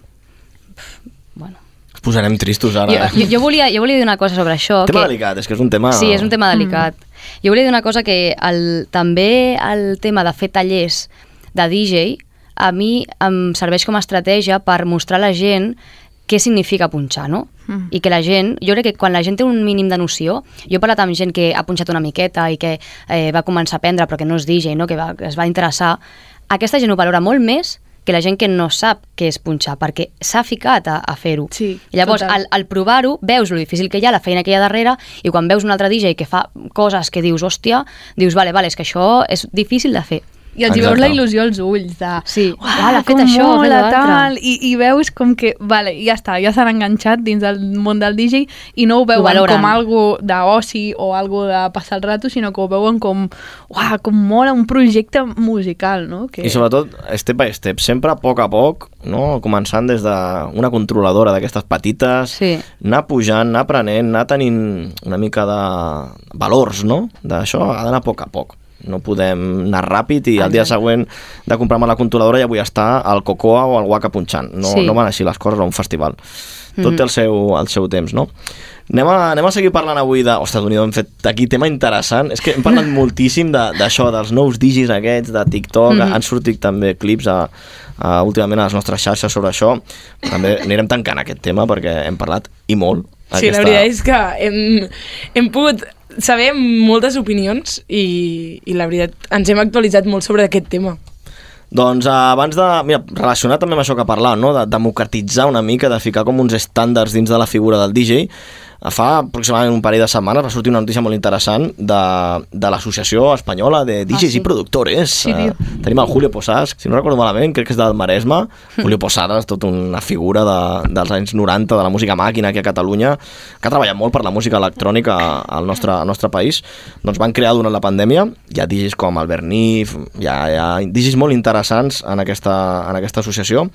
D: Ens posarem tristos
A: jo,
D: ara,
A: jo,
D: eh?
A: jo, volia, jo volia dir una cosa sobre això.
D: Tema
A: que,
D: delicat, és que és un tema...
A: Sí, és un tema delicat. Mm. Jo volia dir una cosa que el, també el tema de fer tallers de DJ a mi em serveix com a estratègia per mostrar a la gent què significa punxar, no?
K: Mm.
A: I que la gent, jo crec que quan la gent té un mínim de noció, jo he parlat amb gent que ha punxat una miqueta i que eh, va començar a aprendre però que no és DJ, no? que, va, que es va interessar, aquesta gent ho valora molt més que la gent que no sap què és punxar, perquè s'ha ficat a, a fer-ho.
K: Sí,
A: I Llavors,
K: total.
A: al, al provar-ho, veus lo difícil que hi ha, la feina que hi ha darrere, i quan veus un altre DJ que fa coses que dius, hòstia, dius, vale, vale, és que això és difícil de fer.
K: I els hi veus la il·lusió als ulls de...
A: Sí,
K: Uau,
A: uau, ha fet
K: com
A: això, ha fet
K: mola,
A: l'altre.
K: tal, i, i veus com que, vale, ja està, ja s'han enganxat dins del món del DJ i no ho veuen
A: valoren.
K: com algo d'oci o algo de passar el rato, sinó que ho veuen com, uah, com mola, un projecte musical, no? Que...
D: I sobretot, step by step, sempre a poc a poc, no? començant des d'una controladora d'aquestes petites,
A: Sí.
D: anar pujant, anar aprenent, anar tenint una mica de valors, no? D'això ha d'anar a poc a poc. No podem anar ràpid i el dia següent de comprar-me la controladora ja vull estar al Cocoa o al Waka punxant. No,
A: Sí.
D: no van així les coses a un festival. Tot
E: Mm.
A: Mhm.
D: té el seu, el seu temps, no? Anem a, anem a seguir parlant avui de... Ostres, Doni, hem fet aquí tema interessant. És que hem parlat moltíssim de- d'això, dels nous digis aquests, de TikTok. Mm
A: Mhm.
E: Mm-hmm.
D: -hmm. Han sortit també clips a, a, últimament a les nostres xarxes sobre això. També anirem tancant aquest tema perquè hem parlat i molt.
E: Sí, la veritat és que hem, hem pogut saber moltes opinions i, i la veritat ens hem actualitzat molt sobre aquest tema.
D: Doncs eh, abans de... Mira, relacionat també amb això que parlàvem, no? de democratitzar una mica, de ficar com uns estàndards dins de la figura del DJ, eh, fa aproximadament un parell de setmanes va sortir una notícia molt interessant de, de l'Associació Espanyola de DJs ah, sí. i Productores. eh,
K: Sí, tio.
D: tenim el Julio Posas, si no recordo malament, crec que és del Maresme. Julio Posada és tota una figura de, dels anys 90 de la música màquina aquí a Catalunya, que ha treballat molt per la música electrònica al nostre, al nostre país. Doncs van crear durant la pandèmia, hi ha digis com Albert Nif, hi ha, hi ha digis molt interessants en aquesta, en aquesta associació,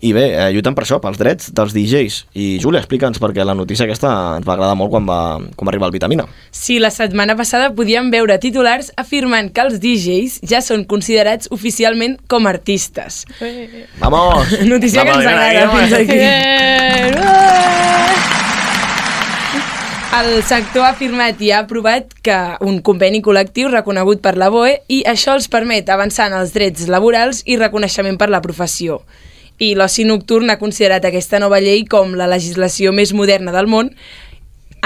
D: i bé, eh, lluiten per això, pels drets dels DJs. I Júlia, explica'ns perquè la notícia aquesta ens va agradar molt quan va, quan va arribar el Vitamina.
E: Sí, la setmana passada podíem veure titulars afirmant que els DJs ja són considerats oficialment com artistes.
K: Eh,
D: Vamos!
E: Notícia que ens agrada fins aquí.
K: Eh, uah!
E: El sector ha afirmat i ha aprovat que un conveni col·lectiu reconegut per la BOE i això els permet avançar en els drets laborals i reconeixement per la professió. I l'oci nocturn ha considerat aquesta nova llei com la legislació més moderna del món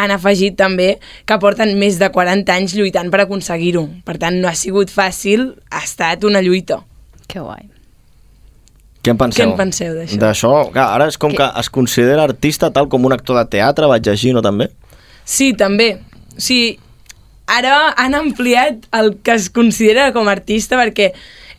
E: han afegit també que porten més de 40 anys lluitant per aconseguir-ho. Per tant, no ha sigut fàcil, ha estat una lluita.
A: Que guai.
D: Què en penseu?
E: Què en penseu d'això?
D: D'això, clar, ara és com que... es considera artista tal com un actor de teatre, vaig llegir, no també?
E: Sí, també. Sí, ara han ampliat el que es considera com a artista perquè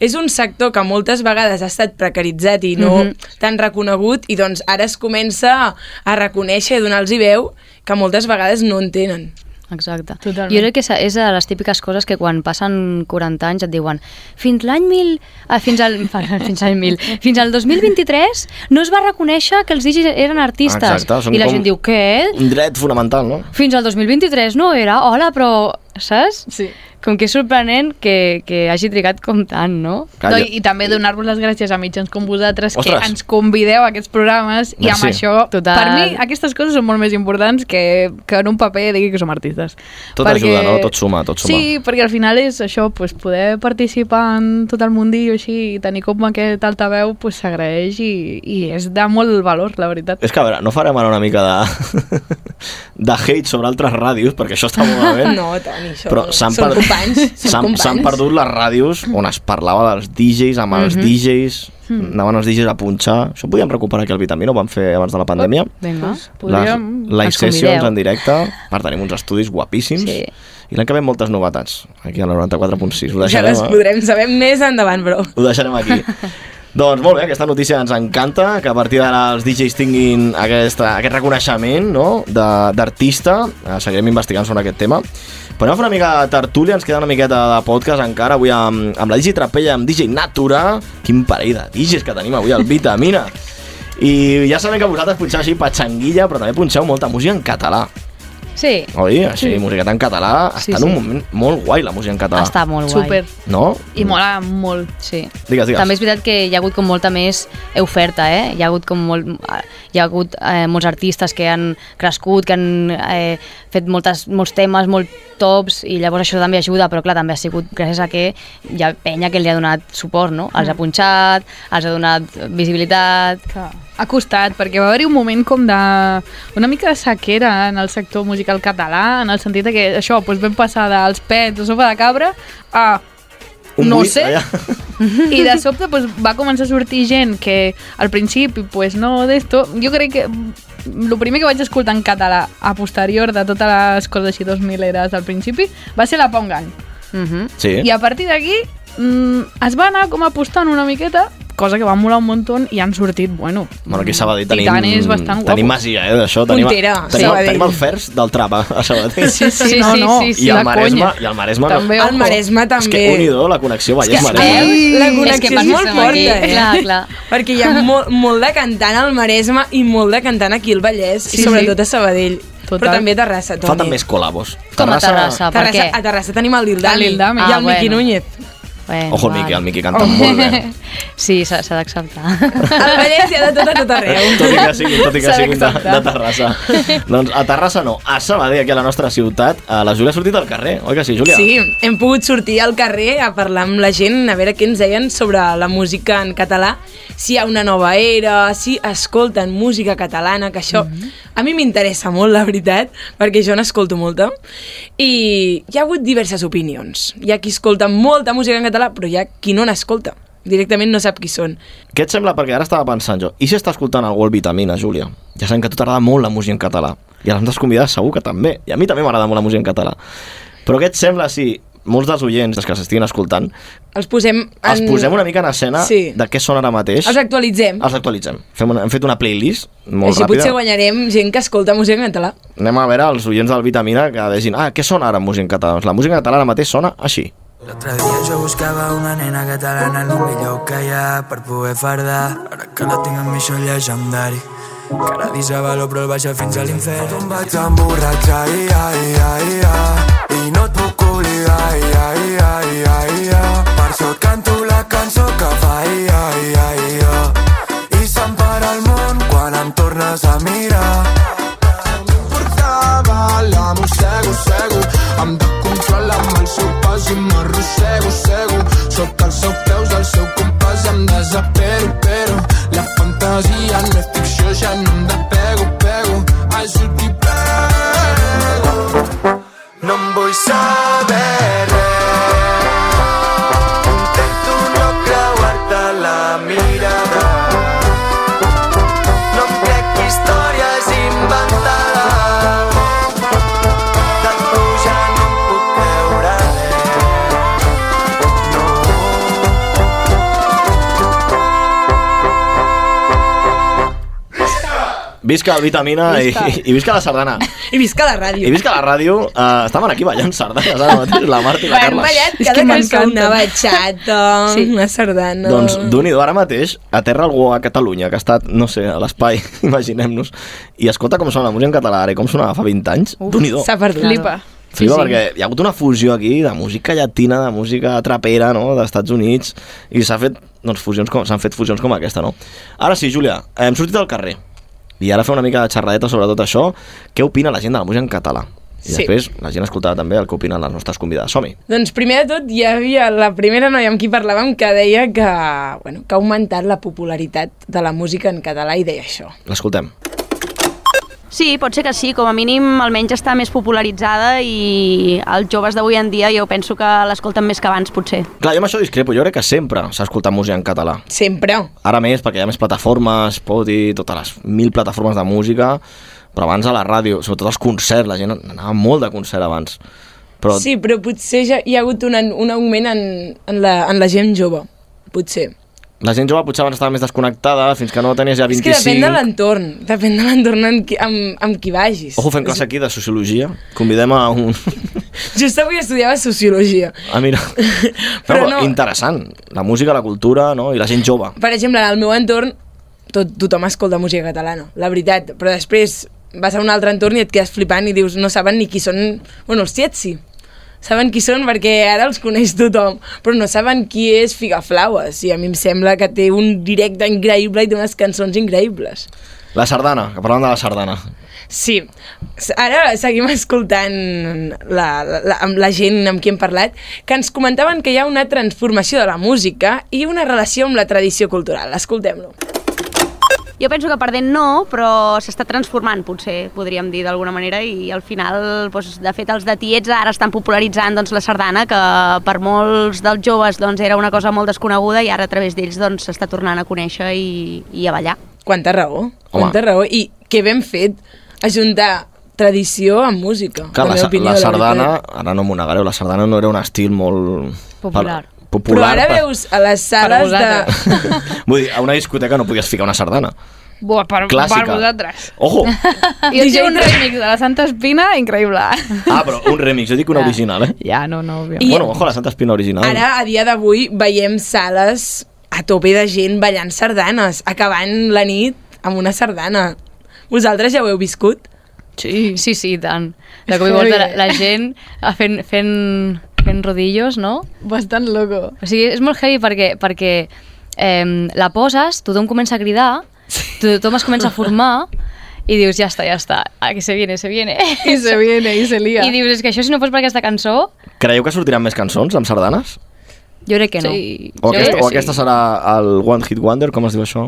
E: és un sector que moltes vegades ha estat precaritzat i no
K: Mhm.
E: tan reconegut i doncs ara es comença a reconèixer i donar-los veu que moltes vegades no en tenen.
A: Exacte.
E: Totalment.
A: Jo crec que és, és de les típiques coses que quan passen 40 anys et diuen fins l'any 1000, ah, fins al, fins al 1000, fins al 2023 no es va reconèixer que els digis eren artistes.
D: Exacte, són
A: I la
D: com-
A: gent diu,
E: Eh?
A: què?
D: Un dret fonamental, no?
A: Fins al 2023 no era, hola, però, saps? Sí. Com que és sorprenent que, que hagi trigat com tant, no?
K: No, i, I també donar-vos les gràcies a mitjans com vosaltres Ostres.
A: Ostres.
K: que ens convideu a aquests programes
D: Doncs
K: i amb
A: Merci.
K: això,
A: Total.
K: per mi, aquestes coses són molt més importants que, que en un paper digui que som artistes.
D: Tot ajuda, no? Tot suma, tot suma.
K: Sí, perquè al final és això, pues, poder participar en tot el mundillo així i tenir com aquest altaveu pues, s'agraeix i, i és de molt valor, la veritat.
D: És que, a veure, no farem ara una mica de, de hate sobre altres ràdios, perquè això està molt malament.
E: No, Toni, això
D: Eh? Però
E: no.
D: s'han
E: Són
D: per-
E: companys. Són
D: S'han s'han
E: companys.
D: perdut les ràdios on es parlava dels DJs, amb els
E: Mhm.
D: DJs,
K: Mm.
D: anaven els DJs a punxar. Això ho podíem recuperar aquí al Vitamina, ho vam fer abans de la pandèmia.
A: Vinga.
D: Les,
A: Els
D: live sessions
A: convideu.
D: en directe, per tenim uns estudis guapíssims. Sí. I l'any que ve moltes novetats, aquí a la 94.6. Ho
E: Ja
D: deixarem,
E: les
D: eh?
E: podrem saber més endavant, però...
D: Ho deixarem aquí. doncs molt bé, aquesta notícia ens encanta, que a partir d'ara els DJs tinguin aquesta, aquest reconeixement no? de- d'artista. Eh, Seguirem investigant sobre aquest tema. Però anem a fer una mica de tertúlia, ens queda una miqueta de podcast encara, avui amb, amb la DJ Trapella, amb DJ Natura. Quin parell de DJs que tenim avui, el Vitamina. I ja sabem que vosaltres punxeu així patxanguilla, però també punxeu molta música en català.
A: Sí.
D: Oi? Així, sí. musiqueta en català. Està
A: Sí,
D: sí, en un
A: sí.
D: moment molt guai, la música en català.
A: Està molt guai. Super.
D: No?
A: I mola molt. Sí.
D: Digues, digues.
A: També és veritat que hi ha hagut com molta més oferta, eh? Hi ha hagut, com molt, hi ha hagut eh, molts artistes que han crescut, que han eh, fet moltes, molts temes, molt tops, i llavors això també ajuda, però clar, també ha sigut gràcies a que hi ha penya que li ha donat suport, no?
E: Mm.
A: Els ha punxat, els ha donat visibilitat... Clar.
K: Ha costat, perquè va haver-hi un moment com de... una mica de sequera en el sector musical català, en el sentit de que això, doncs vam passar dels pets de sopa de cabra a...
D: Un
K: no
D: buit,
K: sé,
D: allà.
K: i de sobte pues, va començar a sortir gent que al principi pues, no d'esto, jo crec que el primer que vaig escoltar en català a posterior de totes les coses així 2000 eres del principi va ser la Pau Gang
A: mm -hmm.
D: Sí.
K: i a partir d'aquí mm, es va anar com apostant una miqueta cosa que va molar un muntó i han sortit, bueno, mm,
D: Bueno, aquí a Sabadell tenim...
K: Titanes bastant guapos.
D: Tenim masia, eh, d'això. Tenim,
K: Puntera,
D: tenim,
K: Sabadell.
D: tenim el fers del trap a a Sabadell.
E: Sí, sí, sí,
K: No, no.
E: sí,
D: I
E: sí, la
D: el Maresme,
E: conya.
D: i el Maresme...
E: També, El ojo. Maresme
D: És
E: també.
D: que, unidó, la connexió
E: Ai,
D: Vallès-Maresme.
E: la
A: És que
E: connexió és,
A: passem
E: molt forta,
A: aquí.
E: eh?
A: Clar, clar.
E: Perquè hi ha molt, molt de cantant al Maresme i molt de cantant aquí al Vallès,
K: Sí,
E: i sobretot
K: sí.
E: a Sabadell. Total. Però també a Terrassa, Toni.
D: Falten més col·labos.
E: Terrassa, A Terrassa tenim el Lildami,
K: El Lildami.
E: i el ah,
K: Ah,
E: Miqui
K: bueno.
E: Núñez.
A: Bueno,
D: Ojo el Miqui, el Miqui
E: Oh.
D: canta molt bé.
A: Sí, s'ha s'ha d'acceptar.
E: El Vallès hi ha de tot a tot arreu.
D: Tot i que sigui, tot i que
E: S'ha
D: sigui de,
E: d'acceptar.
D: de Terrassa. doncs a Terrassa no, a Sabadell, aquí a la nostra ciutat, eh, la Júlia ha sortit al carrer, oi que sí, Júlia?
E: Sí, hem pogut sortir al carrer a parlar amb la gent, a veure què ens deien sobre la música en català, si hi ha una nova era, si escolten música catalana, que això
D: Mm-hmm.
E: a mi m'interessa molt, la veritat, perquè jo n'escolto molta, i hi ha hagut diverses opinions. Hi ha qui escolta molta música en català, però hi ha qui no n'escolta, directament no sap qui són.
D: Què et sembla? Perquè ara estava pensant jo, i si està escoltant algú el Vitamina, Júlia? Ja sabem que a tu t'agrada molt la música en català. I a les nostres convidades segur que també. I a mi també m'agrada molt la música en català. Però què et sembla si molts dels oients els que s'estiguin escoltant
E: Els posem... En...
D: els posem una mica en escena
E: Sí.
D: de què són ara mateix?
E: Els actualitzem.
D: Els actualitzem. Fem una, hem fet una playlist molt
E: Així potser
D: ràpida.
E: guanyarem gent que escolta música en català.
D: Anem a veure els oients del Vitamina que deixin ah, què sona ara en música en català? Doncs la música en català ara mateix sona així.
L: L'altre dia jo buscava una nena catalana en un millor que hi ha per poder fardar. Ara que la tinc amb mi això llegendari. Que ara disavalo però el baixa fins a l'infern. Em vaig emborratxar, i, ai, ai, ai, i no et puc oblidar, ai, ai, ai, ai, ai. Per això et canto la cançó que fa, ai, ai, ai, ai. I se'm para el món quan em tornes a mirar. No Importava la ella no em despego, pego, al sol t'hi prego. No em vull saber res. Intento no creuar-te la mirada. No em crec històries inventades. De tu ja no em puc creure res. No.
D: Visca el Vitamina
E: Visca.
D: I, i visca la sardana.
E: I visca la ràdio.
D: I visca la ràdio. Uh, estaven aquí ballant sardanes ara mateix, la Marta i la
E: Hem
D: Carla.
E: ballat
K: És
E: cada
K: que
E: cançó,
K: m'encanten.
E: una batxata, sí. una sardana...
D: Doncs, d'un i do, ara mateix, aterra algú a Catalunya, que ha estat, no sé, a l'espai, imaginem-nos, i escolta com sona la música en català ara i com sonava fa 20 anys. d'un i do.
E: S'ha perdut.
K: Flipa.
D: Flipa, perquè hi ha hagut una fusió aquí de música llatina, de música trapera, no?, d'Estats Units, i s'ha fet, doncs, fusions com, s'han fet fusions com aquesta, no? Ara sí, Júlia, hem sortit al carrer, i ara fer una mica de xerradeta sobre tot això, què opina la gent de la música en català? I
E: Sí.
D: després la gent escoltarà també el que opinen les nostres convidades. Som-hi!
E: Doncs primer de tot hi havia la primera noia amb qui parlàvem que deia que, bueno, que ha augmentat la popularitat de la música en català i deia això.
D: L'escoltem.
H: Sí, pot ser que sí, com a mínim almenys està més popularitzada i els joves d'avui en dia jo penso que l'escolten més que abans potser.
D: Clar, jo amb això discrepo, jo crec que sempre s'ha escoltat música en català.
E: Sempre.
D: Ara més, perquè hi ha més plataformes, Spotify, totes les mil plataformes de música, però abans a la ràdio, sobretot als concerts, la gent anava molt de concert abans. Però
E: Sí, però potser ja hi ha hagut un, an- un augment en, en, la, en la gent jove, potser.
D: la gent jove potser abans estava més desconnectada, fins que no tenies ja
E: És que
D: 25...
E: depèn de l'entorn, depèn de l'entorn amb, qui- amb, amb qui vagis.
D: Ojo, fem classe aquí de sociologia. Convidem a un...
E: Just avui estudiava Sociologia.
D: Ah, mira.
E: Però
D: Però no,
E: no-
D: no. Interessant. La música, la cultura, no? I la gent jove.
E: Per exemple, en el meu entorn tot, tothom escolta música catalana, la veritat, però després vas a un altre entorn i et quedes flipant i dius no saben ni qui són... Bueno, els tiets sí, saben qui són perquè ara els coneix tothom, però no saben qui és Figaflaues i a mi em sembla que té un directe increïble i té unes cançons increïbles.
D: La sardana, que parlàvem de la sardana.
E: Sí, S- ara seguim escoltant la, la, la, amb la gent amb qui hem parlat, que ens comentaven que hi ha una transformació de la música i una relació amb la tradició cultural. Escoltem-lo.
H: Jo penso que perdent no, però s'està transformant, potser, podríem dir d'alguna manera, i al final, doncs, de fet, els de Tiets ara estan popularitzant doncs, la sardana, que per molts dels joves doncs, era una cosa molt desconeguda i ara a través d'ells s'està doncs, s'està tornant a conèixer i, i a ballar.
E: Quanta raó, quanta raó. I que ben fet ajuntar tradició amb música.
D: Clar, la,
E: meva
D: sa-
E: opinió,
D: la
E: la
D: sardana,
E: veritat.
D: ara no m'ho negareu, la sardana no era un estil molt...
E: Popular.
D: Per,
E: Però
D: popular.
E: ara
D: per-
E: veus a les sales de...
D: Vull dir, a una discoteca no podies ficar una sardana.
K: Buah, per, per
D: Clàssica.
K: vosaltres.
D: Ojo!
K: Jo tinc un remix de la Santa Espina increïble.
D: Ah, però un remix, jo dic una
K: Ja.
D: original, eh?
K: Ja, no, no, òbviament.
E: I-
D: Bueno, ojo, la Santa Espina original.
E: Ara, a dia d'avui, veiem sales a tope de gent ballant sardanes, acabant la nit amb una sardana. Vosaltres ja ho heu viscut?
K: Sí.
A: Sí, sí, i tant. De cop i volta la, la gent a fent, fent, fent rodillos, no?
K: Bastant loco.
A: O sigui, és molt heavy perquè, perquè eh, la poses, tothom comença a cridar, tothom es comença a formar i dius, ja està, ja està, ah, que se viene, se viene.
K: I se viene, i se lia.
A: I dius, és que això si no fos per aquesta cançó,
D: Creieu que sortiran més cançons amb sardanes?
A: jo crec que no.
K: Sí.
D: O, aquesta, o aquesta serà el One Hit Wonder, com es diu això?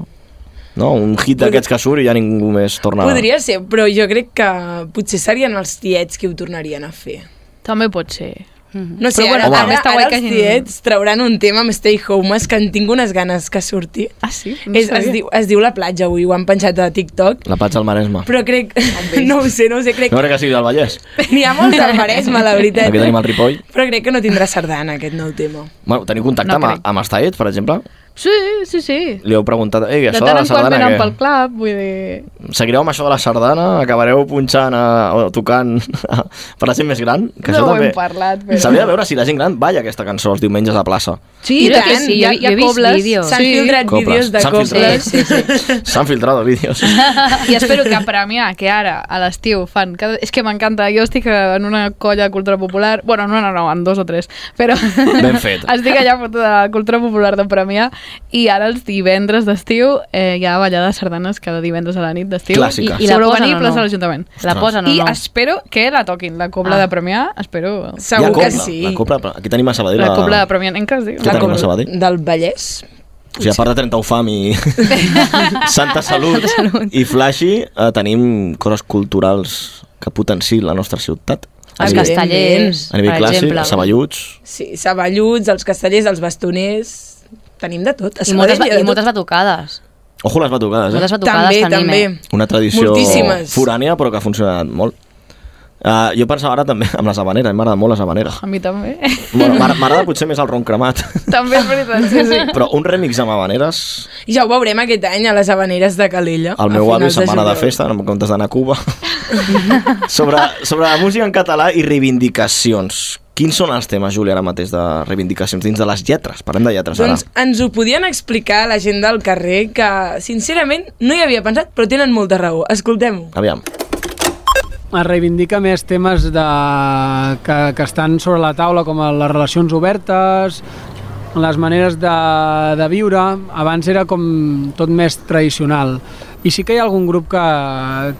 D: No, un hit d'aquests que surt i ja ningú més torna...
E: Podria ser, però jo crec que potser serien els tiets qui ho tornarien a fer.
K: També pot ser.
A: Mm-hmm.
E: No sé,
K: Però
E: ara,
K: bueno,
E: ara,
K: també
E: ara,
K: està guai que
E: els
K: hagin-
E: tiets trauran un tema amb Stay Homes que en tinc unes ganes que surti.
K: Ah, sí? No
E: Es, es, diu, es diu La platja, avui ho han penjat a TikTok.
D: La Pats al Maresme.
E: Però crec...
A: Ah,
E: No ho sé, no ho sé, crec...
D: No crec que sigui del Vallès.
E: N'hi ha molts al Maresme, la veritat.
D: Aquí tenim el Ripoll.
E: Però crec que no tindrà sardana, aquest nou tema.
D: Bueno, teniu contacte
K: No
D: no amb,
K: crec.
D: amb els Taets, per exemple?
K: Sí, sí, sí.
D: Li heu preguntat, ei,
K: De
D: això
K: tant
D: de la
K: en quant
D: sardana,
K: venen
D: què?
K: pel club, vull dir...
D: Seguireu amb això de la sardana? Acabareu punxant a, o tocant a, per la gent més gran? Que
K: No
D: això
K: ho
D: també...
K: hem parlat, però-
D: S'hauria de veure si la gent gran balla aquesta cançó els diumenges a plaça.
K: Sí,
A: Jo crec que sí, jo- jo he vist vídeos.
E: S'han filtrat
D: Coples,
E: vídeos de
D: s'han
E: coples.
D: filtrat. S'han filtrat vídeos.
K: I espero que a Premià, que ara, a l'estiu, fan... Cada... És que m'encanta, jo estic en una colla de cultura popular... Bueno, no, no, no, en dos o tres, però...
D: Ben fet.
K: estic allà fotuda de la cultura popular de Premià i ara els divendres d'estiu eh, hi ha ballada de sardanes cada divendres a la nit d'estiu.
D: Clàssica.
A: I- i la
K: Sobre
A: posen
K: Urbaní
A: o no?
K: plaça de l'Ajuntament.
A: La posen o
K: I
A: no?
K: espero que la toquin, la cobla
A: Ah.
K: de Premià, espero...
D: Hi ha
E: Segur que
D: cobla,
E: sí.
D: La cobla, aquí tenim a Sabadell.
K: La cobla de Premià, en cas, diu.
D: Què tenim a Sabadell?
E: Del Vallès?
D: O sigui, a part de 30 Ufam i Santa Salut i Flashy, eh, tenim coses culturals que potenciï la nostra ciutat.
E: Els
D: A nivell-
E: castellers,
D: A nivell
E: per
D: clàssic,
E: exemple.
D: a Saballuts.
E: Sí, saballuts, els castellers, els bastoners... Tenim de tot.
A: I moltes, ba- i moltes batucades.
D: Ojo les batucades, eh?
A: Moltes batucades
E: També,
A: tenim,
E: també.
A: eh?
D: Una tradició
E: Moltíssimes.
D: forània, però que ha funcionat molt. Uh, jo pensava ara també amb les habaneres, a mi m'agrada molt les habaneres.
K: A mi també.
D: Bueno, m'agra- m'agrada potser més el ron cremat,
K: també és veritat, sí, sí.
D: però un remix amb habaneres,
E: I ja ho veurem aquest any a les habaneres de Calella.
D: el meu avi setmana de festa, en comptes d'anar a Cuba. sobre, sobre la música en català i reivindicacions. Quins són els temes, Júlia, ara mateix de reivindicacions dins de les lletres? Parlem de lletres ara.
E: Doncs ens ho podien explicar la gent del carrer que, sincerament, no hi havia pensat, però tenen molta raó. Escoltem-ho.
D: Aviam.
M: es reivindica més temes de, que, que estan sobre la taula, com les relacions obertes, les maneres de, de viure. Abans era com tot més tradicional. I sí que hi ha algun grup que,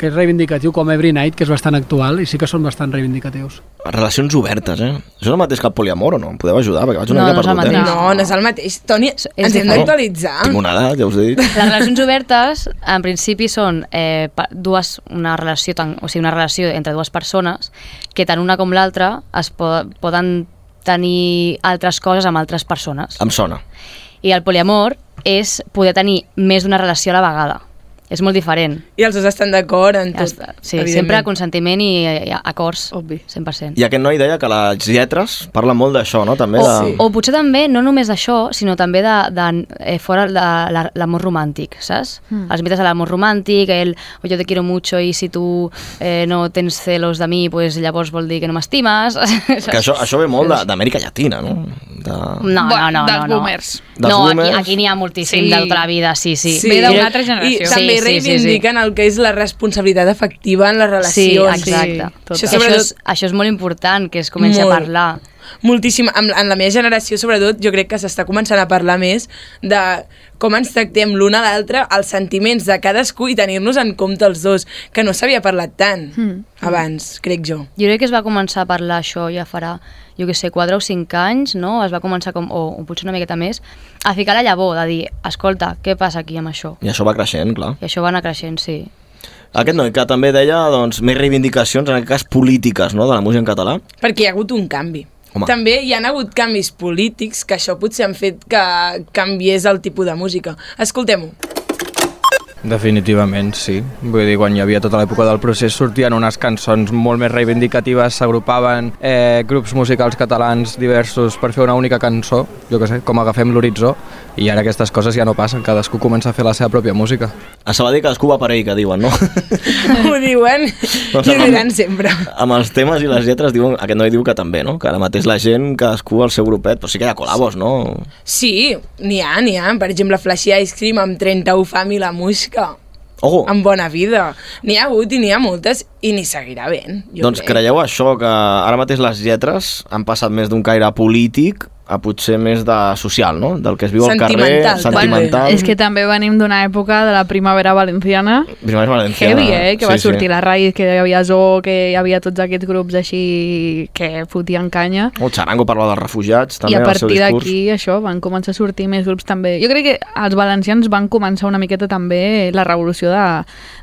M: que és reivindicatiu, com Every Night, que és bastant actual, i sí que són bastant reivindicatius.
D: Relacions obertes, eh? Això és el mateix que el poliamor o no? Em podeu ajudar? Perquè vaig una mica perdut, eh?
E: No, no és el mateix. Toni, ens hem
D: diferent.
E: d'actualitzar.
D: Tinc una edat, ja us he dit.
A: Les relacions obertes, en principi, són eh, pa- dues, una relació tan, o sigui, una relació entre dues persones que tant una com l'altra es po poden tenir altres coses amb altres persones.
D: Em sona.
A: I el poliamor és poder tenir més d'una relació a la vegada. És molt diferent.
E: I els dos estan d'acord en tot,
A: Sí,
E: evidentment.
A: sempre consentiment i, i acords. Obvi. 100%.
D: I aquest noi deia que les lletres parlen molt d'això, no? També
A: O,
D: de...
A: o potser també, no només d'això, sinó també de, de eh, fora de la- l'amor romàntic, saps?
K: Mm.
A: Mm. Els mites de l'amor romàntic, el o jo te quiero mucho i si tu eh, no tens celos de mi, pues, llavors vol dir que no m'estimes.
D: Que això, això ve molt de- d'Amèrica Llatina, no? De...
A: No, no, no.
K: dels
A: no, no.
K: boomers.
D: Dels
A: no, aquí,
D: boomers.
A: aquí n'hi ha moltíssim
K: Sí.
A: sí. de tota la vida, sí, sí.
K: Ve d'una
A: Crec-
K: altra generació.
E: I també
A: Sí, sí, sí, sí.
E: reivindiquen el que és la responsabilitat efectiva en les
A: Sí,
E: relacions.
A: exacte.
E: Això,
A: això,
E: sobretot,
A: és, això és molt important, que es comenci
E: Molt.
A: a parlar.
E: moltíssim, en, en la meva generació sobretot, jo crec que s'està començant a parlar més de com ens tractem l'un a l'altre, els sentiments de cadascú i tenir-nos en compte els dos, que no s'havia parlat tant
A: Hmm.
K: Hmm.
E: mm. abans, crec jo.
A: Jo crec que es va començar a parlar això ja farà, jo què sé, 4 o 5 anys, no? Es va començar, com, o, o potser una miqueta més, a ficar la llavor, de dir, escolta, què passa aquí amb això?
D: I això va creixent, clar.
A: I això va anar creixent, sí.
D: Aquest noi que també deia, doncs, més reivindicacions, en aquest cas polítiques, no?, de la música en català.
E: Perquè hi ha hagut un canvi.
D: Home.
E: També hi han hagut canvis polítics que això potser han fet que canviés el tipus de música. Escoltem-ho.
N: Definitivament, sí. Vull dir, quan hi havia tota l'època del procés sortien unes cançons molt més reivindicatives, s'agrupaven eh, grups musicals catalans diversos per fer una única cançó, jo què sé, com agafem l'horitzó, i ara aquestes coses ja no passen, cadascú comença a fer la seva pròpia música.
D: A Sabadell cadascú va per ell, que diuen, no?
E: Ho diuen
D: Doncs
E: i ho diran sempre.
D: Amb els temes i les lletres, diuen, aquest noi diu que també, no? Que ara mateix la gent, cadascú al seu grupet, però sí que hi ha col·labos, no?
E: Sí, n'hi ha, n'hi ha. Per exemple, Flashy Ice Cream amb 30 Ufam i la Musca.
D: Oh.
E: Amb bona vida. N'hi ha hagut i n'hi ha moltes i n'hi seguirà ben. Jo
D: doncs creieu això, que ara mateix les lletres han passat més d'un caire polític a potser més de social, no? Del que es viu al carrer, sentimental.
K: Bueno, és que també venim d'una època de la primavera valenciana
D: Primavera valenciana.
K: Heavy, eh? Que sí, va
D: Sí, sí.
K: sortir sí. la raïs, que hi havia Zoo, que hi havia tots aquests grups així que fotien canya.
D: El Charango parla dels refugiats, Doncs també,
K: I a
D: en el seu
K: partir
D: discurs.
K: d'aquí, això, van començar a sortir més grups també. Jo crec que els valencians van començar una miqueta també la revolució de,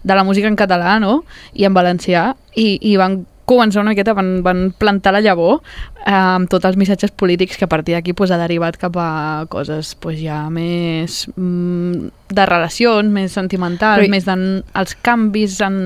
K: de la música en català, no? I en valencià, i, i van començar una miqueta, van, van plantar la llavor eh, amb tots els missatges polítics que a partir d'aquí pues, ha derivat cap a coses pues, ja més mm, de relacions, més sentimentals,
A: Però i-
K: més en, els canvis en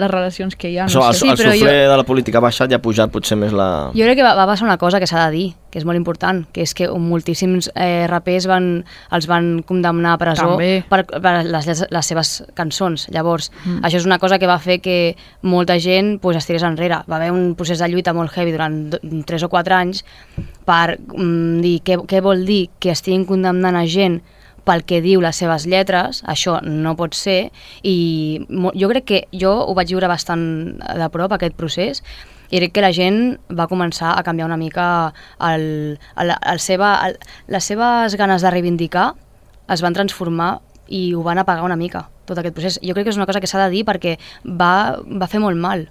K: les relacions que hi ha.
D: Això,
K: No
D: el,
K: sé.
D: el sufler de la política ha baixat i ha pujat potser més la...
A: Jo crec que va, va passar una cosa que s'ha de dir, que és molt important, que és que moltíssims eh, rapers van, els van condemnar a presó
K: També.
A: per, per les, les, les seves cançons. Llavors,
K: Mm.
A: mm. això és una cosa que va fer que molta gent pues, es tirés enrere. Va haver un procés de lluita molt heavy durant 3 o 4 anys per mm, dir què, què vol dir que estiguin condemnant a gent pel que diu les seves lletres, això no pot ser, i mo- jo crec que jo ho vaig viure bastant de prop, aquest procés, i crec que la gent va començar a canviar una mica el, el, el seva, el, les seves ganes de reivindicar es van transformar i ho van apagar una mica, tot aquest procés. Jo crec que és una cosa que s'ha de dir perquè va, va fer molt mal.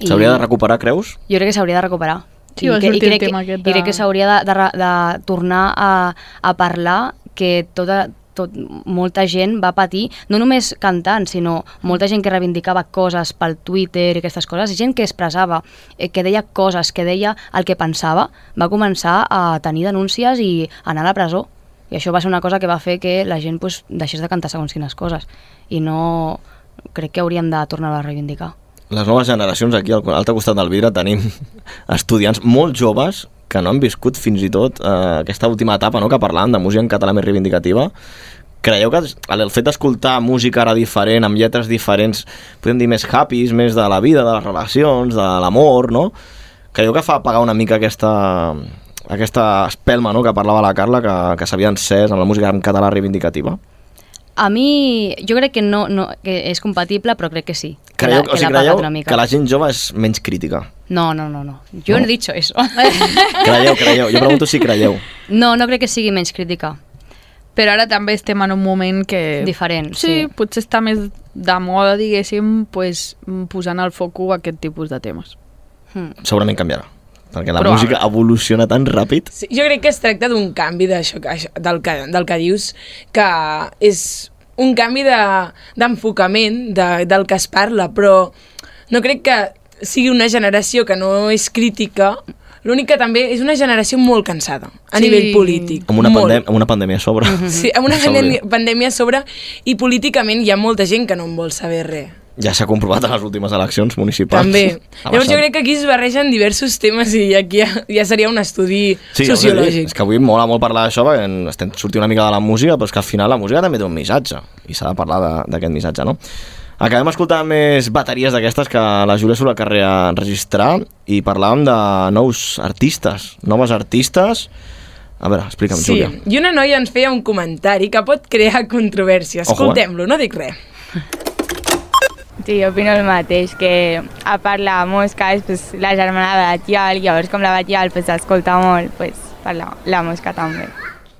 A: I-
D: S'hauria de recuperar, creus?
A: jo crec que s'hauria de recuperar.
K: Sí, va
A: que,
K: sortir el
A: crec
K: tema
A: que,
K: aquest
A: I crec
K: de-
A: que s'hauria de, de, re- de tornar a, a parlar que tota, tot, molta gent va patir, no només cantant, sinó molta gent que reivindicava coses pel Twitter i aquestes coses, gent que expressava, eh, que deia coses, que deia el que pensava, va començar a tenir denúncies i anar a la presó. I això va ser una cosa que va fer que la gent pues, deixés de cantar segons quines coses. I no... crec que hauríem de tornar a reivindicar.
D: Les noves generacions aquí al altre costat del vidre tenim estudiants molt joves que no han viscut fins i tot eh, aquesta última etapa no, que parlàvem de música en català més reivindicativa. Creieu que el el fet d'escoltar música ara diferent, amb lletres diferents, podem dir més happys, més de la vida, de les relacions, de l'amor, no? Creieu que fa apagar una mica aquesta, aquesta espelma no, que parlava la Carla, que, que s'havia encès amb la música en català reivindicativa?
A: A mi, jo crec que no, no que és compatible, però crec que sí. Que
D: Creieu,
A: l'ha-
D: o
A: l'ha
D: sigui,
A: pagat
D: creieu
A: una mica.
D: que la gent jove és menys crítica?
A: No, no, no, no. Yo no, he dicho eso.
D: Creieu, creieu. Jo pregunto si creieu.
A: No, no crec que sigui menys crítica.
K: Però ara també estem en un moment que...
A: Diferent,
K: sí. potser està més de moda, diguéssim, pues, posant al foco aquest tipus de temes.
D: Segurament canviarà. Perquè la
E: Probable.
D: música evoluciona tan ràpid.
E: Sí, jo crec que es tracta d'un canvi d'això que- això- del, que, del que dius, que és un canvi de- d'enfocament de, de, del que es parla, però no crec que sigui una generació que no és crítica, l'únic que també és una generació molt cansada a
K: Sí.
E: nivell polític.
D: Amb una,
E: molt. Mhm.
D: pandè amb una pandèmia a sobre.
E: Sí, amb una
D: Això vol dir.
E: pandèmia, pandèmia a sobre i políticament hi ha molta gent que no en vol saber res.
D: Ja s'ha comprovat a les últimes eleccions municipals.
E: També.
D: Ha
E: Llavors jo
D: baixat.
E: crec que aquí es barregen diversos temes i aquí ja, ja seria un estudi
D: Sí, ja us he dit,
E: sociològic.
D: És que avui mola molt parlar d'això, perquè en- estem sortint una mica de la música, però és que al final la música també té un missatge, i s'ha de parlar de- d'aquest missatge, no? Acabem escoltant més bateries d'aquestes que la Júlia surt al carrer a enregistrar i parlàvem de nous artistes, noves artistes. A veure, explica'm,
E: Sí,
D: Júlia.
E: i una noia ens feia un comentari que pot crear controvèrsia.
D: Ojo, eh?
E: Escoltem-lo, no dic res.
O: Sí, jo opino el mateix, que a part la Mosca és pues, la germana de la Tial, llavors com la Tial pues, escolta molt, pues, per la, la Mosca també.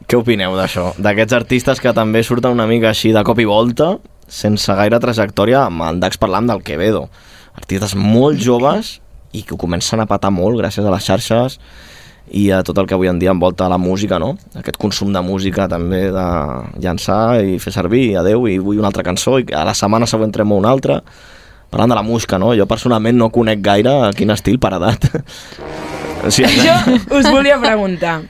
D: Què opineu d'això? D'aquests artistes que també surten una mica així de cop i volta, sense gaire trajectòria, amb el Dax parlant del Quevedo. Artistes molt joves i que ho comencen a patar molt gràcies a les xarxes i a tot el que avui en dia envolta la música, no? Aquest consum de música també de llançar i fer servir, i adeu, i vull una altra cançó, i a la setmana següent tremo una altra. Parlant de la música, no? Jo personalment no conec gaire quin estil per edat. Sí,
E: Jo us volia preguntar,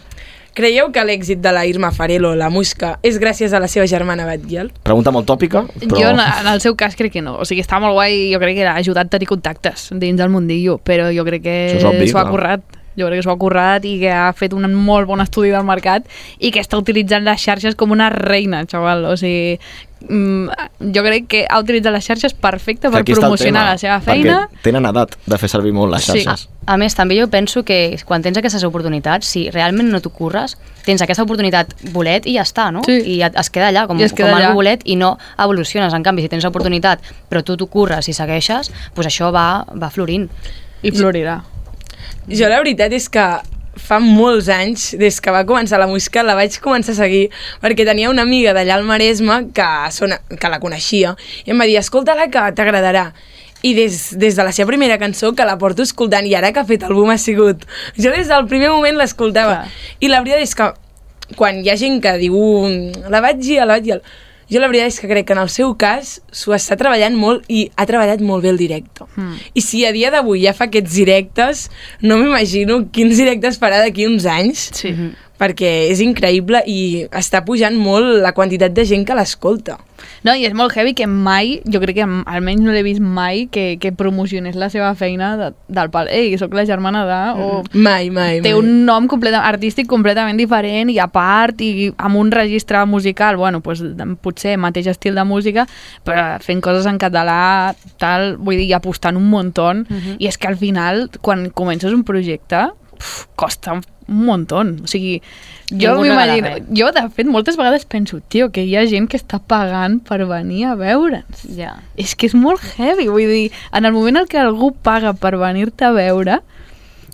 E: creieu que l'èxit de la Irma Farelo, la Mosca, és gràcies a la seva germana Batguial?
D: Pregunta molt tòpica, però...
K: Però... Jo en, en el seu cas crec que no. O sigui, està molt guai, jo crec que ha ajudat a tenir contactes dins del mundillo, però jo crec que
D: Això és obvi,
K: s'ho ha
D: clar.
K: currat. Jo crec que s'ho ha currat i que ha fet un molt bon estudi del mercat i que està utilitzant les xarxes com una reina, xaval. O sigui, mm, jo crec que ha utilitzat les xarxes perfecte
D: Que
K: per
D: aquí està el
K: promocionar
D: tema,
K: la seva feina. Ah,
D: Perquè tenen edat de fer servir molt les xarxes.
A: A, a més, també jo penso que quan tens aquestes oportunitats, si realment no t'ho curres, tens aquesta oportunitat bolet i ja està, no? Sí. I et, es queda allà com,
K: I es queda
A: com
K: allà.
A: algo bolet i no evoluciones. En canvi, si tens l'oportunitat però tu t'ho curres i segueixes, doncs això va, va florint.
K: I florirà.
E: Jo la veritat és que fa molts anys, des que va començar la música, la vaig començar a seguir perquè tenia una amiga d'allà al Maresme que, sona, que la coneixia i em va dir, escolta-la que t'agradarà. I des, des de la seva primera cançó que la porto escoltant i ara que ha fet el boom ha sigut. Jo des del primer moment l'escoltava. I la veritat és que quan hi ha gent que diu "Mm, la vaig i la vaig i el... Jo la veritat és que crec que en el seu cas s'ho està treballant molt i ha treballat molt bé el directe.
K: Hmm.
E: Mm. I si a dia d'avui ja fa aquests directes, no m'imagino quins directes farà d'aquí uns anys,
K: sí.
A: Mhm.
E: perquè és increïble i està pujant molt la quantitat de gent que l'escolta.
K: No, i és molt heavy que mai, jo crec que m- almenys no l'he vist mai, que, que promocionés la seva feina de, del pal. Ei, sóc la germana de... O...
D: Mm-hmm.
E: Mai, mai,
K: Té
E: mai.
K: un nom completa, artístic completament diferent i a part i amb un registre musical, bueno, pues, de- potser mateix estil de música, però fent coses en català, tal, vull dir, i apostant un muntón.
O: Mhm.
K: I és que al final, quan comences un projecte, pf, costa un un muntón. O sigui, jo
O: Ningú
K: m'imagino...
O: regala res.
E: eh?
K: Jo, de fet, moltes vegades penso, tio, que hi ha gent que està pagant per venir a veure'ns.
A: Ja.
K: És que és molt heavy, vull dir, en el moment en què algú paga per venir-te a veure,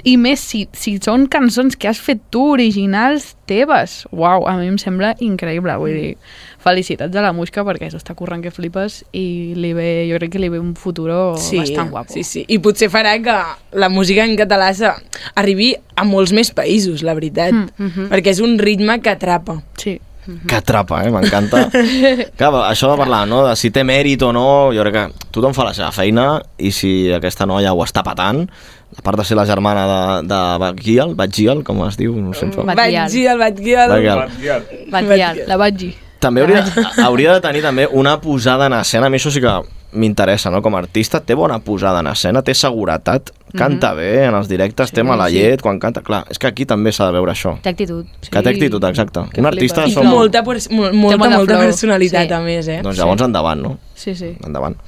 K: i més si, si són cançons que has fet tu, originals teves, uau, a mi em sembla increïble, vull dir, felicitats a la Musca perquè s'està currant que flipes i li ve, jo crec que li ve un futur bastant guapo.
E: Sí, sí. I potser farà que la música en català se- arribi a molts més països, la veritat. Mm
K: mhm.
E: Perquè és un ritme que atrapa.
K: Sí.
D: Que atrapa, eh? M'encanta. Clar, però això de parlar, no?, de si té mèrit o no, jo crec que tothom fa la seva feina i si aquesta noia ho està patant, a part de ser la germana de, de Batgiel, Batgiel, com es diu? No sé,
K: Mm,
D: em fa-
E: Batgiel, Batgiel.
D: Batgiel.
K: Batgial, la Batgi.
D: També hauria, hauria de tenir també una posada en escena, a mi això sí que m'interessa, no? Com a artista, té bona posada en escena, té seguretat,
K: Mm-hmm.
D: canta bé en els directes, té mala
A: sí.
D: llet quan canta, clar, és que aquí també s'ha de veure això.
A: Té actitud.
D: Que té actitud, exacte. Un artista
E: I
D: "Ah, som...
E: molta, pers- mol- molta,
K: molta
E: molta,
K: flow.
E: personalitat, a més, eh?
D: Doncs llavors endavant, no?
K: Sí, sí.
D: Endavant.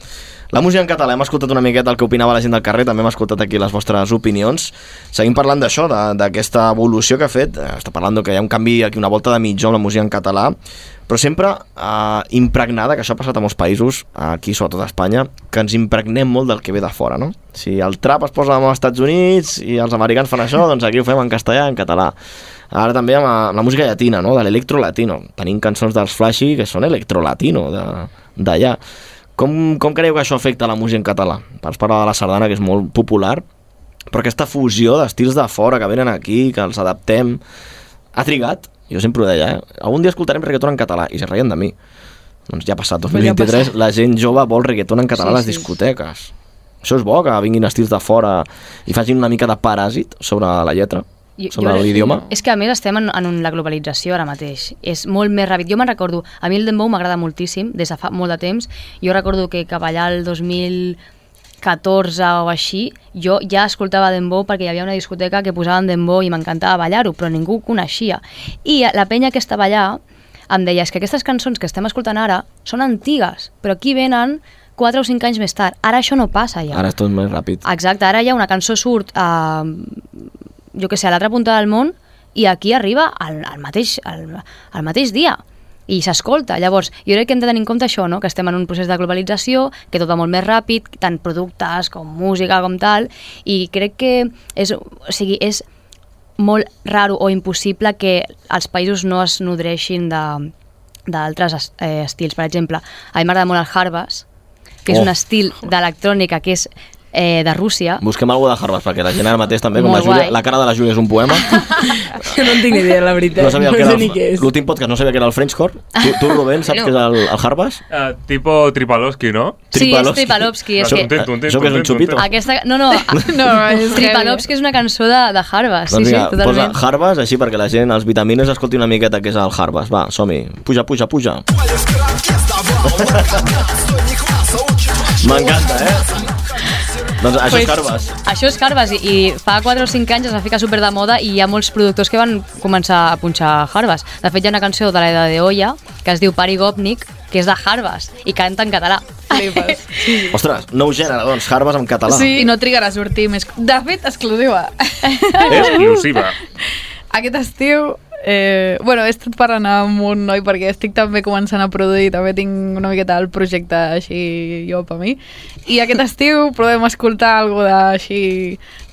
D: La música en català, hem escoltat una miqueta el que opinava la gent del carrer, també hem escoltat aquí les vostres opinions. Seguim parlant d'això, de- d'aquesta evolució que ha fet. Eh, Està parlant que hi ha un canvi aquí, una volta de mitjó amb la música en català, però sempre eh, impregnada, que això ha passat a molts països, aquí sobretot a Espanya, que ens impregnem molt del que ve de fora, no? Si el trap es posa als Estats Units i els americans fan això, doncs aquí ho fem en castellà i en català. Ara també amb la, amb la música llatina, no? de l'electrolatino. Tenim cançons dels Flashy que són electrolatino, de- d'allà. Com, com creieu que això afecta la música en català? Vas parlar de la sardana, que és molt popular, però aquesta fusió d'estils de fora que venen aquí, que els adaptem, ha trigat, jo sempre ho deia, eh? algun dia escoltarem reggaeton en català, i se reien de mi. Doncs ja ha passat,
P: Però ja ha
D: 2023,
P: passat.
D: la gent jove vol reggaeton en
P: Sí,
D: català sí, a les
P: sí.
D: discoteques. Això és bo, que vinguin estils de fora i facin una mica de paràsit sobre la lletra,
A: Jo- jo
D: sobre
A: crec-
D: l'idioma.
A: És que a més estem en, en un- la globalització ara mateix. És molt més ràpid. Jo me'n recordo, a mi el Dembow m'agrada moltíssim, des de fa molt de temps. Jo recordo que cap allà el 2014 o així, jo ja escoltava Dembow perquè hi havia una discoteca que posaven Dembow i m'encantava ballar-ho, però ningú ho coneixia. I la penya que estava allà em deia, és que aquestes cançons que estem escoltant ara són antigues, però aquí venen 4 o 5 anys més tard. Ara això no passa ja.
D: Ara és tot més ràpid.
A: Exacte, ara ja una cançó surt a, jo que sé, a l'altra punta del món i aquí arriba al, al, mateix, al, al mateix dia i s'escolta. Llavors, jo crec que hem de tenir en compte això, no? que estem en un procés de globalització, que tot va molt més ràpid, tant productes com música com tal, i crec que és, o sigui, és molt raro o impossible que els països no es nodreixin de- d'altres es- eh, estils. Per exemple, a mi m'agrada molt el Harvest, que és
D: Oh.
A: un estil d'electrònica que és eh, de Rússia,
D: Busquem alguna de Harvard, perquè la gent ara mateix també, com
A: Molt
D: la, Júlia,
A: guai.
D: la cara de la Júlia és un poema,
E: Jo no en tinc ni idea, la veritat.
D: no sabia el que era
E: sé ni què
D: el-
E: és.
D: l'últim podcast, no sabia que era el Frenchcore. Tu, tu Rubén, saps no.
A: No.
D: que és el, el Harvard?
B: Uh, tipo Tripalowski, no?
A: Sí, és Tripalovsky. És
B: Això-
A: que...
B: Tinc, tinc, tinc,
D: Això que és un
B: tinc, tinc,
D: xupito.
A: Aquesta, no, Ah, no, no Tripalovsky és una cançó de, de Harvard, sí,
D: doncs
A: sí,
D: vinga, posa
A: totalment.
D: Harvard, així perquè la gent, els vitamines, escolti una miqueta que és el Harvard. Va, som-hi. Puja, puja, puja. M'encanta, eh? Doncs això és Harvard.
A: Això és Harvard i, i fa 4 o 5 anys es va ficar super de moda i hi ha molts productors que van començar a punxar Harvard. De fet, hi ha una cançó de l'Eda de Olla que es diu Parigopnik, que és de Harvard i canta en català.
D: Ostres, nou gènere, doncs, Harvard en català.
K: Sí, i no trigarà a sortir més. De fet, exclusiva. Eh?
B: Exclusiva.
K: Aquest estiu... Eh, bueno, he estat parlant amb un noi perquè estic també començant a produir, també tinc una miqueta el projecte així jo per mi. I aquest estiu provem a escoltar alguna cosa d'així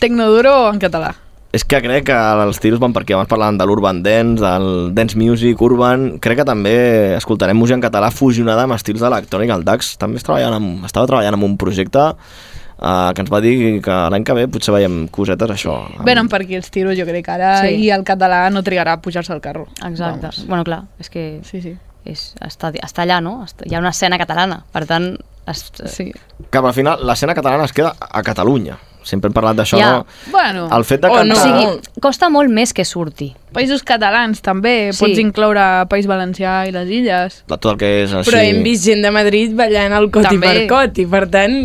K: tecnoduro en català.
D: És que crec que els tiros van per aquí. Abans parlàvem de l'urban dance, del dance music, urban... Crec que també escoltarem música en català fusionada amb estils d'electrònica. El DAX també estava treballant amb, estava treballant amb un projecte eh, que ens va dir que l'any que ve potser veiem cosetes, això.
K: Venen per aquí els tiros, jo crec, ara,
A: Ah, Sí.
K: sí. i el català no trigarà a pujar-se al carro.
A: Exacte.
K: Vamos.
A: Bueno, clar, és que
K: sí, sí.
A: És, està, està allà, no? Està, hi ha una escena catalana, per tant... Es, sí.
D: Que al final l'escena catalana es queda a Catalunya. Sempre hem parlat d'això,
A: Ja.
D: no?
K: Bueno,
D: El fet de
A: O
D: cantar...
A: sigui, costa molt més que surti.
K: països catalans també,
A: Sí.
K: sí. pots incloure País Valencià i les Illes.
D: de tot el que és així...
E: Però hem vist gent de Madrid ballant el coti
K: També.
E: per coti, per tant...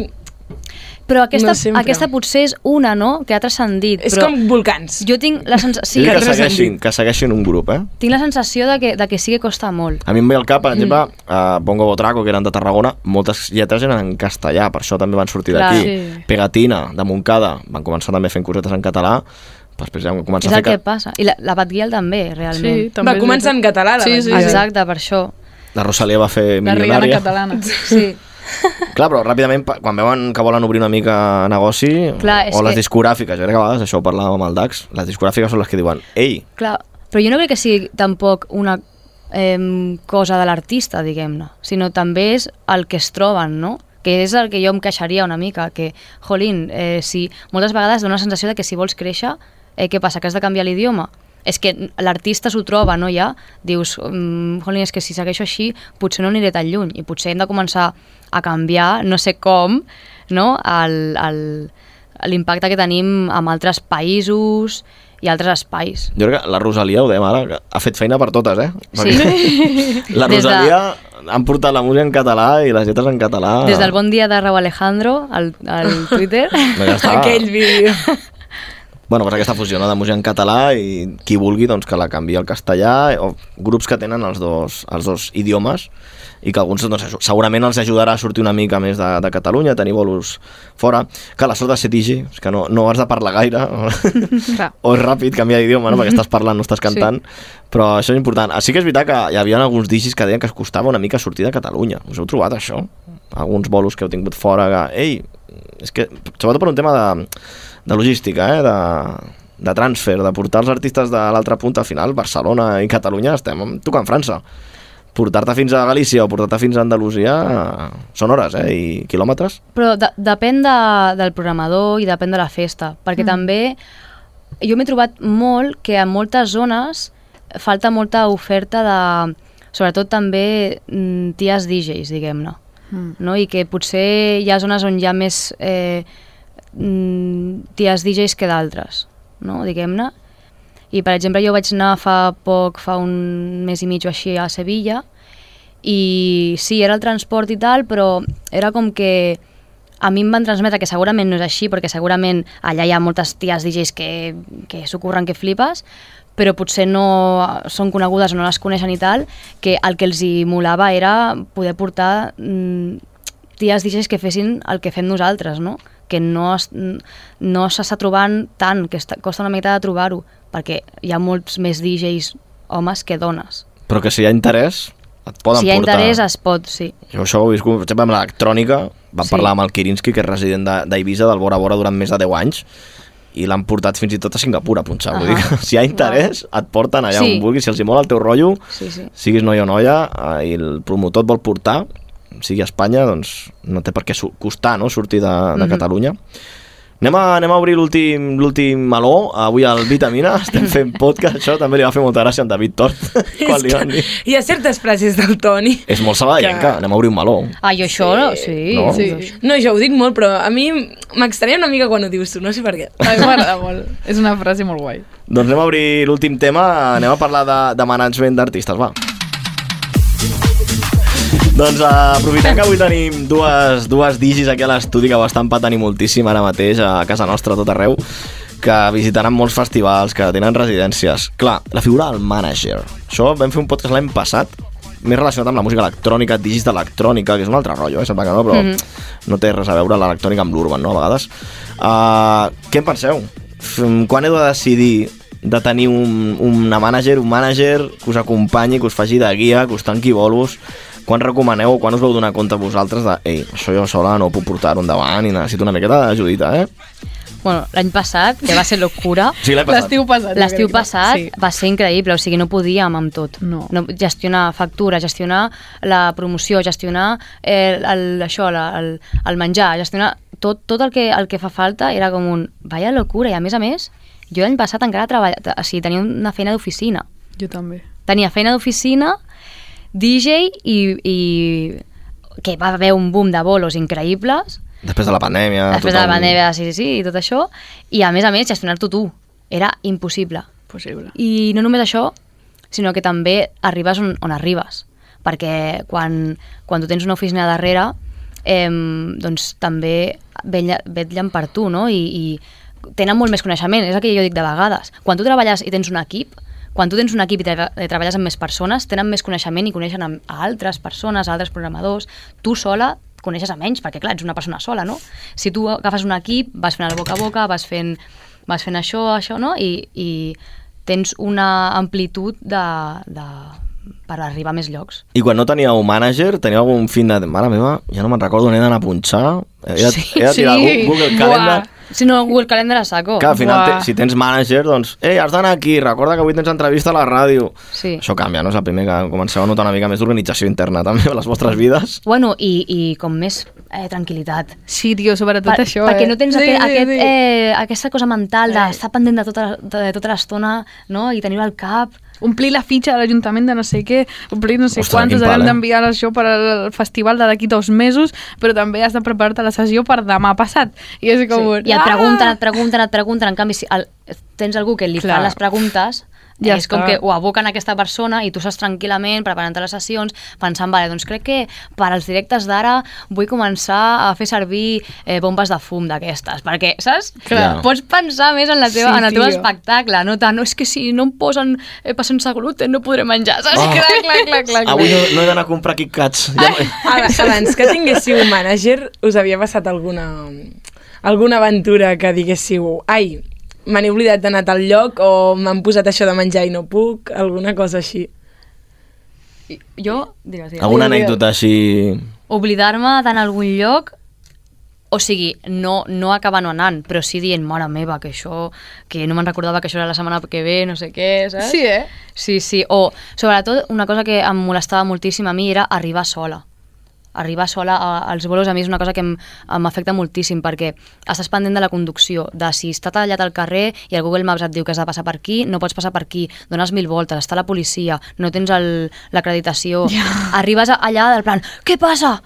A: Però aquesta,
E: No sempre.
A: aquesta potser és una, no?, que ha transcendit.
E: És
A: però
E: com volcans.
A: Jo tinc la, sensa
D: Sí,
A: sí,
D: que, segueixin, que segueixin un grup, eh?
A: tinc la sensació de que, de que sí que costa molt.
D: A mi em ve al cap, per exemple,
A: Mm.
D: a Bongo Botraco, que eren de Tarragona, moltes lletres eren en castellà, per això també van sortir
A: Clar.
D: d'aquí.
A: Sí.
D: Pegatina, de Montcada, van començar també fent cosetes en català, però després ja van
A: És
D: començar
A: el
D: a fer
A: que passa. I la, la Batguiel també, realment.
K: Sí, també Va és començar veritat. en català, la
A: sí, sí,
K: Batguiel.
A: Exacte, per això.
D: que... La Rosalia va fer milionària.
K: catalana.
A: Sí.
D: Clar, però ràpidament, pa- quan veuen que volen obrir una mica negoci,
A: Clar, és
D: o les
A: que-
D: discogràfiques, jo crec que a vegades això ho parlàvem amb el DAX, les discogràfiques són les que diuen, ei,
A: Clar, però jo no crec que sigui tampoc una eh, cosa de l'artista, diguem-ne, sinó també és el que es troben, no? que és el que jo em queixaria una mica, que, jolín, eh, si moltes vegades dona la sensació de que si vols créixer, eh, què passa, que has de canviar l'idioma? és que l'artista s'ho troba, no, ja? Dius, mm, jolín, és que si segueixo així potser no aniré tan lluny i potser hem de començar a canviar, no sé com, no, el- el- l'impacte que tenim amb altres països i altres espais.
D: Jo crec que la Rosalia, ho dèiem ara, que ha fet feina per totes, eh? La
A: Des de-
D: Rosalia han portat la música en català i les lletres en català.
A: Des del bon dia de Raúl Alejandro al, al Twitter.
D: No, ja està. Aquell
A: vídeo.
D: Bueno, pues aquesta fusió no, de música en català i qui vulgui doncs, que la canvi al castellà o grups que tenen els dos, els dos idiomes i que alguns doncs, això, segurament els ajudarà a sortir una mica més de, de Catalunya, a tenir bolos fora. Que la sort de ser digi, és que no, no has de parlar gaire o és ràpid canviar d'idioma, no? perquè estàs parlant, no estàs cantant, sí. però això és important. Ah, Sí que és veritat que hi havia alguns digis que deien que es costava una mica sortir de Catalunya. Us heu trobat això? Alguns bolos que heu tingut fora que... Ei, és que, sobretot per un tema de, de logística, eh? de, de transfer, de portar els artistes de l'altra punta al final, Barcelona i Catalunya, estem tocant França. Portar-te fins a Galícia o portar-te fins a Andalusia eh, són hores eh? i quilòmetres.
A: Però de, depèn de, del programador i depèn de la festa, perquè mm. també jo m'he trobat molt que en moltes zones falta molta oferta de, sobretot també, mm, ties DJs, diguem-ne,
K: Mm.
A: no? I que potser hi ha zones on hi ha més eh, mm, ties DJs que d'altres, no? diguem-ne. I, per exemple, jo vaig anar fa poc, fa un mes i mig o així, a Sevilla, i sí, era el transport i tal, però era com que a mi em van transmetre que segurament no és així, perquè segurament allà hi ha moltes ties DJs que, que s'ho curren que flipes, però potser no són conegudes o no les coneixen i tal, que el que els hi molava era poder portar mm, ties DJs que fessin el que fem nosaltres, no? que no, es, no s'està trobant tant, que està, costa una mica de trobar-ho, perquè hi ha molts més DJs homes que dones.
D: Però que si hi ha interès, et poden
A: si hi ha
D: portar...
A: interès es pot, sí.
D: Jo això ho he viscut, per exemple, amb l'electrònica, vam
A: Sí.
D: sí. parlar amb el Kirinski, que és resident de- d'Eivissa, del Bora Bora, durant més de 10 anys, i l'han portat fins i tot a Singapur a punxar. Vull dir que si hi ha interès, et porten allà
A: Sí.
D: on vulguis, si els hi mola el teu rotllo,
A: Sí, sí.
D: siguis noia o noia, eh, i el promotor et vol portar, sigui a Espanya, doncs no té per què su- costar no? sortir de, de
A: Mhm.
D: Catalunya. Anem a, anem a obrir l'últim l'últim meló, avui al Vitamina, estem fent podcast, això també li va fer molta gràcia a en David Tort, quan li van dir.
E: Hi ha certes frases del Toni
D: És molt sabadellenca, anem a obrir un meló.
A: Ah, jo això, sí.
D: No?
E: Sí. No, jo ho dic molt, però a mi m'extranya una mica quan ho dius tu, no sé per què.
K: A mi m'agrada molt. És una frase molt guai.
D: Doncs anem a obrir l'últim tema, anem a parlar de, de management d'artistes, va. Doncs eh, aprofitant que avui tenim dues, dues digis aquí a l'estudi que bastant patenir moltíssim ara mateix a casa nostra, a tot arreu, que visitaran molts festivals, que tenen residències. Clar, la figura del manager. Això vam fer un podcast l'any passat, més relacionat amb la música electrònica, digis d'electrònica, que és un altre rotllo, eh? sembla que no, però
P: Mhm.
D: no té res a veure l'electrònica amb l'urban, no, a vegades. Uh, què en penseu? F- Quan heu de decidir de tenir un, una manager, un manager que us acompanyi, que us faci de guia, que us tanqui bolos, quan recomaneu o quan us vau donar compte vosaltres de ei, això jo sola no ho puc portar endavant i necessito una miqueta d'ajudita, eh?
A: Bueno, l'any passat, que va ser locura.
D: Sí, l'any passat. L'estiu
K: passat, jo
A: L'estiu
K: crec que va-
A: passat
K: sí.
A: va ser increïble, o sigui, no podíem amb tot. No. no gestionar factura, gestionar la promoció, gestionar eh, el, això, la, el, el menjar, gestionar tot, tot el, que, el que fa falta era com un... Vaya locura, i a més a més, jo l'any passat encara treballava... O sigui, tenia una feina d'oficina.
K: Jo també.
A: Tenia feina d'oficina, DJ i, i que va haver un boom de bolos increïbles
D: Després de la pandèmia...
A: després de la pandèmia, sí, sí, sí, i tot això, i a més a més gestionar-t'ho tu, era impossible.
K: Possible.
A: I no només això, sinó que també arribes on, on arribes, perquè quan, quan tu tens una oficina darrere, eh, doncs també vetlla- vetllen per tu, no? I, I tenen molt més coneixement, és el que jo dic de vegades. Quan tu treballes i tens un equip, quan tu tens un equip i tra eh, treballes amb més persones, tenen més coneixement i coneixen amb- a altres persones, a altres programadors. Tu sola coneixes a menys, perquè clar, ets una persona sola, no? Si tu agafes un equip, vas fent el boca a boca, vas fent, vas fent això, això, no? I, i tens una amplitud de, de, per arribar a més llocs.
D: I quan no teníeu manager, teníeu algun fin de... Mare meva, ja no me'n recordo on he d'anar a punxar. He de, he de tirar
A: sí.
D: Google
A: Buah.
D: Calendar.
A: Si no, Google Calendar a saco.
D: Clar, al final,
A: Buah.
D: te, si tens mànager, doncs... Ei, has d'anar aquí, recorda que avui tens entrevista a la ràdio.
A: Sí.
D: Això canvia, no? És el primer que comenceu a notar una mica més d'organització interna, també, a les vostres vides.
A: Bueno, i, i com més eh, tranquil·litat.
K: Sí, tio, sobretot
A: per,
K: això,
A: Perquè
K: eh?
A: no tens
K: Sí,
A: sí, aquest,
K: sí,
A: aquest,
K: sí. Eh.
A: Eh, aquesta cosa mental d'estar pendent de tota, de, tota l'estona no? i tenir-ho al cap.
K: Omplir la fitxa de l'Ajuntament de no sé què, omplir no sé
A: Ostres,
K: quantos,
A: quin pal,
K: ara hem
A: eh?
K: d'enviar això per al festival de d'aquí dos mesos, però també has de preparar-te la sessió per demà passat. I és com... Ah!
A: I et pregunten, et pregunten, et pregunten. En canvi, si el, tens algú que li
K: Clar.
A: fa les preguntes,
K: Ja
A: ja és com
K: està.
A: que ho aboquen a aquesta persona i tu estàs tranquil·lament preparant-te les sessions, pensant, vale, doncs crec que per als directes d'ara vull començar a fer servir eh, bombes de fum d'aquestes, perquè, saps?
K: Clar.
A: Pots pensar més en, la teva,
K: Sí,
A: en el teu
K: tio.
A: espectacle, no tant, no, és que si no em posen eh, pa sense gluten no podré menjar, saps?
D: Ah.
A: Clar, clar, clar, clar.
D: Avui no, no he d'anar a comprar Kit Kats. Ja...
E: Abans, abans que tinguéssiu un mànager, us havia passat alguna, alguna aventura que diguéssiu ai, me n'he oblidat d'anar a tal lloc o m'han posat això de menjar i no puc, alguna cosa així.
A: Jo, digues, digues.
D: Alguna anècdota així...
A: oblidar-me d'anar a algun lloc o sigui, no, no acabar no anant, però sí dient, mare meva, que això, que no me'n recordava que això era la setmana que ve, no sé què, saps?
K: Sí, eh?
A: Sí, sí, o sobretot una cosa que em molestava moltíssim a mi era arribar sola. Arribar sola a- als bolos a mi és una cosa que em- m'afecta moltíssim perquè estàs pendent de la conducció, de si està tallat al carrer i el Google Maps et diu que has de passar per aquí, no pots passar per aquí, dones mil voltes, està la policia, no tens el- l'acreditació, ja. arribes a- allà del plan, què passa?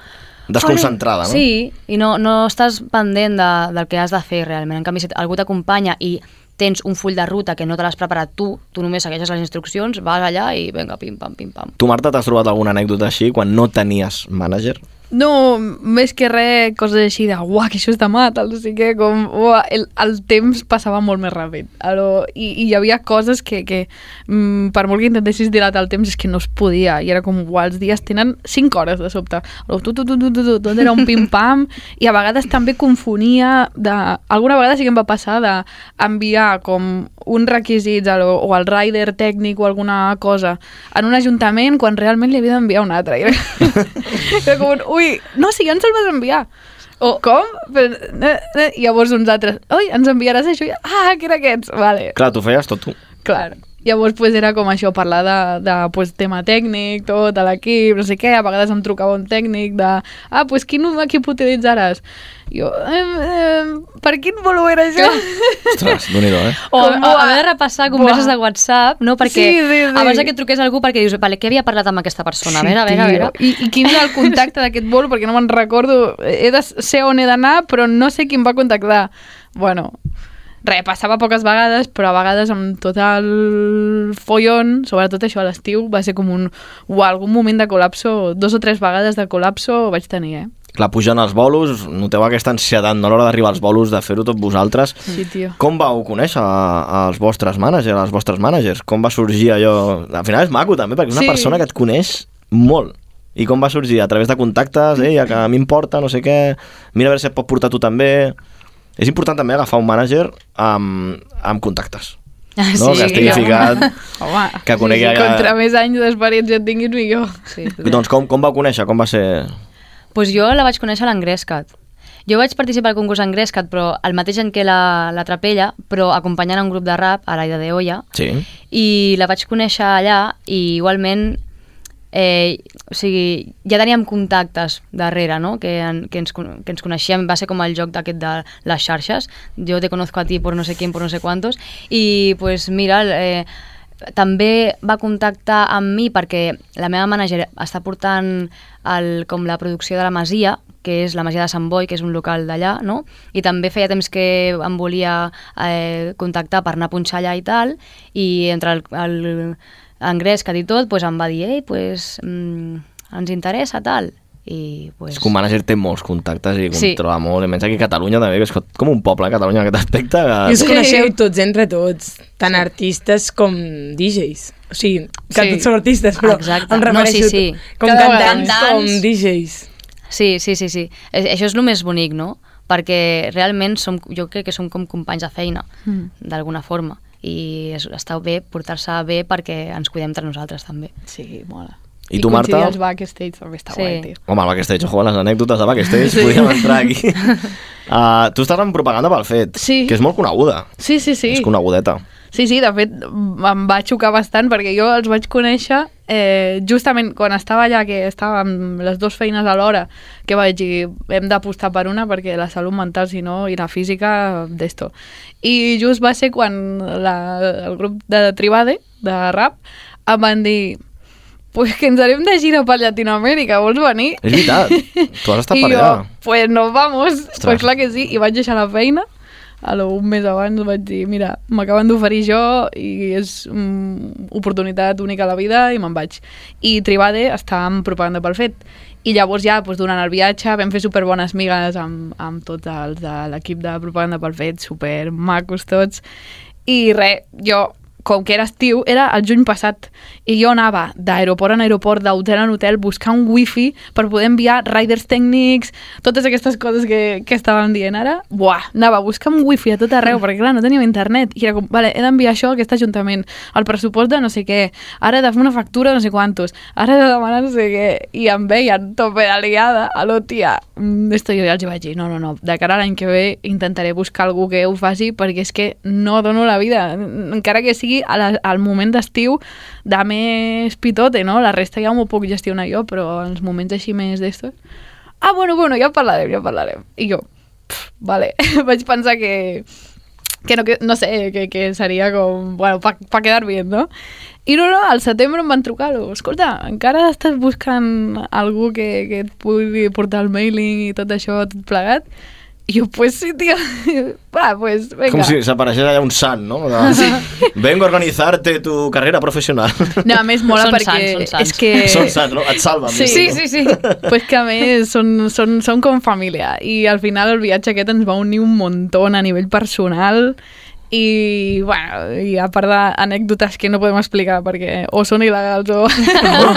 D: Desconcentrada, no?
A: Joder, Sí, i no, no estàs pendent de, del que has de fer realment. En canvi, si algú t'acompanya i tens un full de ruta que no te l'has preparat tu, tu només segueixes les instruccions, vas allà i vinga, pim-pam, pim-pam.
D: Tu, Marta, t'has trobat alguna anècdota així quan no tenies mànager?
K: No, més que res, coses així de uah, que això és demà, tal, o sigui que com, uah, el, el temps passava molt més ràpid. Alò, i, I hi havia coses que, que mm, per molt que intentessis dilatar el temps, és que no es podia. I era com, uah, els dies tenen 5 hores de sobte. Alò, tu, tu, tu, tu, tu, tu, tot era un pim-pam. I a vegades també confonia... De... Alguna vegada sí que em va passar d'enviar com uns requisits al, o al rider tècnic o alguna cosa en un ajuntament quan realment li havia d'enviar un altre. I era era com un, ui, no, sí, ja ens el vas enviar. O, com? Però, eh, eh, i llavors uns altres, ui, ens enviaràs això? I, ah, que era aquests, vale,
D: Clar, tu feies tot tu.
K: clar. Llavors, pues, era com això, parlar de, de pues, tema tècnic, tot, de l'equip, no sé què, a vegades em trucava un tècnic de, ah, pues, quin equip utilitzaràs? Jo, eh, eh, per quin volum era això?
D: Ostres, déu nhi eh?
A: O, o
K: Com, buah,
A: haver de repassar converses
K: buah.
A: de WhatsApp, no? Perquè
K: Sí, sí, sí.
A: abans de que truqués algú perquè dius, vale, què havia parlat amb aquesta persona? A
K: Sí,
A: veure, a veure,
K: tio.
A: a veure.
K: I, I quin era el contacte d'aquest bolo? Perquè no me'n recordo. He de ser on he d'anar, però no sé qui em va contactar. Bueno, res, passava poques vegades, però a vegades amb tot el follon, sobretot això a l'estiu, va ser com un... O algun moment de col·lapso, dos o tres vegades de col·lapso vaig tenir, eh?
D: Clar, pujant als bolos, noteu aquesta ansietat no, a l'hora d'arribar als bolos, de fer-ho tot vosaltres.
K: Sí, tio.
D: Com vau conèixer a- als vostres managers, als vostres managers? Com va sorgir allò? Al final és maco també, perquè és una
K: Sí.
D: sí. persona que et coneix molt. I com va sorgir? A través de contactes, eh, ja que a mi em porta, no sé què, mira a veure si et pot portar tu també... És important també agafar un mànager amb, amb contactes. No, que estigui ficat,
K: Ah, Home,
D: que conegui
K: sí, sí,
D: que-
K: contra més anys d'experiència et tinguis, millor. Sí,
D: Doncs com, com vau conèixer? Com va ser?
A: Pues jo la vaig conèixer a l'Engrescat. Jo vaig participar al concurs Engrescat, però el mateix any que la, la Trapella, però acompanyant a un grup de rap, a l'Aida de Olla,
D: Sí.
A: i la vaig conèixer allà i igualment eh, o sigui, ja teníem contactes darrere, no? que, en, que, ens, con- que ens coneixíem, va ser com el joc d'aquest de les xarxes, jo te conozco a ti por no sé quién, por no sé cuántos, i pues mira, eh, també va contactar amb mi perquè la meva manager està portant el, com la producció de la Masia, que és la Masia de Sant Boi, que és un local d'allà, no? I també feia temps que em volia eh, contactar per anar a punxar allà i tal, i entre el, el engrés que ha dit tot, pues, em va dir, ei, pues, mm, ens interessa tal, i pues...
D: És que un mànager té molts contactes i
A: Sí.
D: controla molt, i menys aquí a Catalunya també, que és com un poble, Catalunya, en aquest aspecte.
E: I
D: Que...
E: us coneixeu tots entre tots, tant artistes com DJs. O sigui, que
A: Sí.
E: tots sou artistes, però
A: Exacte.
E: em
A: No,
E: refereixo
A: sí, sí.
E: com
A: Cada vegada.
E: cantants, com
A: Cantants.
E: DJs.
A: Sí, sí, sí, sí. Eh, Això és el més bonic, no? Perquè realment som, jo crec que som com companys de feina,
K: Mm.
A: d'alguna forma. I és, està bé portar-se bé perquè ens cuidem entre nosaltres, també.
K: Sí, mola.
D: I tu, Marta?
K: els backstage també està sí. guai, tio.
D: Home, el backstage, ojo, a les anècdotes de backstage, sí. podríem entrar aquí. Uh, tu estàs en propaganda pel fet,
K: Sí.
D: que és molt coneguda.
K: Sí, sí, sí.
D: És conegudeta.
K: Sí, sí, de fet em va xocar bastant perquè jo els vaig conèixer eh, justament quan estava allà, que estava amb les dues feines alhora, que vaig dir, hem d'apostar per una perquè la salut mental, si no, i la física, d'esto. I just va ser quan la, el grup de Tribade, de rap, em van dir, pues que ens anem de gira per Llatinoamèrica, vols venir?
D: És veritat, tu has estat
K: I
D: per
K: jo,
D: allà.
K: pues nos vamos,
D: Ostres.
K: Ostres. pues clar que sí, i vaig deixar la feina, a lo, un mes abans vaig dir, mira, m'acaben d'oferir jo i és mm, oportunitat única a la vida i me'n vaig. I Tribade està en propaganda pel fet. I llavors ja, doncs, durant el viatge, vam fer super bones migues amb, amb tots els de l'equip de propaganda pel fet, super macos tots. I res, jo, com que era estiu, era el juny passat, i jo anava d'aeroport en aeroport, d'hotel en hotel, buscar un wifi per poder enviar riders tècnics, totes aquestes coses que, que estàvem dient ara. Buah, anava a buscar un wifi a tot arreu, perquè clar, no teníem internet. I era com, vale, he d'enviar això a aquest ajuntament, el pressupost de no sé què, ara he de fer una factura de no sé quantos, ara he de demanar no sé què, i em veien tope de liada, aló tia, mm, esto jo ja els vaig dir, no, no, no, de cara a l'any que ve intentaré buscar algú que ho faci perquè és que no dono la vida, encara que sigui a la, al moment d'estiu de més pitote, no? La resta ja m'ho puc gestionar jo, però en els moments així més d'estos... Ah, bueno, bueno, ja parlarem, ja parlarem. I jo, pff, vale, vaig pensar que, que no, que, no sé, que, que seria com, bueno, pa, pa quedar bien, no? I no, no, al setembre em van trucar, lo, escolta, encara estàs buscant algú que, que et pugui portar el mailing i tot això, tot plegat? I jo, pues sí, tio, va, pues, venga.
D: Com si s'apareixés allà un sant, no? De... Vengo a organizarte tu carrera professional.
K: No, a més mola
A: Són
K: perquè
A: sants, són sants.
K: és que...
D: Són sants, no? Et salven.
K: Eh. Sí, sí, sí, sí. pues que a més són, són, són com família i al final el viatge aquest ens va unir un muntó a nivell personal i, bueno, i a part d'anècdotes que no podem explicar perquè o són il·legals o...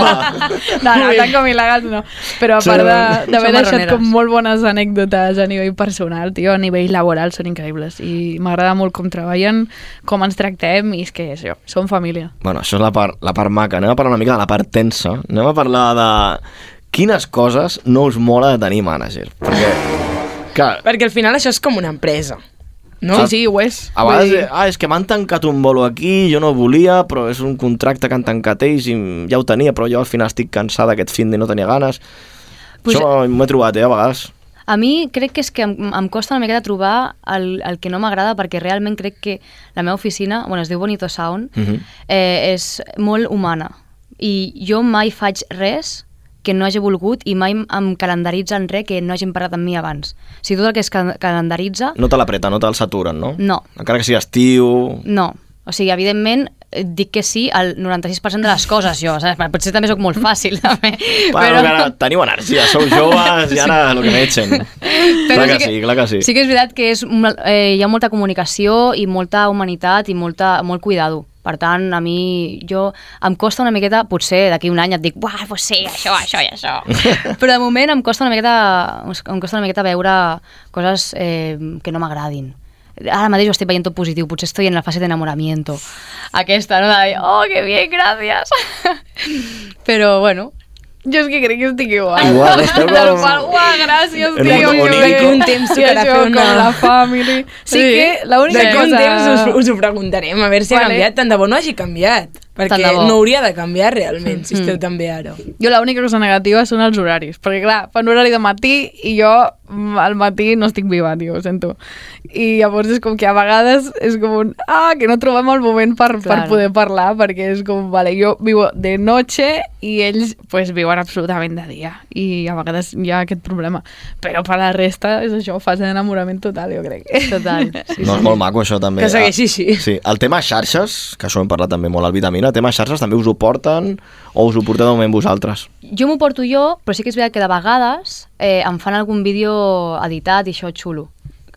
K: no, no, tant com il·legals no. Però a part de-
A: Són
K: d'haver deixat
A: marroneres.
K: com molt bones anècdotes a nivell personal, tio, a nivell laboral són increïbles i m'agrada molt com treballen, com ens tractem i és que és això, som família.
D: Bueno, això és la part, la part maca. Anem a parlar una mica de la part tensa. Anem a parlar de quines coses no us mola de tenir mànager. Perquè, clar,
E: Perquè al final això és com una empresa. No?
D: Sí, sí,
E: ho és.
D: Ah. a vegades, eh, ah, és que m'han tancat un bolo aquí, jo no volia, però és un contracte que han tancat ells i ja ho tenia, però jo al final estic cansada aquest fin de no tenia ganes.
A: Pues-
D: Pues... Això m'ho he trobat, eh, a vegades.
A: A mi crec que és que em, em costa una mica de trobar el, el que no m'agrada perquè realment crec que la meva oficina, bueno, es diu Bonito Sound,
P: Mhm.
A: eh, és molt humana i jo mai faig res que no hagi volgut i mai em calendaritzen res que no hagin parlat amb mi abans. O sigui, tot el que es cal calendaritza,
D: No te l'apreta, no te'l saturen, no?
A: no,
D: Encara que sigui estiu...
A: no. O sigui, evidentment, eh, dic que sí al 96% de les coses, jo, saps? Potser també sóc molt fàcil, també.
D: Bueno, Però... ara teniu energia, sou joves i ara el que m'echen. Clar que, sí, clar que sí.
A: Sí que és veritat que és, una- eh, hi ha molta comunicació i molta humanitat i molta, molt cuidado. Per tant, a mi jo em costa una miqueta, potser d'aquí un any et dic, buah, pues sí, això, això i això. Però de moment em costa una miqueta, em costa una miqueta veure coses eh, que no m'agradin. Ara mateix ho estic veient tot positiu, potser estoy en la fase d'enamoramiento. Aquesta, no? De, oh, que bien, gracias. Però, bueno,
K: jo és que crec que estic igual.
D: Igual, esteu
K: Del
D: com-
K: qual, uah, gràcies,
D: En un
K: tio.
D: món
K: que
D: únic.
K: bé.
D: D'aquí un
E: temps
K: I
E: tocarà
K: això
E: fer una-
K: Con la family. Sí, sí. que l'única
E: D'aquí un
K: cosa...
E: temps us, us ho preguntarem, a veure si
K: Vale.
E: ha canviat. Tant de bo no hagi canviat,
K: Tant de
E: perquè
K: bo. Mm.
E: no hauria de canviar realment, si esteu també ara.
K: Jo l'única cosa negativa són els horaris, perquè clar, fan horari de matí i jo mm, al matí no estic viva, tio, ho sento. I llavors és com que a vegades és com un, ah, que no trobem el moment per, per
A: Claro.
K: poder parlar, perquè és com, vale, jo vivo de noche i ells pues viuen absolutament de dia. I a vegades hi ha aquest problema. Però per la resta és això, fase d'enamorament total, jo crec.
A: Total.
K: Sí,
D: No, és molt maco això també. Ah,
K: Que segueixi així.
D: Sí, el tema xarxes, que això hem parlat també molt al Vitamina, el tema xarxes també us ho porten o us ho porteu de moment vosaltres?
A: Jo m'ho porto jo, però sí que és veritat que de vegades eh, em fan algun vídeo editat i això xulo.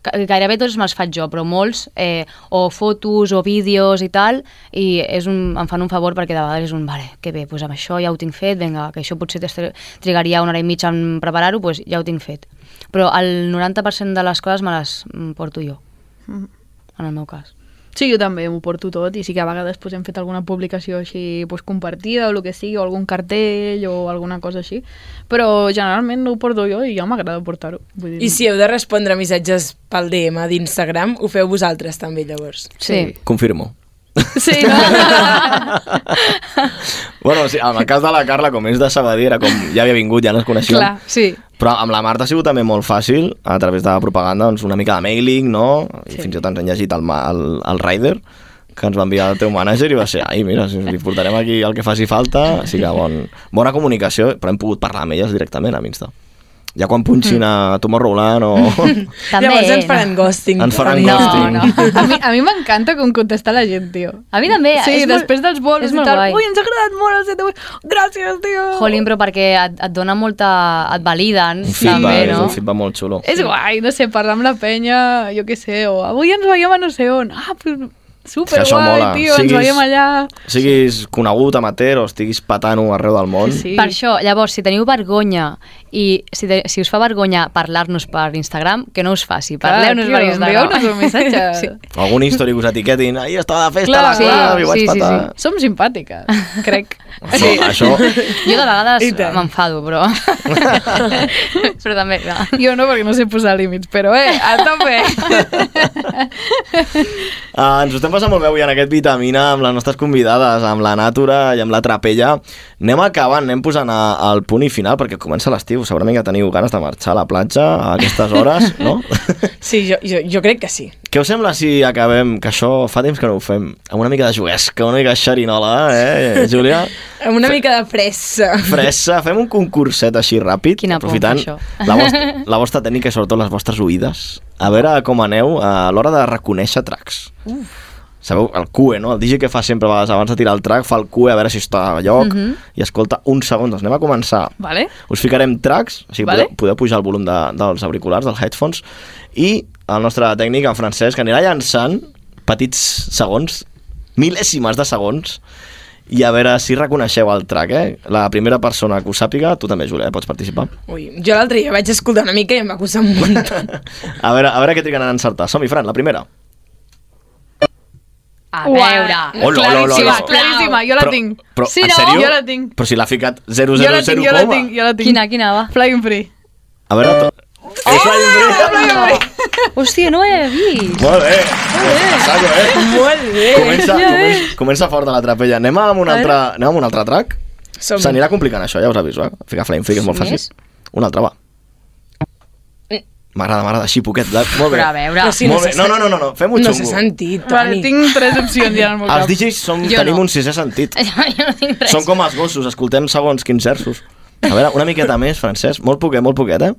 A: Ga- Gairebé tots me'ls faig jo, però molts, eh, o fotos o vídeos i tal, i és un, em fan un favor perquè de vegades és un, vale, que bé, doncs amb això ja ho tinc fet, vinga, que això potser t'est- trigaria una hora i mitja en preparar-ho, doncs ja ho tinc fet.
K: Mm-hmm.
A: Però el 90% de les coses me les mm, porto jo, en el meu cas.
K: Sí, jo també m'ho porto tot i sí que a vegades pues, hem fet alguna publicació així pues, compartida o el que sigui, o algun cartell o alguna cosa així, però generalment no ho porto jo i ja m'agrada portar-ho. Vull dir-
E: I si heu de respondre missatges pel DM d'Instagram, ho feu vosaltres també, llavors.
K: Sí.
D: Confirmo.
K: Sí, no?
D: Bueno, sí, en el cas de la Carla, com és de Sabadell, era com ja havia vingut, ja ens coneixíem.
K: Clar, sí.
D: Però amb la Marta ha sigut també molt fàcil, a través de la propaganda, doncs una mica de mailing, no? I
K: Sí.
D: fins i tot ens han llegit el, ma- el, el Rider, que ens va enviar el teu mànager i va ser, ai, mira, si li portarem aquí el que faci falta, així que bon, bona comunicació, però hem pogut parlar amb elles directament a Insta. Ja quan punxin a Tomorrowland o...
A: També,
E: Llavors ens
A: no?
E: faran ghosting.
D: Ens faran
E: no,
D: ghosting.
E: No.
K: A mi, a mi m'encanta com contesta la gent, tio.
A: A mi també,
K: Sí,
A: és molt-
K: després dels
A: és
K: bolos i
A: molt
K: tal.
A: guai.
K: Ui, ens ha agradat molt el set de vuit. Gràcies, tio.
A: Jolín, però perquè et, et dona molta... et
D: Un
A: validen, també,
D: feedback, és
A: no?
D: un feedback molt xulo.
K: És guai, no sé, parlar amb la penya, jo què sé, o avui ens veiem a no sé on. Ah, però superguai,
D: això mola.
K: tio,
D: Siguis-
K: ens veiem allà.
D: Siguis conegut, amateur, o estiguis patant-ho arreu del món.
A: Per això, llavors, si teniu vergonya i si, te, si us fa vergonya parlar-nos per Instagram, que no us faci,
K: Clar,
A: parleu-nos
K: tio,
A: per Instagram.
K: envieu-nos un missatge.
A: sí.
D: Algun històric us etiquetin, ahir estava de festa, Clar, la
K: sí,
D: Clara, li vaig
K: sí, sí,
D: patar.
K: sí. Som simpàtiques, crec.
D: Sí. Això, eh,
A: Jo de vegades m'enfado, però... però també... No.
K: Jo no, perquè no sé posar límits, però eh, a tope.
D: Uh, ens ho estem passant molt bé avui en aquest Vitamina amb les nostres convidades, amb la Natura i amb la Trapella. Anem acabant, anem posant a, al punt i final, perquè comença l'estiu. Segurament que teniu ganes de marxar a la platja a aquestes hores, no?
E: Sí, jo, jo, jo crec que sí.
D: Què us sembla si acabem, que això fa temps que no ho fem, amb una mica de juguesca, una mica de xerinola, eh, Júlia?
E: Amb una mica de fressa.
D: Fressa, fem un concurset així ràpid, Quina
E: por,
D: aprofitant
E: això.
D: la vostra, la vostra tècnica i sobretot les vostres oïdes. A veure com aneu eh, a l'hora de reconèixer tracks.
E: Uf.
D: Sabeu, el QE, no? El DJ que fa sempre a vegades abans de tirar el track, fa el QE a veure si està a lloc
K: Mhm.
D: i escolta un segon. Doncs anem a començar.
K: Vale?
D: Us ficarem tracks, o sigui,
K: Vale.
D: vale. podeu, podeu pujar el volum de, dels auriculars, dels headphones, i el nostre tècnic, en Francesc, anirà llançant petits segons, mil·lèsimes de segons, i a veure si reconeixeu el track, eh? La primera persona que ho sàpiga, tu també, Júlia, eh? pots participar.
E: Ui, jo l'altre dia vaig escoltar una mica i em va costar un munt.
D: A veure, a veure què triguen a encertar. Som-hi, Fran, la primera.
K: A
A: veure.
D: Hola, hola, hola,
K: claríssima,
D: hola.
K: claríssima, jo la
D: Però-
K: tinc.
D: però,
K: sí,
D: en
K: no,
D: sèrio?
K: jo la tinc.
D: Però si l'ha ficat 000,
K: Jo la tinc, jo la
D: coma.
K: tinc, jo la tinc. Quina,
A: quina va?
K: Flying Free.
D: A veure... to- És Flying
K: Ah!
D: Free!
A: Hòstia, no ho he vist.
D: Molt bé! Saco, eh?
E: Molt bé!
D: Comença, comença, comença fort de la trapella. Anem amb un
E: A veure.
D: altre, anem amb un altre track?
E: Som-hi.
D: S'anirà complicant això, ja us aviso, eh? Ficar Flying Free, que és molt
E: Sí,
D: fàcil.
E: és?
D: Un altre, va. M'agrada, m'agrada, així, poquet. de- Molt bé.
E: Però a veure. Però si no
D: Molt bé.
E: se
D: No,
E: sent-
D: no, no, no, no. fem-ho
E: No
D: xungo.
E: s'ha sentit,
K: Vale,
E: Toni.
K: tinc tres opcions ja en el meu
D: Els
K: cap.
D: DJs som,
K: Jo
D: tenim
K: no.
D: un sisè sentit.
A: jo no tinc
D: Som com els gossos, escoltem segons quins versos. A veure, una miqueta més, Francesc. Molt poquet, molt poquet, eh?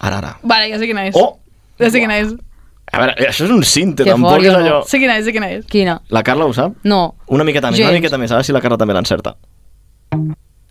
D: Ara, ara.
K: Vale, ja sé quina és.
D: Oh!
K: Ja sé quina és.
D: A veure, això és un cinte,
K: Que
D: tampoc
K: fort,
D: és
K: jo
D: allò...
K: Sé quina és, sé quina és.
A: Quina?
D: La Carla ho sap?
A: No.
D: Una miqueta més,
A: Gens.
D: una miqueta més. A veure si la Carla també l'encerta.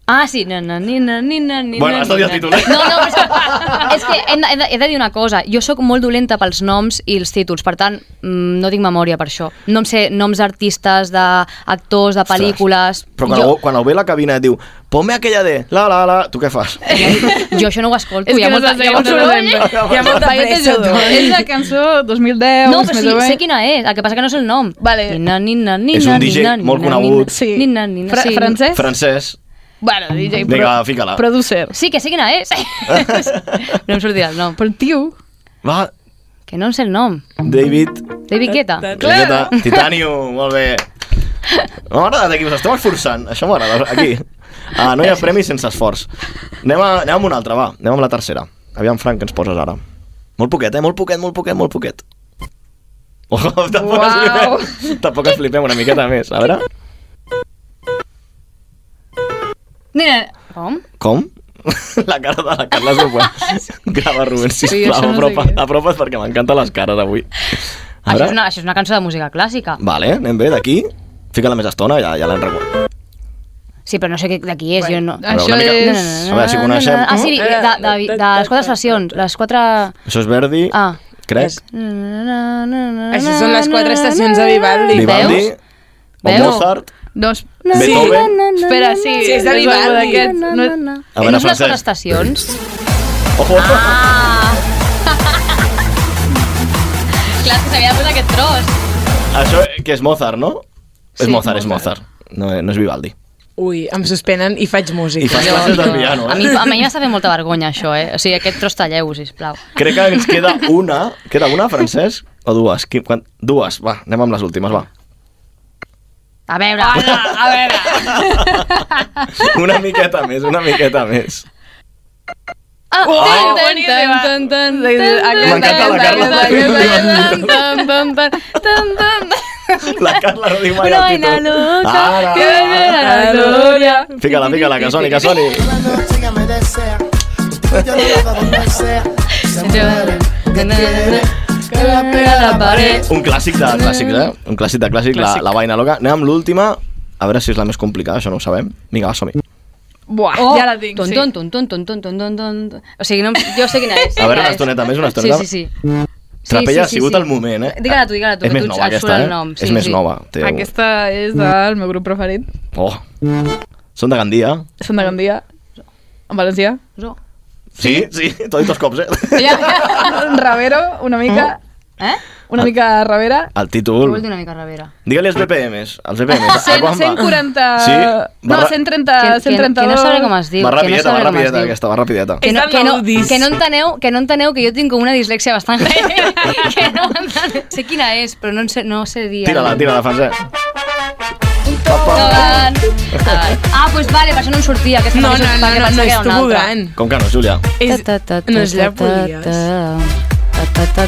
A: Ah, sí. Na, na, ni, na, ni, na, ni,
D: Bueno,
A: na,
D: has de
A: ni,
D: dir el
A: na.
D: títol, eh?
A: No, no, però és que, és que he, de- he, de, he de dir una cosa. Jo sóc molt dolenta pels noms i els títols, per tant, mm, no tinc memòria per això. No em sé noms d'artistes, d'actors, de pel·lícules...
D: Però quan, jo... algú, quan algú ve a la cabina et diu «Ponme aquella de la la la», tu què fas?
A: Jo, jo això no ho escolto.
K: És
A: hi ha
K: que no
A: molta-
K: sé,
A: hi ha
K: no
A: molt
K: sé, no
A: soroll,
K: sé.
A: eh?
K: Hi ha molta
A: Va, jo
K: pressa,
A: t'ajudo.
K: tu. És la cançó 2010,
A: No, però
K: més
A: sí,
K: o menys.
A: sé quina és. El que passa que no sé el nom. Vale. Nina, nina, nina,
D: És un DJ
A: nina,
D: molt
A: nina,
D: conegut.
A: Nina, sí. Nina, nina,
K: Fra-
A: sí.
K: francès?
D: Francesc.
K: Bueno, DJ,
D: Vinga, va, fica-la.
K: Producer.
A: Sí, que sé quina és. no em sortirà el nom.
K: Però tio...
D: Va,
A: Que no em sé el nom.
D: David,
A: David Guetta.
D: Claro. Titanium, molt bé. M'ha agradat aquí, us esteu esforçant. Això m'agrada, aquí. Ah, no hi ha premi sense esforç. Anem, a, anem amb una altra, va. Anem amb la tercera. Aviam, Frank, que ens poses ara. Molt poquet, eh? Molt poquet, molt poquet, molt poquet. Oh, tampoc, wow. es flipem, tampoc es flipem una miqueta més. A veure,
A: Nina, com?
D: com? La cara de la Carla és molt Grava, Rubén, sisplau,
A: això no sé
D: apropa,
A: què és.
D: apropa't perquè m'encanten les cares avui. A
A: Això és,
D: veure,
A: una, això és una cançó de música clàssica.
D: vale, anem bé d'aquí. Fica-la més estona, ja, ja l'hem recordat.
A: Sí, però no sé què- de qui és. Bueno, jo no.
D: A veure, una mica- A veure si coneixem.
A: Ah, sí, de, de, de, de les quatre estacions. Les quatre...
D: Això és Verdi,
A: Ah.
D: crec.
E: Això són les quatre estacions de Vivaldi.
D: Vivaldi, o
K: Veus?
D: Mozart.
K: Dos.
D: No. Beethoven.
K: Espera, sí.
E: Sí, és de
K: algú
E: Vivaldi.
K: d'aquests. No,
D: A veure,
A: no són les
D: Francesc.
A: quatre estacions?
D: Oh,
A: Ah! Clar, és que s'havia de posar aquest tros.
D: Això que és Mozart, no?
E: Sí,
D: és Mozart, és
E: Mozart.
D: Mozart. No, eh, no és Vivaldi.
E: Ui, em suspenen i faig música.
D: I fas classes de piano,
A: A mi,
D: eh?
A: a mi m'està fent molta vergonya, això, eh? O sigui, aquest tros talleu, sisplau.
D: Crec que ens queda una. Queda una, Francesc? O dues? Qui, quan, dues, va, anem amb les últimes, va.
A: A veure... Hola, a veure...
D: Una miqueta més, una miqueta més.
A: Ah,
K: Oh!
A: tan, tan, tan, tan, tan, tan, tan,
D: M'encanta la Carla.
A: tan, tan, tan, tan, tan, tan.
D: La Carla no diu mai
A: Una
D: el
A: vaina
D: títol.
A: loca
D: Ara.
A: que ve de la gloria.
D: Fica-la, fica-la, que soni, que soni.
A: Que la pega a la paret.
D: Un clàssic de clàssic, eh? Un clàssic de clàssic, la, la vaina loca. Anem amb l'última, a veure si és la més complicada, això no ho sabem. Vinga, va, som-hi.
K: Buah,
A: Oh,
K: ja la tinc,
A: ton,
K: sí.
A: ton, ton, ton, ton, ton, ton, ton, ton. O sigui, no, em- jo sé quina és.
D: A veure,
A: quina
D: una
A: és.
D: estoneta més, una estoneta
A: Sí, sí, sí.
D: Trapella
A: sí, sí,
D: ha sigut
A: sí.
D: el moment, eh?
A: Digue-la tu, digue-la tu,
D: És
A: que
D: més
A: tu
D: nova,
A: et
D: aquesta,
A: surt
D: eh?
A: el nom.
D: És més nova. Té... un-
K: Aquesta
D: Mm.
K: és del meu grup preferit.
D: Oh. Són de Gandia.
K: Són de Gandia. En valencià. Jo.
D: Sí, sí, t'ho he dit dos cops, eh?
K: Ja, Ravero, una mica.
D: Ah.
K: Eh? Una mica Ravera.
D: El títol.
K: una mica Ravera?
D: Digue-li els BPMs. Els
A: Ah,
D: BPMs. a
K: 100,
D: quan va?
K: 140...
D: Ah, Sí,
K: No,
D: barra-
K: 130...
A: Que- que-
K: 132...
A: que no sabré com es diu.
D: Va
A: que no
D: rapideta, va
A: sabré com es
D: rapideta,
A: diu.
D: aquesta, va rapideta.
A: Que no, que, no, que no enteneu, que no enteneu que jo tinc com una dislexia bastant greu. que no enteneu. Sé quina és, però no, en sé, no sé dir.
D: Tira-la, tira-la, Francesc.
A: Tobogán. Ah, doncs pues vale, per això no em sortia. Aquesta
E: No,
A: perquè
E: no,
A: jo-
E: no,
A: perquè
E: no, no,
A: pensava que
E: és
A: era una altra.
E: tobogant.
D: Com que no, Júlia?
E: És... No és llapolies.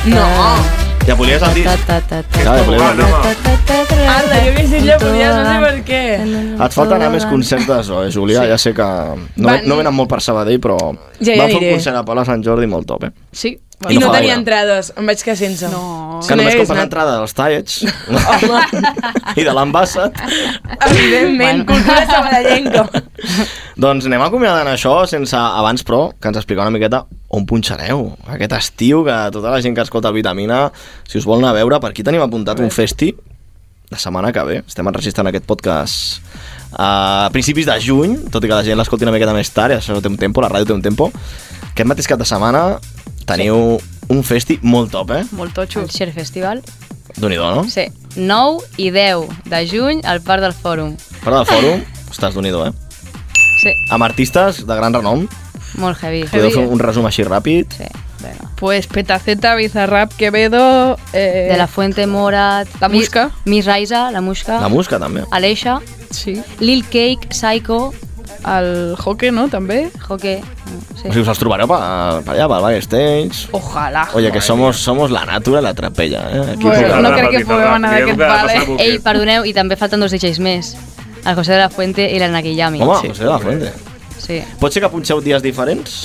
E: No.
D: Ja volies el dit. Clar, ja volies el dit.
E: Anda, jo hauria dit llapolies, no sé per què.
D: Et falten anar més concertes, oi, eh, Júlia? Ja sé que no,
E: Van-
D: no venen molt per Sabadell, però
E: Ja, ja
D: van fer un
E: diré.
D: concert a Palau Sant Jordi molt top, eh?
K: Sí.
E: I no
D: fa
E: tenia
D: gaire.
E: entrades, em vaig quedar sense. No.
D: Que només compres entrada dels Tallets i de l'Embassa.
E: Evidentment, cultura sabadellenca.
D: Doncs anem acomiadant això sense abans, però, que ens expliqueu una miqueta on punxareu aquest estiu, que tota la gent que escolta el Vitamina, si us vol anar a veure, per aquí tenim apuntat un festi la setmana que ve. Estem enregistrant aquest podcast eh, a principis de juny, tot i que la gent l'escolti una miqueta més tard, i això té un tempo, la ràdio té un tempo. Aquest mateix cap de setmana teniu un festi molt top, eh?
A: Molt totxo. El Share Festival.
D: Déu-n'hi-do, no?
A: Sí. 9 i 10 de juny al Parc del Fòrum.
D: Fora del fòrum, ostres, déu nhi eh?
A: Sí,
D: Amb artistes de gran renom,
A: molt heavy.
D: podeu fer un resum així ràpid? Sí.
K: Pues Petaceta, Bizarrap, Quevedo... Eh...
A: De la Fuente Morat... La Musca. Miss Raiza, la Musca.
D: La Musca, també.
A: Aleixa.
K: Sí.
A: Lil Cake, Psycho.
K: El Hockey, no, també?
A: Hockey. Sí.
D: O sigui, us els trobareu per, per allà, pel backstage.
K: Ojalá.
D: Oye, que somos, somos la natura, la trapella, eh? Aquí
K: Bueno,
D: puc-
K: no crec que puguem anar d'aquest vale.
A: Ei, perdoneu, i també falten dos DJs més. El José de la Fuente i l'Anna Guillami.
D: Home,
A: sí.
D: José de la Fuente.
A: Sí.
D: Pot ser que punxeu dies diferents,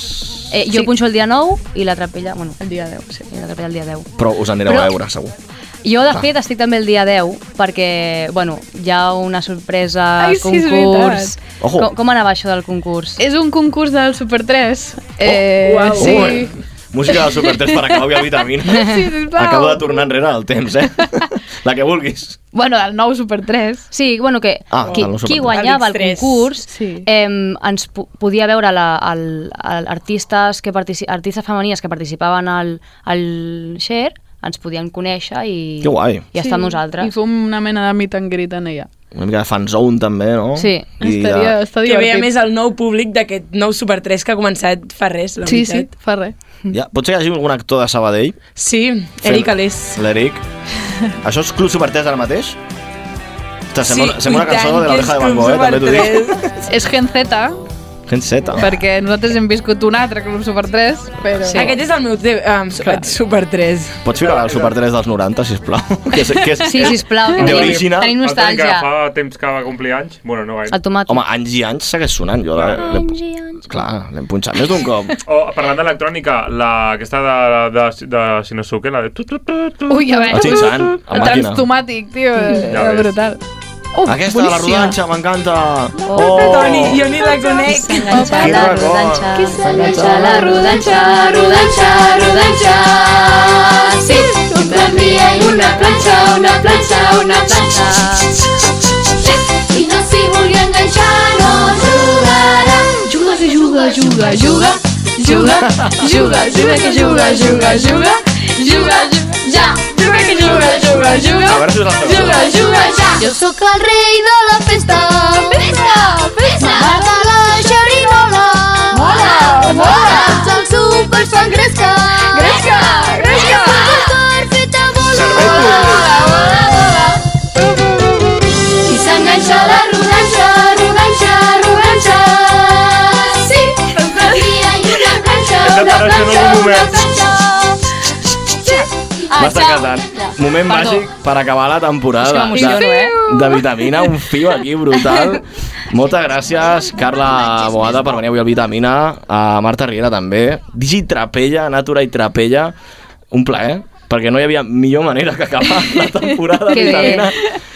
A: Eh, jo sí. punxo el dia 9 i la trapella, bueno, el dia 10, sí. I la trapella el dia 10.
D: però us anireu
A: Però-
D: a veure, segur.
A: Jo, de
D: Va.
A: fet, estic també el dia 10 perquè, bueno, hi ha una sorpresa
K: Ai,
A: al
K: sí, és
A: concurs.
K: veritat. Ojo.
A: com, com anava això del concurs?
D: Eh.
K: És un concurs del Super 3.
D: Oh,
K: Eh,
A: uau.
K: Sí.
D: Ui, música del Supertest per acabar la vitamina.
K: Sí, sisplau.
D: Acabo de tornar enrere al temps, eh? La que vulguis.
K: Bueno, del nou Super 3.
A: Sí, bueno, que
D: Ah,
A: qui,
D: del nou Super
A: qui
D: 3.
A: guanyava el
K: L'X3.
A: concurs sí. eh, ens po podia veure la, el, el, artistes, que partici artistes femenines que participaven al, al Share, ens podien conèixer i,
D: Que guai.
A: i estar amb nosaltres.
K: I fem una mena de meet and greet en ella.
D: Una mica de fanzone, també, no?
A: Sí.
D: I
K: Estaria-
D: ja,
K: està
E: que veia
K: divertit.
E: més el nou públic d'aquest nou Super 3 que ha començat fa res, la
K: Sí, sí,
E: veritat.
K: fa res.
D: ja, pot ser que hi hagi algun actor de Sabadell.
E: Sí, Eric Alés.
D: L'Eric. Això és Club Supertest ara mateix? Ostres, sembla,
K: Sí,
D: sembla una
K: i tant,
D: cançó de
K: que
D: l'oreja de
K: és
D: Van Gogh, eh?
K: Club
D: també t'ho dic.
K: És Gen Z,
D: Gent Z.
K: perquè nosaltres hem viscut un altre Club Super 3, però...
E: Sí. Aquest és el meu te- um, Super 3.
D: Pots ficar el Super 3 dels 90, sisplau? Que és, que és,
E: Sí, sisplau,
D: Que
E: tenim-
D: original.
E: tenim nostàlgia.
B: El que eh. fa temps que va complir anys. Bueno, no gaire.
D: Home, eh, anys i anys segueix sonant. Jo l'he- l'he- Clar, l'hem punxat més d'un cop.
B: O, Oh, parlant d'electrònica, la, aquesta de, de, de Shinosuke, la de... Tu, tu, tu, tu,
K: Ui, a veure.
B: El Shin-chan,
K: el
B: a màquina.
K: transtomàtic, tio,
B: Ja
K: era
B: ves.
K: brutal. Uf,
D: Aquesta de la
K: boníssima.
D: rodanxa, m'encanta. Oh,
E: Toni, jo ni la conec.
D: Quin record.
P: Rodanxa, la rodanxa, rodanxa, rodanxa. Sí, un tranvia i una planxa, una planxa, una planxa. Sí, I no s'hi vulgui enganxar, no jugarà. Juga, que juga, juga, juga, juga, juga, juga, que juga, juga, juga, juga, juga, ja. Juga, que juga, juga, juga,
D: veure si us la sabeu.
P: Juga, juga ja! Jo sóc el rei de la festa! Festa, festa! M'agrada la xerinola! Mola, mola! Tots els súpers fan gresca! Gresca, gresca! El cor fet a bola! Bola, bola, bola! I s'enganxa la rodanxa, rodanxa, rodanxa! Sí! Una via i una planxa,
B: Hem de
P: una
B: parar això en
P: planxa,
B: algun
P: una
B: moment.
P: planxa!
D: M'està quedant. Moment bàsic per acabar la
A: És que
D: temporada
A: m'emociono,
D: de,
A: eh?
D: de vitamina, un fio aquí brutal. Moltes gràcies, Carla Boada, per venir avui al Vitamina, a Marta Riera també, Digi Trapella, Natura i Trapella, un plaer, perquè no hi havia millor manera que acabar la temporada de
A: Que bé.
D: vitamina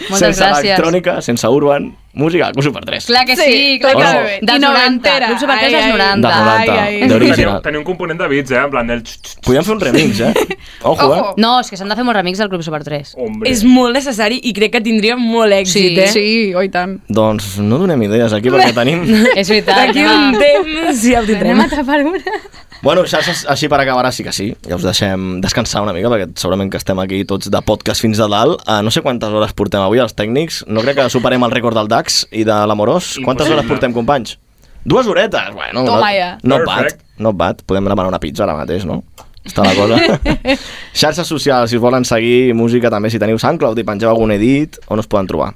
A: Moltes
D: sense
A: gràcies.
D: electrònica, sense urban, música, Club Super 3.
A: Clar que sí,
K: Sí,
A: clar que
D: clar que
A: sí.
D: sí.
A: Dels
K: I
A: 90.
K: novantera.
A: Club Supercrés dels
K: Ai, ai.
A: 90.
D: Dels 90, d'original.
B: Teniu, teniu un component de bits, eh? En plan, el...
D: Podíem fer un remix, eh? Ojo, eh?
A: No, és que s'han de fer molts remix del Club Super 3.
B: Hombre.
E: És molt necessari i crec que tindria molt èxit,
K: Sí,
E: eh?
K: sí, oi tant.
D: Doncs no donem idees aquí perquè tenim...
A: És veritat.
E: D'aquí un temps ja ho tindrem.
K: atrapar una.
D: Bueno, xarxes, així per acabar, ara sí que sí. Ja us deixem descansar una mica, perquè segurament que estem aquí tots de podcast fins a dalt. Uh, no sé quantes hores portem avui, els tècnics. No crec que superem el rècord del DAX i de l'Amorós. Quantes
B: Impossible.
D: hores portem, companys? Dues horetes! Bueno,
K: Toma
D: no,
K: ja.
D: no bat,
B: Perfect.
D: no bat. Podem demanar una pizza ara mateix, no? Està la cosa. xarxes socials, si us volen seguir, música també, si teniu SoundCloud i pengeu algun edit, on us poden trobar?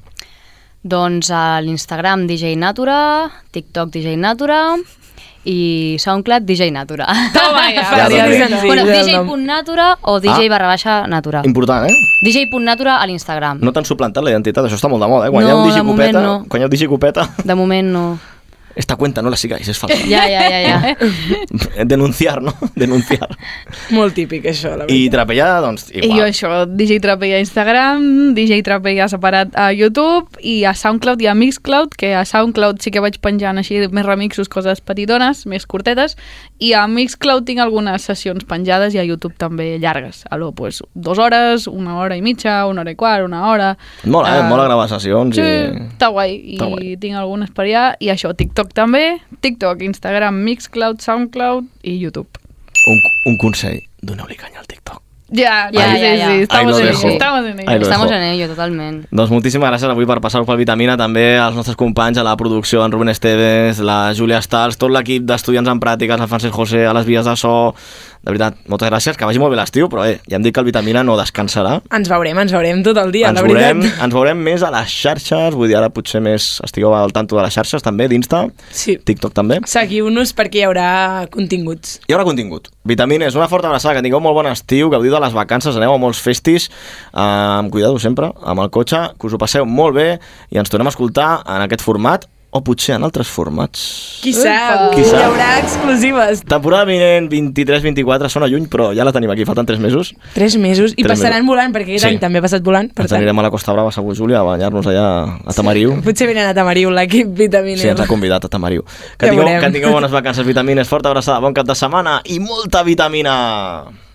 A: Doncs a l'Instagram DJ Natura, TikTok DJ Natura i SoundCloud DJ Natura.
K: Toma ja.
D: Fàcil i
E: senzill,
A: bueno,
E: el nom.
A: DJ.natura o DJ
D: Ah.
A: barra baixa natura.
D: Important, eh?
A: DJ.natura a l'Instagram.
D: No t'han suplantat la identitat, això està molt de moda, eh? Quan hi ha
A: No,
D: un
A: de moment
D: digicopeta,
A: no.
D: quan hi ha un digicopeta,
A: De moment no.
D: esta cuenta no la sigáis, es falsa.
A: Ja, ja, ja, ja.
D: Denunciar, no? Denunciar.
E: Molt típic, això, la
D: I trapellar, doncs,
K: I jo
D: igual.
K: això, DJ Trapella a Instagram, DJ Trapella separat a YouTube i a SoundCloud i a Mixcloud, que a SoundCloud sí que vaig penjant així més remixos, coses petitones, més curtetes, i a Mixcloud tinc algunes sessions penjades i a YouTube també llargues, a lo, pues, dues hores, una hora i mitja, una hora i quart, una hora...
D: Mola, eh?
K: Ah.
D: Mola gravar sessions
K: Sí,
D: i...
K: està guai, i
D: Està guai.
K: tinc algunes per allà, i això, TikTok també, TikTok, Instagram, Mixcloud, SoundCloud i YouTube.
D: Un, un consell, doneu-li canya al TikTok.
K: Ja,
A: Ja,
K: ja,
A: ja,
K: sí,
A: ja.
K: sí,
A: Ahí
K: estamos
D: lo
K: en
D: dejo.
K: ello, estamos en ello.
D: Ahí lo
A: Estamos
D: dejo.
A: en ello, totalment.
D: Doncs moltíssimes gràcies avui per passar-vos pel Vitamina, també als nostres companys, a la producció, en Rubén Esteves, la Júlia Stals, tot l'equip d'estudiants en pràctiques, el Francesc José, a les vies de so... De veritat, moltes gràcies, que vagi molt bé l'estiu, però eh, ja hem dit que el Vitamina no descansarà.
E: Ens veurem, ens veurem tot el dia,
D: ens
E: la
D: veurem,
E: veritat.
D: ens veurem més a les xarxes, vull dir, ara potser més estigueu al tanto de les xarxes també, d'Insta,
E: Sí.
D: TikTok també.
E: Seguiu-nos perquè hi haurà continguts.
D: Hi haurà contingut. Vitamines, una forta abraçada, que tingueu molt bon estiu, gaudiu de les vacances, aneu a molts festis, eh, amb cuidado sempre, amb el cotxe, que us ho passeu molt bé i ens tornem a escoltar en aquest format o potser en altres formats.
E: Qui sap?
D: Qui sap?
E: Hi haurà exclusives.
D: Temporada vinent, 23-24, sona lluny, però ja la tenim aquí, falten 3 mesos.
E: Tres mesos i
D: Tres
E: passaran
D: mesos.
E: volant, perquè aquest
D: Sí.
E: any també ha passat volant. Per
D: ens
E: tant,
D: anirem a la Costa Brava, segur, Júlia, a banyar-nos allà a Tamariu.
E: potser venen a Tamariu l'equip E. vitamina.
D: Sí, ens ha convidat a Tamariu. Que
E: Ja
D: tingueu,
E: veurem.
D: que tingueu bones vacances, vitamines, forta abraçada, bon cap de setmana i molta vitamina!